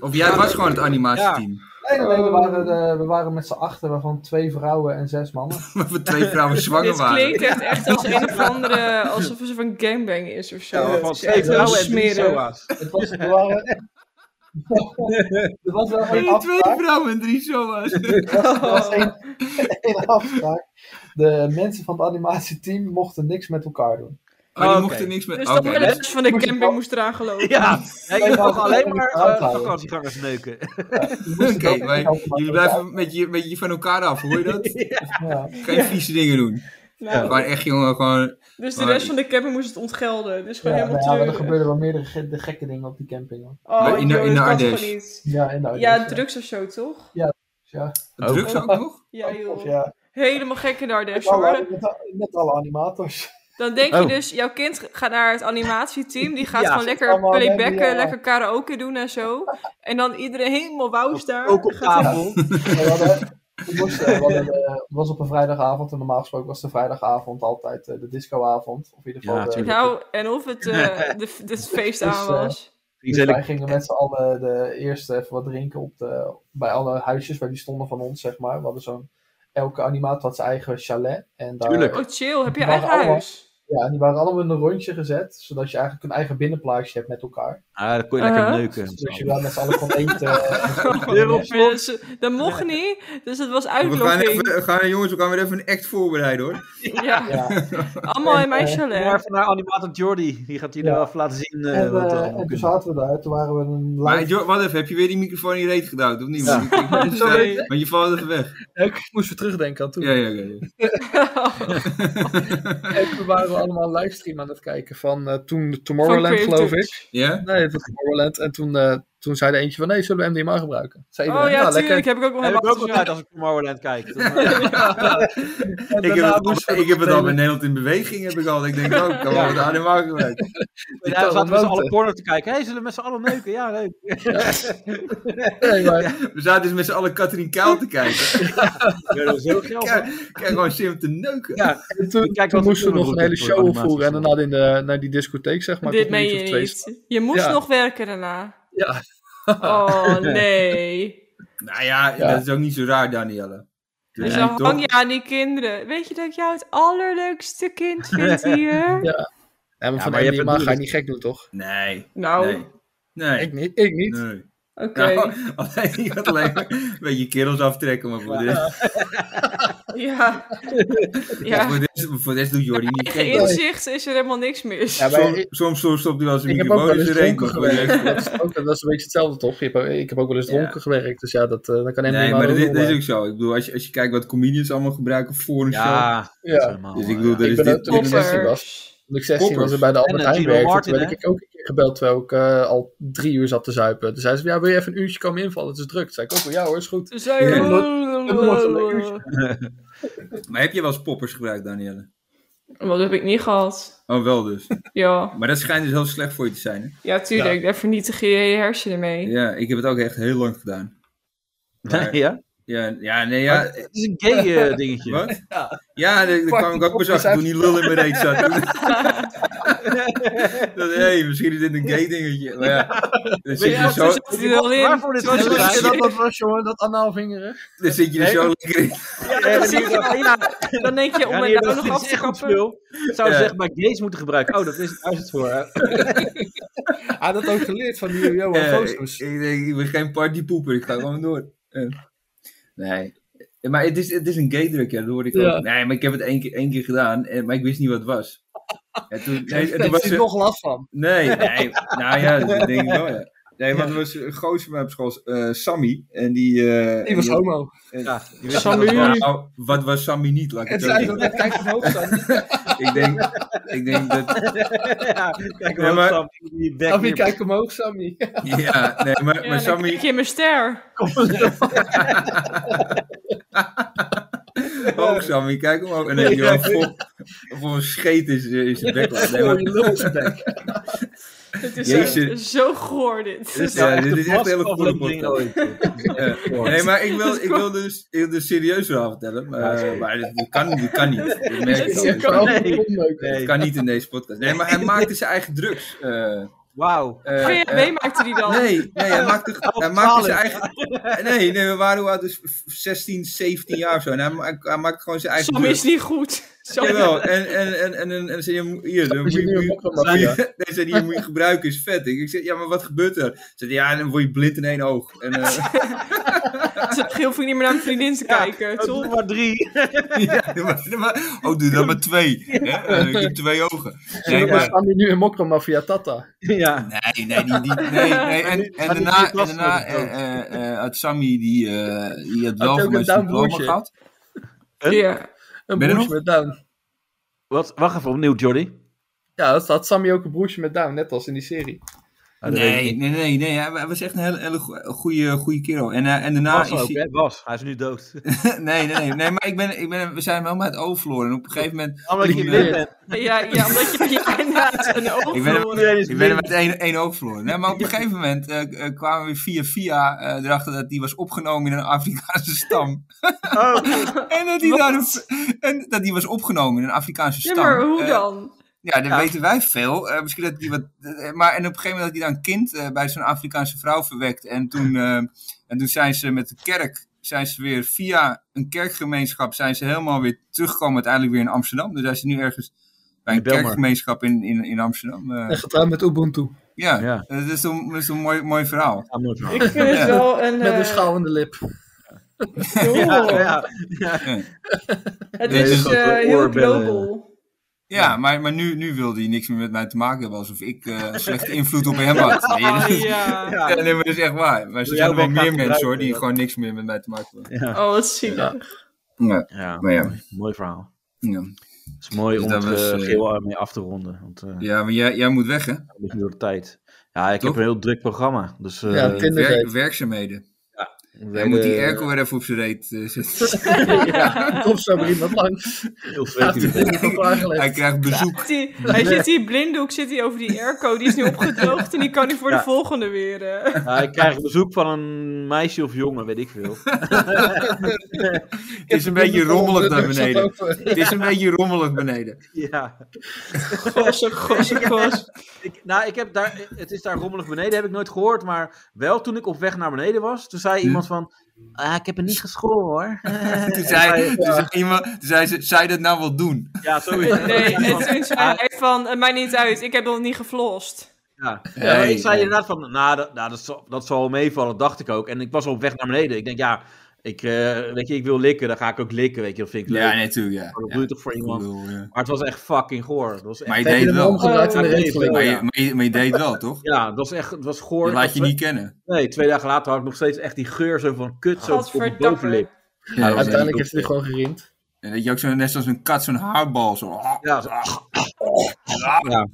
Speaker 5: Of jij was gewoon het animatieteam.
Speaker 6: Nee, nee, nee, we waren, eh, we waren met z'n achten, waarvan twee vrouwen en zes mannen.
Speaker 5: Waar we twee vrouwen zwanger
Speaker 2: Dit klinkt
Speaker 5: waren.
Speaker 2: echt, echt als een of andere... Alsof het een gangbang is of zo.
Speaker 4: ja,
Speaker 2: Het
Speaker 4: van
Speaker 2: is echt
Speaker 4: twee
Speaker 2: heel
Speaker 4: vrouwen en drie
Speaker 2: smerig.
Speaker 4: soa's.
Speaker 6: Het was, we waren... er was wel geen
Speaker 5: Hey, Twee
Speaker 6: afspraak.
Speaker 5: vrouwen en drie zoma's.
Speaker 2: Oh.
Speaker 6: Er was één, één afspraak. De mensen van het animatieteam mochten niks met elkaar doen.
Speaker 5: Oh,
Speaker 4: Oké.
Speaker 5: die mochten niks
Speaker 2: Dus
Speaker 5: met...
Speaker 2: dat
Speaker 5: Oké,
Speaker 2: de rest van de
Speaker 6: Moest ik
Speaker 2: camping
Speaker 6: wel-
Speaker 2: moest eraan geloven.
Speaker 4: Ja, nee, je
Speaker 6: Wij
Speaker 4: mag
Speaker 6: mogen
Speaker 4: alleen
Speaker 6: het
Speaker 4: maar
Speaker 6: in de gaten
Speaker 4: eh,
Speaker 6: houden.
Speaker 4: vakantiegangers neuken.
Speaker 5: dus- oké,
Speaker 6: dat-
Speaker 5: wij-
Speaker 6: dat-
Speaker 5: jullie blijven met je, met je van elkaar af, hoor je dat?
Speaker 6: Ja.
Speaker 5: Geen vieze dingen doen.
Speaker 2: Nou,
Speaker 5: Gewoon echt, jongen, gewoon...
Speaker 2: Dus de rest van de camping moest het ontgelden. Dus gewoon
Speaker 6: Ja, nou ja,
Speaker 2: helemaal
Speaker 6: maar er
Speaker 2: treurig.
Speaker 6: gebeuren wel meerdere ge- de gekke dingen op die camping. hoor.
Speaker 2: Oh,
Speaker 5: Maar in de-
Speaker 2: joh,
Speaker 5: in de
Speaker 2: dat kan
Speaker 5: Ardèche.
Speaker 2: gewoon niet.
Speaker 6: Ja, en nou,
Speaker 2: Ja,
Speaker 6: dus,
Speaker 2: drugs of zo, toch?
Speaker 6: Ja,
Speaker 5: Drugs ook nog?
Speaker 2: Ja,
Speaker 6: Of
Speaker 2: joh.
Speaker 6: ja.
Speaker 2: Helemaal gek in de Ardèche, hoor.
Speaker 6: Met, alle- met alle animators.
Speaker 2: Dan denk je
Speaker 4: Oh.
Speaker 2: dus, jouw kind gaat naar het animatieteam. Die gaat
Speaker 4: Ja,
Speaker 2: gewoon lekker
Speaker 6: allemaal
Speaker 2: playbacken,
Speaker 6: mensen, ja.
Speaker 2: lekker karaoke doen en zo. En dan iedereen helemaal wauws daar.
Speaker 4: Ook op tafel.
Speaker 6: Ah. Ja, we hadden- we moesten- we hadden, eh, het was op een vrijdagavond en normaal gesproken was de vrijdagavond altijd eh, de discoavond. Of in ieder geval
Speaker 4: Ja,
Speaker 6: de-
Speaker 4: tuurlijk.
Speaker 2: Nou, en of het eh de, de feest aan
Speaker 6: Dus, eh,
Speaker 2: was.
Speaker 6: Dus wij gingen met z'n allen de eerst even wat drinken op de, bij alle huisjes waar die stonden van ons, zeg maar. We hadden zo'n, elke animator had zijn eigen chalet. En daar,
Speaker 4: Tuurlijk.
Speaker 2: Oh, chill. Heb je
Speaker 6: waren
Speaker 2: eigen
Speaker 6: allemaal-
Speaker 2: huis?
Speaker 6: Ja, en die waren allemaal in een rondje gezet, zodat je eigenlijk een eigen binnenplaatsje hebt met elkaar.
Speaker 4: Ah, dan kon je lekker
Speaker 2: Uh-huh.
Speaker 4: neuken.
Speaker 6: Dus je daar met z'n allen kon eten. en zo.
Speaker 2: Maar Dus, dat mocht niet, dus het was
Speaker 5: We gaan, even,
Speaker 2: uitlokking.
Speaker 5: we gaan, jongens, we gaan weer even een act voorbereiden, hoor.
Speaker 2: Ja,
Speaker 6: Ja.
Speaker 2: allemaal in mijn
Speaker 6: En, eh,
Speaker 4: Maar
Speaker 2: chalet.
Speaker 4: even naar animator Jordi. Die gaat jullie
Speaker 6: Ja.
Speaker 4: wel even laten zien eh,
Speaker 6: en,
Speaker 4: wat er
Speaker 6: eh,
Speaker 4: allemaal
Speaker 6: en toen
Speaker 4: kunnen.
Speaker 6: zaten we daar, toen waren we een
Speaker 5: Maar
Speaker 6: live...
Speaker 5: Jo- wat even, heb je weer die microfoon in je reet gedouwd, of niet?
Speaker 4: Ja.
Speaker 5: Want ik- ik-
Speaker 9: Sorry.
Speaker 5: Want je valt even weg.
Speaker 9: Ik moest weer terugdenken aan toen.
Speaker 5: Ja, ja, ja. ja.
Speaker 9: En toen waren we allemaal een livestream aan het kijken van eh, toen de Tomorrowland,
Speaker 2: Creative.
Speaker 9: geloof ik.
Speaker 5: Ja?
Speaker 9: Nee, het was Tomorrowland. En toen, eh, toen zei de eentje van nee, zullen we MDMA gebruiken? Zei
Speaker 2: Oh ja,
Speaker 9: nou,
Speaker 2: tuurlijk. Heb ik ook nog
Speaker 4: Heb ik
Speaker 2: helemaal
Speaker 4: ook altijd als ik Tomorrowland kijk. Dat-
Speaker 9: En
Speaker 5: Ik heb,
Speaker 9: daarna
Speaker 5: het al,
Speaker 9: moesten we
Speaker 5: ik heb het
Speaker 9: nog
Speaker 5: al bij Nederland in beweging, heb ik al. Ik denk, oh, ik kan wel wat aan de markt gebruiken.
Speaker 4: Ja, we zaten met z'n
Speaker 9: talenten.
Speaker 4: allen porno te kijken. Hé, hey, zullen we met z'n allen neuken? Ja, leuk.
Speaker 9: Nee, maar
Speaker 5: We zaten dus met z'n allen Katrien Kaal te kijken.
Speaker 4: Ja, dat was heel geil. man.
Speaker 5: Kijk, kijk gewoon Sim te neuken.
Speaker 4: Ja.
Speaker 9: en toen,
Speaker 4: Ik kijk
Speaker 9: toen
Speaker 4: wat
Speaker 9: moesten
Speaker 4: voor
Speaker 9: we nog een hele
Speaker 4: onderbroek
Speaker 9: show
Speaker 4: voor animaties
Speaker 9: opvoeren. En
Speaker 4: doen.
Speaker 9: daarna in de, naar die discotheek, zeg maar.
Speaker 2: Dit
Speaker 9: tot een
Speaker 2: meen
Speaker 9: uurtje
Speaker 2: je
Speaker 9: of twee
Speaker 2: niet. Je moest
Speaker 9: Ja.
Speaker 2: nog werken daarna.
Speaker 9: Ja.
Speaker 2: Oh, nee.
Speaker 5: Nou ja,
Speaker 9: Ja.
Speaker 5: dat is ook niet zo raar, Danielle.
Speaker 2: Dus
Speaker 5: Ja,
Speaker 2: dan
Speaker 5: toch?
Speaker 2: hang je aan die kinderen. Weet je dat ik jou het allerleukste kind vind hier?
Speaker 9: Ja, maar
Speaker 4: Ja,
Speaker 9: van
Speaker 4: maar je hebt
Speaker 9: MDMA
Speaker 4: het
Speaker 9: ga je niet gek doen, toch?
Speaker 5: Nee,
Speaker 2: Nou,
Speaker 5: nee, nee.
Speaker 9: Ik niet. Ik niet.
Speaker 5: nee.
Speaker 2: oké.
Speaker 5: Nou, alleen, je gaat alleen maar een beetje kerels aftrekken, maar voor de rest,
Speaker 2: Ja.
Speaker 5: voor
Speaker 2: ja.
Speaker 5: de rest, voor de rest doet Jordi niet
Speaker 2: In
Speaker 5: gek.
Speaker 2: inzicht is er helemaal niks mis.
Speaker 9: Ja, maar
Speaker 5: Soms,
Speaker 9: ik-
Speaker 5: soms, soms stopt hij wel zijn
Speaker 9: ik heb ook
Speaker 5: microfoon
Speaker 9: wel
Speaker 5: in
Speaker 9: eens
Speaker 5: zijn reet,
Speaker 9: dronken
Speaker 5: maar voor de rest-
Speaker 9: gewerkt. Dat is, ook, dat is een beetje hetzelfde, toch? Je hebt ook- ik heb ook wel eens
Speaker 5: Ja.
Speaker 9: dronken gewerkt. Dus ja, dat, eh, dan kan MDMA
Speaker 5: Nee, maar
Speaker 9: ook
Speaker 5: dat is,
Speaker 9: wel
Speaker 5: dat is
Speaker 9: bij.
Speaker 5: ook zo. Ik bedoel, als je, als je kijkt wat comedians allemaal gebruiken voor een show.
Speaker 4: Ja, dat is
Speaker 9: Ja.
Speaker 4: helemaal,
Speaker 5: Dus ik
Speaker 4: eh,
Speaker 5: bedoel, er
Speaker 9: Ik
Speaker 5: is
Speaker 9: ben
Speaker 5: dit...
Speaker 9: ook toen ik 16 was.
Speaker 2: Poppers.
Speaker 9: Toen ik 16 was en
Speaker 5: Koppers.
Speaker 9: bij de Albert
Speaker 4: En, eh,
Speaker 9: Heijn
Speaker 4: Gino
Speaker 9: werkte,
Speaker 4: Martin,
Speaker 9: toen werd ik ook een keer gebeld terwijl ik eh, al drie uur zat te zuipen. Toen zei ze, ja, wil je even een uurtje komen invallen? Het is druk. Toen zei ik ook, wel, ja hoor, is goed.
Speaker 2: Dus hij-
Speaker 5: Ja. Maar heb je wel eens poppers gebruikt, Danielle?
Speaker 2: Wat heb ik niet gehad?
Speaker 5: Oh, wel dus.
Speaker 2: Ja,
Speaker 5: Maar dat schijnt dus heel slecht voor je te zijn, hè?
Speaker 2: ja tuurlijk. Daar vernietig je je hersenen mee.
Speaker 5: Ja, ik heb het ook echt heel lang gedaan. Maar-
Speaker 4: ja.
Speaker 5: ja, ja, nee, ja.
Speaker 4: eh, Het is een gay eh, dingetje.
Speaker 5: Wat? Ja, daar daar
Speaker 9: Fuck,
Speaker 5: kwam ik
Speaker 9: die
Speaker 5: ook pas
Speaker 9: poppers
Speaker 5: achter toen die lul in mijn reet zat. Dat, hey, misschien is dit een gay dingetje. Maar ja, dan zit je
Speaker 2: Ja,
Speaker 5: er zo,
Speaker 2: zo zit hij er al in.
Speaker 4: Waarvoor dit
Speaker 5: Zo is het
Speaker 4: gebruikt?
Speaker 9: Wist je
Speaker 5: Ja.
Speaker 9: dat dat was, jongen, dat anaalvingeren?
Speaker 5: dan zit je er zo lekker in.
Speaker 2: Dan zit je- "Oh, ja, Dan denk je om
Speaker 4: Ja,
Speaker 2: het
Speaker 4: nee,
Speaker 2: nou
Speaker 4: dat
Speaker 2: nog
Speaker 4: is
Speaker 2: af te
Speaker 4: echt goed
Speaker 2: kappen.
Speaker 4: spul. Zou ze
Speaker 5: Ja.
Speaker 4: zeggen, maar gays moeten gebruiken. Oh, dat is daar is het voor. hè.
Speaker 9: Hij had Ah, dat ook geleerd van die eh, Johan
Speaker 5: Ja, ik,
Speaker 9: Voosmus.
Speaker 5: ik denk, ik ben geen partypoeper, ik ga gewoon door. Eh, nee. Eh, Maar het is, het is een gaydruk, ja, dat hoor ik
Speaker 9: Ja.
Speaker 5: ook. Nee, maar ik heb het één keer, één keer gedaan, eh, maar ik wist niet wat het was. En toen, nee, en
Speaker 9: Daar
Speaker 5: toen
Speaker 9: heeft
Speaker 5: was
Speaker 9: hij
Speaker 5: er,
Speaker 9: nog last van.
Speaker 5: nee, nee, nou ja, dat denk ik wel, ja. Nee, want er was een gozer bij mij op school, eh, Sammy, en die... eh,
Speaker 9: Die was
Speaker 5: die had-
Speaker 9: homo.
Speaker 4: Ja, je wist
Speaker 2: Sammy.
Speaker 4: niet wat het was.
Speaker 5: Nou, wat was Sammy niet, laat ik
Speaker 9: En
Speaker 5: het
Speaker 9: toen
Speaker 5: zo
Speaker 9: zei hij, dat
Speaker 5: zeggen.
Speaker 9: kijk omhoog staan.
Speaker 5: Ik denk, ik denk dat...
Speaker 4: Ja, kijk
Speaker 5: Ja,
Speaker 4: wel,
Speaker 5: maar-
Speaker 4: Sam, die bek
Speaker 9: Sammy,
Speaker 4: weer-
Speaker 9: kijk omhoog, Sammy.
Speaker 5: Ja, nee, maar,
Speaker 2: Ja,
Speaker 5: maar
Speaker 2: dan kijk
Speaker 5: Sammy...
Speaker 2: je in mijn ster.
Speaker 5: omhoog, Sammy. Kijk omhoog. En dan heb je wel vol, vol een scheet is, eh, is je bek. Nee, maar-
Speaker 2: Het is
Speaker 5: Jezus.
Speaker 2: echt zo goor dit.
Speaker 5: Dit is, ja, dit is echt een hele goede
Speaker 4: aflevering
Speaker 5: podcast. Ja. eh, Nee, maar ik wil, ik wil dus, ik wil dus serieus verhaal vertellen. Maar, eh, maar dit, dit kan, dit kan niet. Dit merk ik al. Dit kan, dit kan niet in deze podcast. Nee, maar hij maakte zijn eigen drugs. eh,
Speaker 4: Wauw.
Speaker 5: eh,
Speaker 2: Geen
Speaker 5: eh,
Speaker 2: mee maakte die dan.
Speaker 5: Nee, nee, hij maakte, hij maakte zijn eigen... Nee, nee, we waren hoe oud? dus 16, 17 jaar of zo. En hij, ma- hij maakte gewoon zijn eigen
Speaker 2: Sam
Speaker 5: drugs.
Speaker 2: is niet goed. Sam-
Speaker 5: Jawel, en, en, en, en, en, en zei je, moet- hier, dan moet je, moet je, moet je- nee, zei, hier moet je gebruiken, is vet. Ik, ik zeg, ja, maar wat gebeurt er? Zei, ja, dan word je blind in één oog. En, eh,
Speaker 2: Geel vind ik niet meer naar mijn vriendin te kijken. Toch?
Speaker 4: maar drie.
Speaker 5: ja, maar- maar- oh, doe dat maar twee. Hè? Eh, ik heb twee ogen. Nee, maar,
Speaker 6: staan hier nu in Mokro Mafia Tata.
Speaker 4: Ja.
Speaker 5: nee, nee, die, die, nee, nee. En, en
Speaker 4: die-
Speaker 5: daarna,
Speaker 4: die
Speaker 5: en
Speaker 4: klas
Speaker 5: daarna
Speaker 4: wordt
Speaker 5: eh, eh, eh, had Sammy, die, eh, die had wel
Speaker 6: ook
Speaker 5: voor mij
Speaker 6: een
Speaker 5: zijn
Speaker 6: down
Speaker 5: diploma
Speaker 6: broertje?
Speaker 5: gehad.
Speaker 2: Ja.
Speaker 6: Een
Speaker 5: Ben je er
Speaker 6: broertje
Speaker 5: nog?
Speaker 6: met Down.
Speaker 4: Wat, wacht even, opnieuw, Jordi.
Speaker 6: Ja, dat had Sammy ook een broertje met Down, net als in die serie.
Speaker 4: Ah, dat weet ik
Speaker 5: Nee,
Speaker 4: niet.
Speaker 5: nee, nee, nee. Hij was echt een hele, hele goede, goede kerel. En, eh, en daarna
Speaker 4: Bas
Speaker 5: is
Speaker 4: ook,
Speaker 5: hij...
Speaker 4: hè? Bas. Hij is nu dood.
Speaker 5: Nee, nee, nee. nee maar ik ben, ik ben, we zijn hem helemaal uit het oog verloren. En op een gegeven moment...
Speaker 4: Omdat je
Speaker 5: Toen,
Speaker 4: blind
Speaker 5: eh,
Speaker 4: bent.
Speaker 2: Ja, ja, omdat je ja, inderdaad een oog
Speaker 5: Ik ben hem,
Speaker 2: verloren.
Speaker 4: Iedereen is
Speaker 5: ik ben hem
Speaker 4: blind.
Speaker 5: met één, één oog verloren. Nee, maar op een gegeven moment eh, k- eh, kwamen we via via eh, erachter dat die was opgenomen in een Afrikaanse stam.
Speaker 4: Oh.
Speaker 2: Oh.
Speaker 5: en dat die daar een- en dat die was opgenomen in een Afrikaanse
Speaker 2: Ja,
Speaker 5: stam.
Speaker 2: maar hoe
Speaker 5: Eh,
Speaker 2: dan?
Speaker 5: ja, dat weten wij veel. Eh, misschien dat die wat. eh, maar en op een gegeven moment had hij daar een kind eh, bij zo'n Afrikaanse vrouw verwekt. En toen, eh, en toen zijn ze met de kerk. Zijn ze weer via een kerkgemeenschap. Zijn ze helemaal weer teruggekomen. Uiteindelijk weer in Amsterdam. Dus hij is nu ergens bij een
Speaker 4: In Belmar.
Speaker 5: kerkgemeenschap in, in, in Amsterdam. eh,
Speaker 6: En getrouwd met Ubuntu.
Speaker 5: ja,
Speaker 4: Ja.
Speaker 5: dat is dus een, dat is een mooi, mooi verhaal.
Speaker 4: Ah, nooit meer.
Speaker 2: Ik vind het wel een...
Speaker 6: Met
Speaker 2: eh,
Speaker 6: een schaal in de lip.
Speaker 2: joh.
Speaker 4: Ja,
Speaker 2: Het
Speaker 5: Dit
Speaker 2: is
Speaker 5: is
Speaker 4: ook
Speaker 2: eh,
Speaker 4: wel
Speaker 2: heel
Speaker 4: oorbellen.
Speaker 2: global.
Speaker 5: Ja, maar, maar nu, nu wilde hij niks meer met mij te maken hebben. Alsof ik eh, een slechte invloed op hem had. Nee,
Speaker 2: Ah,
Speaker 5: dat is-
Speaker 2: ja.
Speaker 5: ja, nee, maar dat is echt waar. Maar er
Speaker 4: Wil
Speaker 5: zijn
Speaker 4: jij
Speaker 5: er wel
Speaker 4: ook wel gaan
Speaker 5: meer mensen hoor,
Speaker 4: gebruiken,
Speaker 5: die
Speaker 4: ja.
Speaker 5: gewoon niks meer met mij te maken hebben.
Speaker 2: Oh, wat zielig.
Speaker 5: Ja,
Speaker 4: ja.
Speaker 5: maar ja.
Speaker 4: Mooi verhaal.
Speaker 5: ja.
Speaker 4: Het is mooi
Speaker 5: Dus
Speaker 4: om
Speaker 5: dat
Speaker 4: het
Speaker 5: was,
Speaker 4: eh,
Speaker 5: eh,
Speaker 4: geel arm mee af te ronden. Want eh
Speaker 5: Ja, maar jij, jij moet weg, hè?
Speaker 4: een beetje door de tijd. Ja, ik
Speaker 5: Toch?
Speaker 4: heb een heel druk programma. Dus, eh,
Speaker 6: Ja, Tinder
Speaker 5: Werk-
Speaker 6: date.
Speaker 5: werkzaamheden.
Speaker 4: we
Speaker 5: Jij moet die
Speaker 4: hebben
Speaker 5: airco weer even op zijn reet eh, zetten.
Speaker 6: Of zo maar iemand langs.
Speaker 4: heel
Speaker 6: Staat
Speaker 4: veel
Speaker 6: die
Speaker 4: uur.
Speaker 6: dingen op aangelegd.
Speaker 5: Hij krijgt bezoek.
Speaker 2: Die- Hij zit hier blinddoek, zit hij over die airco. Die is nu opgedroogd en die kan hij voor de
Speaker 4: Ja.
Speaker 2: volgende weer. eh.
Speaker 4: Ja, ik krijg bezoek van een meisje of jongen, weet ik veel.
Speaker 5: Het is een beetje rommelig naar beneden. Het is een beetje rommelig beneden.
Speaker 4: ja.
Speaker 5: oh,
Speaker 2: Gossip, gossip, gossip.
Speaker 4: Ik, nou, ik heb daar, het is daar rommelig beneden, heb ik nooit gehoord. Maar wel toen ik op weg naar beneden was, toen
Speaker 5: Hm.
Speaker 4: zei iemand van... Ah, ik heb het niet geschoren hoor.
Speaker 5: Toen zei, toen zei iemand, toen zei ze, zou je dat nou wel doen?
Speaker 4: Ja, sowieso.
Speaker 2: Nee, en toen zei hij van, het maakt niet uit, ik heb nog niet geflost.
Speaker 4: Ja. Ja,
Speaker 5: Nee,
Speaker 4: maar ik zei
Speaker 5: nee.
Speaker 4: inderdaad van, nou, dat, nou, dat, zal, dat zal wel meevallen, dat dacht ik ook. En ik was al op weg naar beneden. Ik denk, ja, ik, eh, weet je, ik wil likken, dan ga ik ook likken, weet je, dat vind ik leuk.
Speaker 5: Ja, nee, tuurlijk, ja.
Speaker 4: Maar dat
Speaker 5: Ja,
Speaker 4: doe je toch voor
Speaker 5: ik
Speaker 4: iemand.
Speaker 5: bedoel, ja.
Speaker 4: Maar het was echt fucking goor. Dat was echt,
Speaker 5: Maar je
Speaker 6: Heb
Speaker 5: deed
Speaker 6: je
Speaker 5: het
Speaker 6: hem
Speaker 5: wel.
Speaker 6: omgedraaid in de
Speaker 4: Ja,
Speaker 6: regeling?
Speaker 5: Maar je, maar, je, maar je deed het wel, toch?
Speaker 4: ja, dat was echt, het was goor.
Speaker 5: Dat laat
Speaker 4: Ik
Speaker 5: je
Speaker 4: was-
Speaker 5: niet kennen.
Speaker 4: Nee, twee dagen later had ik nog steeds echt die geur zo van kut zo op mijn bovenlip.
Speaker 2: Gadverdamme.
Speaker 5: Ja,
Speaker 6: Uiteindelijk
Speaker 5: nee.
Speaker 6: heeft hij gewoon geriend.
Speaker 5: En dat je ook zo, net als een kat zo'n haarbal zo...
Speaker 4: Ja, zo- ah, ja.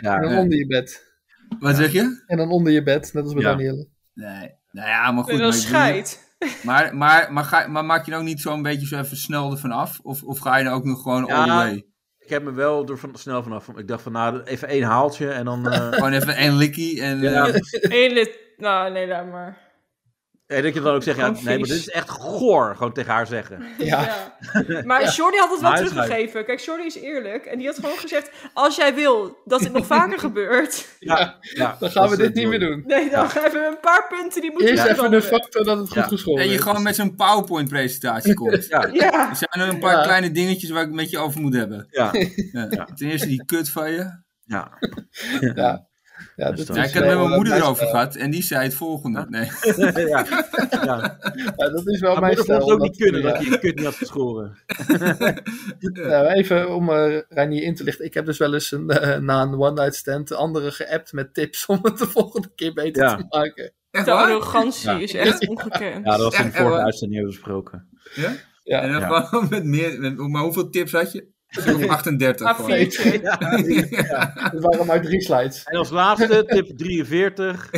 Speaker 6: En dan
Speaker 5: Ja.
Speaker 6: onder je bed.
Speaker 5: Wat zeg je?
Speaker 6: En dan onder je bed, net als bij
Speaker 4: Ja.
Speaker 6: Danielle.
Speaker 5: Nee. Nou ja, maar goed.
Speaker 2: En dan
Speaker 5: maar ik bedoel-
Speaker 2: scheidt.
Speaker 5: Maar, maar, maar, ga, maar maak je nou niet zo'n beetje zo even snel ervan af? Of, of ga je er ook nog gewoon all the
Speaker 4: Ja.
Speaker 5: way?
Speaker 4: Ik heb me wel er van, snel vanaf. Ik dacht van, nou, even één haaltje en dan... eh,
Speaker 5: Gewoon even één likkie en...
Speaker 4: ja.
Speaker 5: eh,
Speaker 2: Hele, nou nee, laat maar.
Speaker 4: En dat je dan ook zegt, ja,
Speaker 2: Gewoon
Speaker 4: nee, maar
Speaker 2: vies.
Speaker 4: dit is echt goor, gewoon tegen haar zeggen.
Speaker 2: Ja. Maar Jordi had het wel
Speaker 4: Maar hij is
Speaker 2: teruggegeven. Kijk, Jordi is eerlijk. En die had gewoon gezegd, als jij wil dat het nog vaker gebeurt,
Speaker 4: Ja,
Speaker 6: Dan gaan we
Speaker 4: dat is,
Speaker 6: dit niet
Speaker 4: eh,
Speaker 6: meer doen.
Speaker 2: nee, dan
Speaker 4: Ja.
Speaker 2: hebben we een paar punten die moeten
Speaker 6: Eerst even de
Speaker 2: veranderen.
Speaker 6: factor dat het goed
Speaker 4: Ja.
Speaker 6: geschoren
Speaker 5: en je
Speaker 6: is.
Speaker 5: gewoon met zo'n PowerPoint-presentatie komt.
Speaker 4: Ja,
Speaker 2: Ja.
Speaker 5: Er zijn er een paar
Speaker 6: Ja.
Speaker 5: kleine dingetjes waar ik het met je over moet hebben.
Speaker 4: ja,
Speaker 5: Ja. Ten eerste die kut van je.
Speaker 4: ja.
Speaker 6: Ja, ja
Speaker 4: Ja,
Speaker 5: Ja,
Speaker 6: dat is
Speaker 5: ik heb het met
Speaker 6: wel,
Speaker 5: mijn
Speaker 6: eh,
Speaker 5: moeder
Speaker 6: mijn
Speaker 5: erover
Speaker 6: stijl.
Speaker 5: gehad en die zei het volgende. Nee.
Speaker 4: ja. ja.
Speaker 6: Ja, dat is wel
Speaker 4: Maar
Speaker 6: mijn
Speaker 4: moeder vond
Speaker 6: stijl.
Speaker 4: het ook niet
Speaker 6: dat-
Speaker 4: kunnen
Speaker 6: ja.
Speaker 4: dat je je kut niet had geschoren.
Speaker 6: Nou, even om eh Reinier in te lichten. Ik heb dus wel eens een, eh, na een one-night stand anderen geappt met tips om het de volgende keer beter
Speaker 4: Ja.
Speaker 6: te maken.
Speaker 5: Echt
Speaker 2: De
Speaker 5: waar?
Speaker 2: arrogantie
Speaker 4: Ja.
Speaker 2: is echt ongekend.
Speaker 4: Ja, dat was in de
Speaker 5: Echt, eh,
Speaker 4: vorige
Speaker 5: wat?
Speaker 4: uitzending hebben we besproken.
Speaker 5: Ja?
Speaker 6: Ja.
Speaker 5: En dan
Speaker 4: Ja.
Speaker 5: gewoon met meer... met- maar hoeveel tips had je? Een stuk of 38
Speaker 2: Maar
Speaker 5: gewoon.
Speaker 2: vier-
Speaker 6: Het waren maar drie slides.
Speaker 4: En als laatste, tip 43.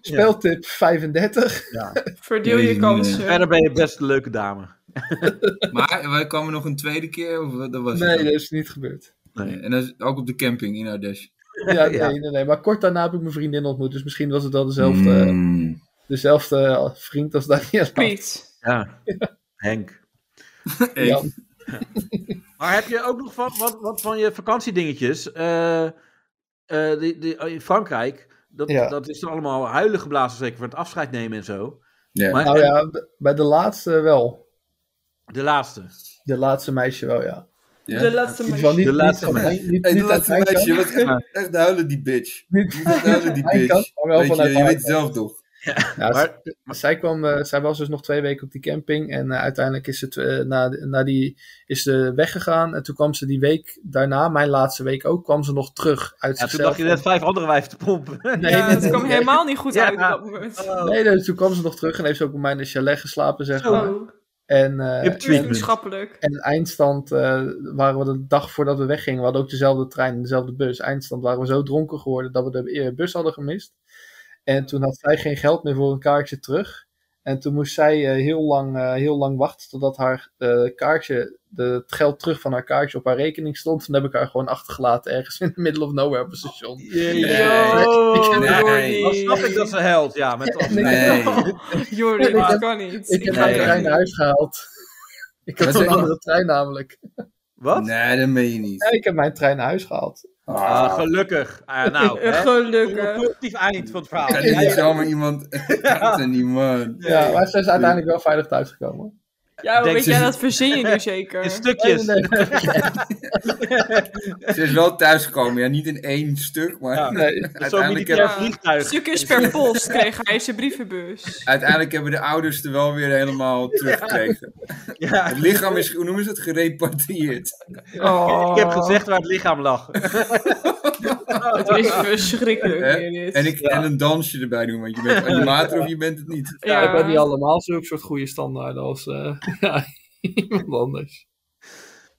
Speaker 6: Speltip 35.
Speaker 2: Verdeel je
Speaker 5: Jezus,
Speaker 2: kansen.
Speaker 4: Verder ben je best een leuke dame.
Speaker 5: Maar wij kwamen nog een tweede keer? Of wat- dat was het
Speaker 6: Nee,
Speaker 5: dan?
Speaker 6: dat is niet gebeurd.
Speaker 5: Nee, En dat is ook op de camping in Ardèche.
Speaker 6: Ja, nee, nee, nee. Maar kort daarna heb ik mijn vriendin ontmoet. Dus misschien was het wel dezelfde,
Speaker 5: Mm.
Speaker 6: dezelfde eh, vriend als Daniel.
Speaker 2: Piet.
Speaker 4: Ja. Henk.
Speaker 5: Hey.
Speaker 6: Ja.
Speaker 4: Maar heb je ook nog van, wat, wat van je vakantiedingetjes? eh, eh, die, die, oh, in Frankrijk, dat,
Speaker 6: Ja.
Speaker 4: dat is er allemaal huilen geblazen, zeker voor het afscheid nemen en zo.
Speaker 5: Ja.
Speaker 4: Maar
Speaker 6: Nou ja, b- bij de laatste wel.
Speaker 4: de laatste.
Speaker 6: De laatste meisje wel, ja.
Speaker 5: Ja.
Speaker 2: De laatste
Speaker 6: In ieder
Speaker 2: meisje.
Speaker 6: geval niet,
Speaker 4: De laatste
Speaker 6: niet, van-
Speaker 4: meisje.
Speaker 6: niet, niet,
Speaker 5: Hey,
Speaker 6: niet
Speaker 5: dat
Speaker 6: uit
Speaker 5: laatste
Speaker 6: mijn
Speaker 5: meisje
Speaker 6: kant.
Speaker 5: was echt, echt huilen, die bitch.
Speaker 6: Niet
Speaker 5: Echt huilen, die
Speaker 6: mijn kant,
Speaker 5: bitch.
Speaker 6: maar wel
Speaker 5: Weet je,
Speaker 6: vanuit
Speaker 5: je
Speaker 6: haar
Speaker 5: weet
Speaker 6: kant.
Speaker 5: het zelf toch?
Speaker 6: Ja,
Speaker 4: Maar-
Speaker 6: ze- zij, kwam, eh, zij was dus nog twee weken op die camping. En eh, uiteindelijk is, het, eh, na, na die, is ze weggegaan. En toen kwam ze die week daarna, mijn laatste week ook, kwam ze nog terug uit
Speaker 4: Ja, toen
Speaker 6: zichzelf.
Speaker 4: dacht je net vijf andere wijven te pompen.
Speaker 6: Nee,
Speaker 2: ja,
Speaker 6: nee,
Speaker 2: dat
Speaker 6: nee,
Speaker 2: kwam
Speaker 6: nee.
Speaker 2: helemaal niet goed
Speaker 4: Ja. Oh.
Speaker 2: uit op dat moment.
Speaker 6: Nee, nee, toen kwam ze nog terug en heeft ze ook bij mij in een chalet geslapen, zeg maar.
Speaker 2: Oh,
Speaker 6: En, eh,
Speaker 4: Hip
Speaker 6: en,
Speaker 4: treatment.
Speaker 2: vriendschappelijk.
Speaker 6: en eindstand eh, waren we de dag voordat we weggingen. We hadden ook dezelfde trein en dezelfde bus. Eindstand waren we zo dronken geworden dat we de eer- bus hadden gemist. En toen had zij geen geld meer voor een kaartje terug. En toen moest zij eh, heel, lang, eh, heel lang wachten totdat haar eh, kaartje, de, het geld terug van haar kaartje op haar rekening stond. Toen heb ik haar gewoon achtergelaten ergens in the middle of nowhere op een station.
Speaker 5: Nee.
Speaker 2: Yo,
Speaker 5: Nee.
Speaker 4: Dan
Speaker 2: Jordi.
Speaker 4: snap ik dat ze held, ja. Met het afscheid.
Speaker 5: Nee.
Speaker 2: Jordi,
Speaker 6: Ik
Speaker 2: dat
Speaker 6: heb-
Speaker 2: kan niet.
Speaker 6: Ik heb
Speaker 5: Nee.
Speaker 6: haar trein naar huis gehaald. Ik had
Speaker 5: Wat
Speaker 6: een
Speaker 5: zeg je?
Speaker 6: andere trein namelijk.
Speaker 4: Wat?
Speaker 5: Nee, dat meen je niet.
Speaker 6: Ja, ik heb mijn trein naar huis gehaald.
Speaker 4: Ah, gelukkig. Ah, nou, hè.
Speaker 2: Gelukkig.
Speaker 4: Positief eind van het verhaal.
Speaker 5: Kan
Speaker 4: Ja,
Speaker 5: je niet
Speaker 4: ja.
Speaker 5: zomaar iemand... Dat kan niet, man.
Speaker 6: Ja, maar ze is uiteindelijk wel veilig thuisgekomen.
Speaker 2: Ja, maar
Speaker 4: Denk
Speaker 2: weet
Speaker 4: ze-
Speaker 2: jij, dat verzin je nu zeker.
Speaker 4: In stukjes.
Speaker 6: Nee, nee,
Speaker 5: Ze is wel thuisgekomen. Ja, niet in één stuk, maar...
Speaker 4: Ja.
Speaker 6: nee. Nee.
Speaker 4: Zo'n
Speaker 5: Uiteindelijk,
Speaker 4: militair
Speaker 5: hebben,
Speaker 2: Ja.
Speaker 4: vliegtuig.
Speaker 2: Stukjes per post kreeg hij in zijn brievenbus.
Speaker 5: uiteindelijk hebben de ouders er wel weer helemaal teruggekregen.
Speaker 4: Ja.
Speaker 5: Het lichaam is, hoe noemen ze het, gerepatrieerd.
Speaker 2: Oh,
Speaker 4: Ik heb gezegd waar het lichaam lag.
Speaker 2: Het is verschrikkelijk.
Speaker 5: Hè?
Speaker 2: weer dit.
Speaker 5: En, ik, en een dansje erbij doen, want je bent animator of je bent het niet.
Speaker 2: Ja.
Speaker 6: Ik ben niet allemaal zulke soort goede standaarden als eh, ja, iemand anders.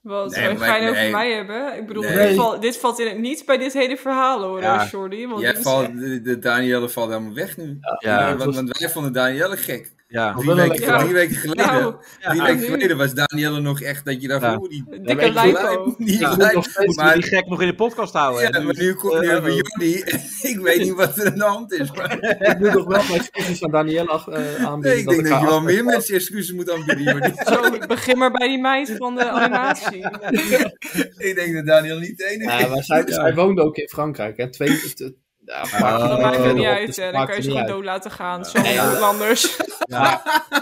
Speaker 2: Wat
Speaker 5: Nee,
Speaker 2: ga je
Speaker 5: maar-
Speaker 2: het over
Speaker 5: nee.
Speaker 2: mij hebben? Ik bedoel,
Speaker 5: Nee.
Speaker 2: dit, valt, dit valt in het niet bij dit hele verhaal hoor,
Speaker 4: Ja.
Speaker 2: Jordi. Want dit
Speaker 5: Jij
Speaker 2: is-
Speaker 5: valt, de, de Danielle valt helemaal weg nu.
Speaker 4: Ja.
Speaker 5: want, want wij vonden Danielle gek.
Speaker 4: Ja.
Speaker 5: Drie weken,
Speaker 2: lekker.
Speaker 5: drie weken geleden.
Speaker 2: Nou,
Speaker 5: drie
Speaker 4: ja,
Speaker 5: weken
Speaker 2: nu.
Speaker 5: geleden was Danielle nog echt dat je dacht,
Speaker 4: Ja.
Speaker 5: oeh, die
Speaker 2: dikke
Speaker 5: die
Speaker 2: lijpo.
Speaker 5: lijp, die
Speaker 6: Ik moet
Speaker 5: lijp.
Speaker 6: nog steeds
Speaker 4: Maar die
Speaker 5: Maar,
Speaker 4: gek nog in de podcast houden.
Speaker 5: ja,
Speaker 4: hè?
Speaker 5: maar nu komt nu
Speaker 4: eh,
Speaker 5: hebben we Jordi. Ik weet niet wat er aan de hand is. Maar,
Speaker 6: Ik moet nog wel mijn excuses aan Danielle ach- eh, aanbieden.
Speaker 5: nee, ik denk dat
Speaker 6: haar
Speaker 5: je wel
Speaker 6: afspraak-
Speaker 5: meer mensen excuses moet aanbieden, Jordi.
Speaker 2: Zo, begin maar bij die meid van de animatie.
Speaker 5: ik denk dat Daniel niet de enige
Speaker 6: Ja, maar zij, zij woonde ook in Frankrijk. Hè. Twee, t- ja, een paar
Speaker 2: Ah, Dat
Speaker 6: kilometer
Speaker 2: maakt het niet
Speaker 6: verderop,
Speaker 2: uit,
Speaker 6: dus
Speaker 2: hè.
Speaker 6: het
Speaker 2: Dan
Speaker 6: maakte
Speaker 2: kan je ze
Speaker 6: niet
Speaker 2: gewoon
Speaker 6: uit.
Speaker 2: dood laten gaan. Zo anders.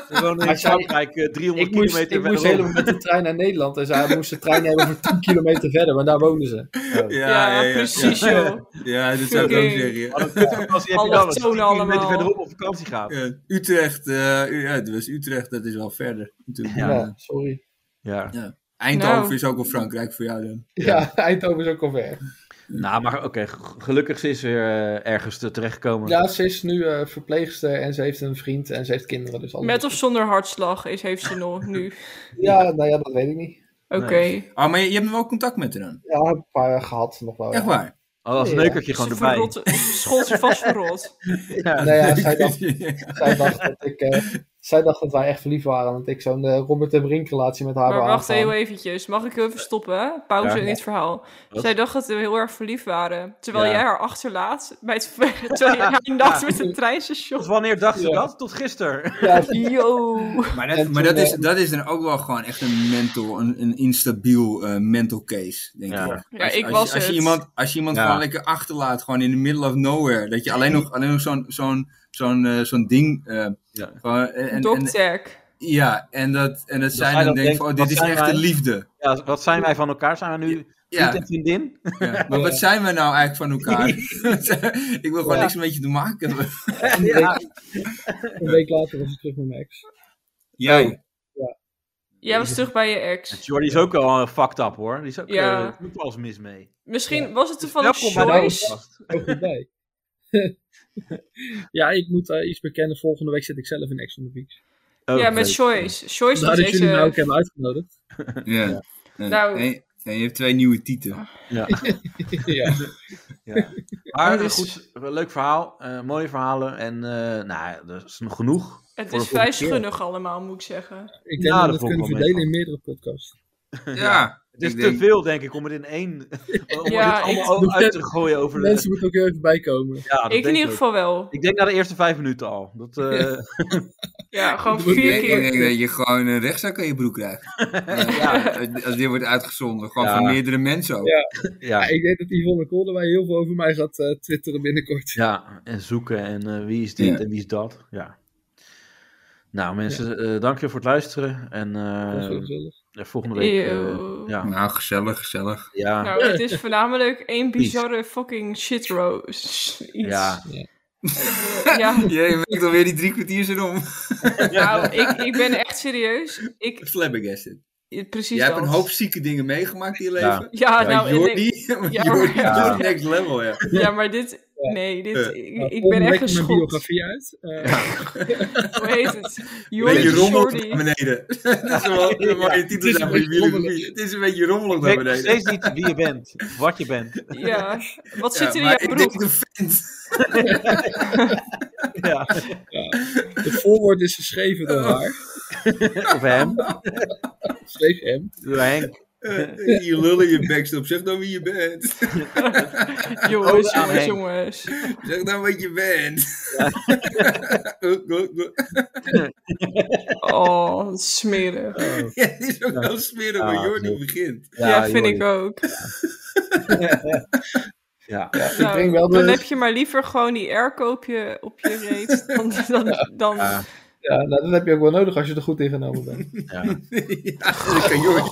Speaker 4: We wonen in
Speaker 6: Maar zij-
Speaker 4: Frankrijk eh, 300
Speaker 6: Ik moest,
Speaker 4: kilometer
Speaker 6: ik moest
Speaker 4: verderop.
Speaker 6: helemaal met de trein naar Nederland. En zij moest de trein hebben voor 10 kilometer verder. Maar daar woonden ze.
Speaker 2: Ja, precies joh.
Speaker 5: Ja, dat zou ik
Speaker 2: Oké.
Speaker 5: ook zeggen.
Speaker 4: Als je
Speaker 2: Alle
Speaker 4: hebt dan als je 10
Speaker 2: tonen
Speaker 4: kilometer
Speaker 2: allemaal.
Speaker 4: verderop op vakantie gaat.
Speaker 5: Ja, Utrecht, eh, ja, het was Utrecht, dat is wel verder. natuurlijk.
Speaker 6: Ja,
Speaker 4: Ja.
Speaker 6: sorry.
Speaker 4: Ja.
Speaker 5: Eindhoven
Speaker 2: Nou.
Speaker 5: is ook wel Frankrijk voor jou dan.
Speaker 6: Ja, Eindhoven is ook al ver.
Speaker 4: Nou, maar oké, g- gelukkig ze is weer eh, ergens te- terechtgekomen.
Speaker 6: Ja, ze is nu eh, verpleegster en ze heeft een vriend en ze heeft kinderen. Dus alles.
Speaker 2: Met of zonder hartslag is, heeft ze nog nu.
Speaker 6: Ja, nou ja, dat weet ik niet.
Speaker 2: Oké.
Speaker 5: Oh, maar je, je hebt nog wel contact met haar dan?
Speaker 6: Ja, een paar jaar gehad nog wel. ja.
Speaker 5: Echt waar?
Speaker 4: Oh, als
Speaker 6: Ja.
Speaker 4: neukertje gewoon
Speaker 2: Ze
Speaker 4: erbij.
Speaker 2: verrot, school ze vast verrot.
Speaker 6: Nou ja, zij dacht,
Speaker 5: ja.
Speaker 6: zij dacht dat ik... eh, zij dacht dat wij echt verliefd waren. Dat ik zo'n eh, Robert en Brink relatie met haar
Speaker 2: Maar
Speaker 6: wou
Speaker 2: wacht
Speaker 6: aangaan.
Speaker 2: heel eventjes. Mag ik heel even stoppen? hè? Pauze
Speaker 4: Ja.
Speaker 2: in dit verhaal.
Speaker 4: Wat?
Speaker 2: Zij dacht dat we heel erg verliefd waren. Terwijl
Speaker 4: Ja.
Speaker 2: jij haar achterlaat. Bij het, terwijl je haar dacht met een treinstation.
Speaker 4: Tot wanneer dacht ze
Speaker 6: Ja.
Speaker 4: dat? Tot gisteren.
Speaker 6: Ja,
Speaker 2: Yo.
Speaker 5: Maar, dat,
Speaker 6: En
Speaker 5: maar
Speaker 6: toen, eh,
Speaker 5: dat, is, dat is dan ook wel gewoon echt een mental, een, een instabiel eh, mental case, denk
Speaker 4: Ja.
Speaker 5: ik.
Speaker 2: Ja,
Speaker 5: Als-
Speaker 2: ik
Speaker 5: als,
Speaker 2: was
Speaker 5: als je
Speaker 2: het.
Speaker 5: iemand, als je iemand
Speaker 4: Ja.
Speaker 5: gewoon lekker achterlaat, gewoon in the middle of nowhere, dat je alleen nog, alleen nog zo'n zo'n zo'n eh, zo'n ding... eh,
Speaker 4: Ja.
Speaker 5: gewoon- en, en- en-
Speaker 2: Dokterk.
Speaker 5: ja, en dat, en dat zij
Speaker 4: hij
Speaker 5: dan
Speaker 4: dan
Speaker 5: denkt,
Speaker 4: denkt,
Speaker 5: van, oh,
Speaker 4: wat
Speaker 5: dit is
Speaker 4: zijn
Speaker 5: echt
Speaker 4: wij?
Speaker 5: de liefde.
Speaker 4: Ja, wat zijn wij van elkaar? Zijn we nu
Speaker 5: Ja.
Speaker 4: vriend en vriendin?
Speaker 5: Ja, maar wat zijn we nou eigenlijk van elkaar? ik wil gewoon
Speaker 4: Ja.
Speaker 5: niks met je te maken hebben.
Speaker 6: Een week later was ik terug met mijn ex.
Speaker 5: Jij?
Speaker 2: Jij was terug bij je ex.
Speaker 4: Jordi is ook al eh, fucked up hoor. Die is ook,
Speaker 2: Ja.
Speaker 4: eh, doet wel eens mis mee.
Speaker 2: Misschien was het toevallig
Speaker 4: Welkom bij de
Speaker 2: Joyce.
Speaker 4: podcast.
Speaker 6: Ook goed bij. ja, ik moet eh, iets bekennen. Volgende week zit ik zelf in Ex on the Beach.
Speaker 4: Oh,
Speaker 2: Ja, met
Speaker 4: leuk.
Speaker 2: Joyce. Joyce
Speaker 6: Vandaar
Speaker 2: was
Speaker 4: nou
Speaker 6: dat jullie mij
Speaker 2: deze...
Speaker 6: ook hebben uitgenodigd.
Speaker 5: Ja. Ja.
Speaker 2: Nou,
Speaker 5: Hey, En je hebt twee nieuwe tieten.
Speaker 6: ja.
Speaker 4: Ja. Maar
Speaker 2: Het is-
Speaker 4: goed, leuk verhaal. eh, mooie verhalen. En eh nou, dat is nog genoeg.
Speaker 2: Het
Speaker 4: Voor de
Speaker 2: is vrij
Speaker 4: volgende keer.
Speaker 2: schunnig allemaal, moet ik zeggen.
Speaker 4: Ja,
Speaker 6: Ik denk
Speaker 4: dat
Speaker 6: dat we
Speaker 4: vond
Speaker 6: het
Speaker 4: ik wel mee
Speaker 6: kunnen verdelen
Speaker 4: van.
Speaker 6: in meerdere podcasts.
Speaker 5: Ja,
Speaker 4: Het is
Speaker 5: ik
Speaker 4: te
Speaker 5: denk-
Speaker 4: veel, denk ik, om het in één. om
Speaker 2: Ja,
Speaker 4: dit
Speaker 2: ik-
Speaker 4: allemaal uit te gooien over de.
Speaker 6: Mensen moeten ook heel even bijkomen.
Speaker 4: Ja, dat
Speaker 2: ik in
Speaker 4: denk ook.
Speaker 2: ieder geval wel.
Speaker 4: Ik denk na de eerste vijf minuten al. Dat, eh,
Speaker 2: Ja, gewoon
Speaker 5: Ik
Speaker 2: vier
Speaker 5: denk, ik denk
Speaker 2: keer.
Speaker 5: dat je gewoon een rechtszaak aan je broek krijgt. Eh, Als dit wordt uitgezonden. Gewoon
Speaker 4: Ja.
Speaker 5: van meerdere mensen ook.
Speaker 6: Ja.
Speaker 4: ja.
Speaker 6: Ja, ik denk dat Yvonne Kolderwij heel veel over mij gaat eh, twitteren binnenkort.
Speaker 4: Ja, en zoeken en eh, wie is dit
Speaker 5: Ja.
Speaker 4: en wie is dat. Ja. Nou mensen, eh dank je voor het luisteren. En eh,
Speaker 6: Dat is wel gezellig.
Speaker 4: eh, volgende week... eh,
Speaker 2: Eeuw.
Speaker 4: ja,
Speaker 5: Nou, gezellig, gezellig.
Speaker 4: ja,
Speaker 2: Nou, het is voornamelijk één
Speaker 4: Precies.
Speaker 2: bizarre fucking shitrose. Iets.
Speaker 4: ja.
Speaker 2: Ja,
Speaker 5: Jij merkt alweer die drie kwartier zijn om.
Speaker 2: nou, ik, ik ben echt serieus. Ik,
Speaker 5: Flabbergasted.
Speaker 2: precies
Speaker 5: Jij hebt
Speaker 2: dat.
Speaker 5: een hoop zieke dingen meegemaakt in je
Speaker 4: Ja.
Speaker 5: leven.
Speaker 2: Ja,
Speaker 5: Maar
Speaker 2: nou, en ik-
Speaker 5: Jordi,
Speaker 2: Ja,
Speaker 5: Jordi
Speaker 2: maar-
Speaker 4: Ja.
Speaker 5: is next level, ja.
Speaker 2: ja, maar dit... Nee, dit,
Speaker 5: Eh,
Speaker 2: ik,
Speaker 6: Nou,
Speaker 2: ik ben echt
Speaker 6: volgende week komt mijn
Speaker 2: geschokt.
Speaker 6: biografie uit. Eh,
Speaker 2: Hoe heet het?
Speaker 5: beetje
Speaker 2: Jordi
Speaker 5: rommelig
Speaker 2: Jordi.
Speaker 5: naar beneden. dat is wel een mooie titel. zijn
Speaker 6: is een
Speaker 5: voor
Speaker 6: beetje
Speaker 5: jullie.
Speaker 6: rommelig.
Speaker 5: Het is een beetje rommelig
Speaker 4: Ik weet
Speaker 5: naar
Speaker 4: nog
Speaker 5: beneden.
Speaker 4: steeds niet wie je bent, wat je bent.
Speaker 2: Ja. Wat
Speaker 5: Ja,
Speaker 2: zit er in
Speaker 5: maar
Speaker 2: jouw
Speaker 5: ik
Speaker 2: broek?
Speaker 5: denk de vent.
Speaker 4: Ja.
Speaker 6: het voorwoord is geschreven door haar.
Speaker 4: Of hem,
Speaker 6: Schreef hem.
Speaker 4: door Henk.
Speaker 5: Eh, je lullen je backstop. Zeg dan wie je bent. Oh,
Speaker 2: Jongens,
Speaker 4: aan
Speaker 2: jongens,
Speaker 4: Henk.
Speaker 2: jongens.
Speaker 5: Zeg dan wat je bent. Ook, ook, ook.
Speaker 2: Oh, wat smerig.
Speaker 5: ja, dit is ook wel smerig
Speaker 4: Ja,
Speaker 5: waar Jordi
Speaker 4: zo.
Speaker 5: begint.
Speaker 2: Ja, vind ik ook.
Speaker 4: Ja.
Speaker 2: Nou,
Speaker 6: breng wel
Speaker 2: dan
Speaker 6: de-
Speaker 2: heb je maar liever gewoon die airco op je, op je reet. Dan, dan, dan,
Speaker 4: Ja.
Speaker 6: Ja, nou, dat heb je ook wel nodig als je er goed ingenomen bent.
Speaker 5: Ja, daar kan Jordi,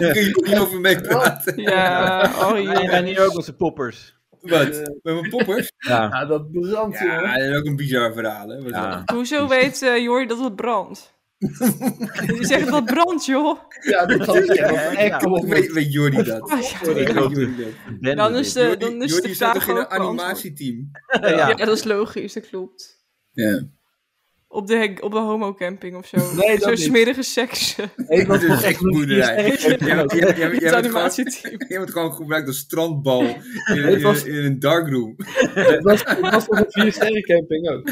Speaker 5: daar kan Jordi over meepraten.
Speaker 2: ja, oh
Speaker 4: Wij
Speaker 2: jee.
Speaker 4: zijn hier ook onze poppers.
Speaker 5: Wat? Met mijn poppers?
Speaker 4: Ja.
Speaker 6: Ja, dat brandt,
Speaker 5: Eh, Ja, dat is ook een bizar verhaal. Hè? Wat
Speaker 4: Ja.
Speaker 2: Hoezo weet eh Jordi dat het brandt? Je zegt dat brandt, joh.
Speaker 6: Ja, dat had ik echt.
Speaker 4: Ja.
Speaker 6: Kom op,
Speaker 5: dan? Weet, weet Jordi dat?
Speaker 2: Ah, ja,
Speaker 5: Weet
Speaker 2: ja.
Speaker 5: Jordi dat?
Speaker 4: Ben
Speaker 2: Dan
Speaker 4: dit.
Speaker 2: is de, dan
Speaker 5: Jordi,
Speaker 2: is
Speaker 5: Jordi
Speaker 2: de
Speaker 5: staat
Speaker 2: vraag
Speaker 5: toch in een
Speaker 2: ook beantwoord.
Speaker 5: animatieteam?
Speaker 4: Ja,
Speaker 2: Ja,
Speaker 4: eh, ja.
Speaker 2: dat is logisch, dat klopt.
Speaker 5: Ja.
Speaker 2: Op de, hek- op de homocamping of zo.
Speaker 6: Nee, dat
Speaker 2: Zo'n
Speaker 6: niet.
Speaker 2: smerige seks.
Speaker 5: Ik was een gekke boerderij. Jij- jij- jij- jij-
Speaker 2: Het
Speaker 5: jij bent gewoon-
Speaker 2: animatieteam.
Speaker 5: jij wordt gewoon gebruikt als strandbal in, in,
Speaker 6: Het was-
Speaker 5: in een darkroom.
Speaker 6: Het was, het was op een viersterrencamping ook.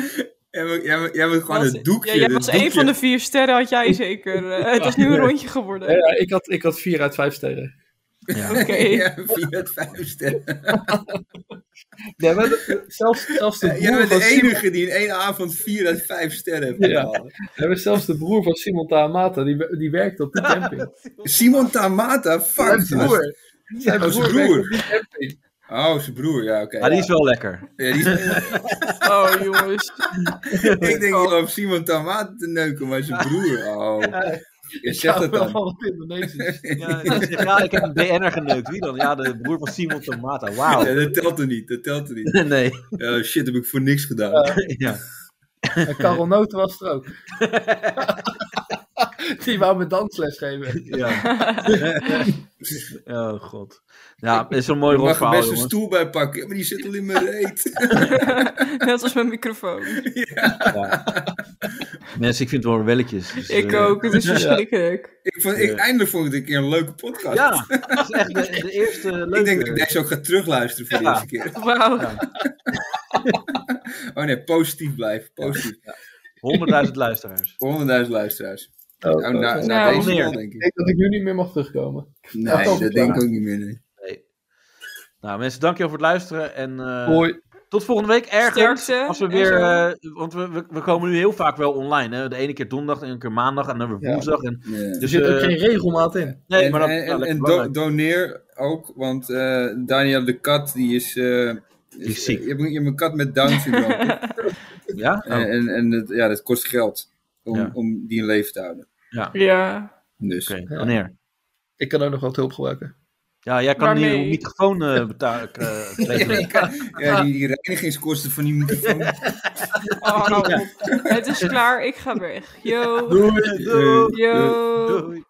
Speaker 5: Jij wordt- Jij wordt- jij wordt gewoon
Speaker 2: Was-
Speaker 5: het doekje.
Speaker 2: Ja, jij
Speaker 5: het
Speaker 2: was één
Speaker 5: doekje.
Speaker 2: van de vier sterren, had jij zeker. Eh, het is nu een rondje geworden.
Speaker 6: Ja, ja, ik, had, ik had vier uit vijf sterren.
Speaker 2: Oké.
Speaker 5: Ja, vier uit vijf sterren.
Speaker 6: Ja, maar dat- zelfs, zelfs, de
Speaker 5: Jij
Speaker 6: broer
Speaker 5: bent
Speaker 6: van
Speaker 5: de
Speaker 6: Simon,
Speaker 5: enige die in één avond vier uit vijf sterren heeft
Speaker 6: Ja.
Speaker 5: gehaald.
Speaker 6: ja, maar zelfs de broer van Simon Taamata, die, die werkte op die camping.
Speaker 5: Simon Tamata, fuck.
Speaker 6: Zijn broer. Zijn
Speaker 5: Oh, zijn
Speaker 6: broer
Speaker 5: broer.
Speaker 6: werkte op die camping.
Speaker 5: Oh, zijn broer, ja, oké.
Speaker 4: Maar die is wel lekker.
Speaker 5: Ja, die is-
Speaker 2: Oh, jongens.
Speaker 5: ik denk, ik loop Simon Tamata te neuken, maar zijn broer, oh. Je zegt
Speaker 6: Ja,
Speaker 5: het
Speaker 6: wel
Speaker 5: dan.
Speaker 6: van het Indonesisch.
Speaker 4: Ja, die zegt, ja, ik heb een BN'er geneukt. Wie dan? Ja, de broer van Simon Tomata.
Speaker 5: Ja,
Speaker 4: Wauw.
Speaker 5: dat telt er niet, dat telt er niet.
Speaker 4: Nee.
Speaker 5: Oh shit, heb ik voor niks gedaan.
Speaker 4: Ja.
Speaker 6: En Karel Noot was er ook. Die wou me dansles geven.
Speaker 4: Ja. oh god. Ja, is een mooi
Speaker 5: Ik mag er
Speaker 4: rotverhaal,
Speaker 5: best een
Speaker 4: jongens.
Speaker 5: stoel bij pakken, maar die zit al in mijn reet.
Speaker 2: Net als mijn microfoon.
Speaker 4: Mensen, ik vind het wel welletjes. dus,
Speaker 2: Ik
Speaker 4: eh,
Speaker 2: ook, het is verschrikkelijk.
Speaker 5: Ik vond, ik, eindelijk vond ik het een keer een leuke podcast.
Speaker 4: Ja, dat is echt de, de eerste leuke.
Speaker 5: ik denk dat ik deze ook ga terugluisteren voor de
Speaker 4: Ja.
Speaker 5: eerste keer.
Speaker 2: Wauw.
Speaker 5: Oh nee, positief blijven. Positief.
Speaker 4: 100.000 luisteraars.
Speaker 5: 100.000 luisteraars.
Speaker 6: Oh,
Speaker 5: Oh, na, na
Speaker 2: Nou,
Speaker 5: deze
Speaker 4: meer.
Speaker 5: wel, denk
Speaker 6: Ik
Speaker 5: ik.
Speaker 6: denk dat ik nu niet meer mag terugkomen.
Speaker 5: Nee,
Speaker 6: dat
Speaker 5: dat denk ik ook niet meer. nee.
Speaker 4: Nou mensen, dankjewel voor het luisteren. En eh,
Speaker 6: Hoi.
Speaker 4: tot volgende week ergens.
Speaker 2: Sterkte
Speaker 4: Als we
Speaker 2: en
Speaker 4: weer,
Speaker 2: zo.
Speaker 4: eh, want we, we, we komen nu heel vaak wel online. Hè? De ene keer donderdag, de ene keer maandag en dan weer
Speaker 6: Ja.
Speaker 4: woensdag. En,
Speaker 5: Ja.
Speaker 6: Er
Speaker 4: dus,
Speaker 6: zit ook
Speaker 4: eh,
Speaker 6: geen regelmaat in.
Speaker 4: nee,
Speaker 5: en
Speaker 4: maar dat,
Speaker 5: en,
Speaker 4: ja,
Speaker 5: en,
Speaker 4: lekker
Speaker 5: do-
Speaker 4: belangrijk.
Speaker 5: doneer ook, want eh, Daniel de kat, die is... eh,
Speaker 4: is ziek.
Speaker 5: Je hebt, een- je hebt een kat met Down syndroom.
Speaker 4: ja? Oh,
Speaker 5: En, en, en het- ja, dat kost geld om,
Speaker 4: Ja.
Speaker 5: om die in leven te houden.
Speaker 2: Ja.
Speaker 5: Dus.
Speaker 4: Oké, wanneer?
Speaker 6: Ik kan ook nog wat hulp gebruiken.
Speaker 4: Ja, jij kan
Speaker 2: Waarmee?
Speaker 4: hier een microfoon eh betalen. eh, regelen.
Speaker 5: Ja, die, die reinigingskosten van die microfoon.
Speaker 2: Oh, hou op. Het Eh, is klaar, ik ga weg. Yo.
Speaker 4: Doei, doei.
Speaker 2: Yo.
Speaker 4: doei.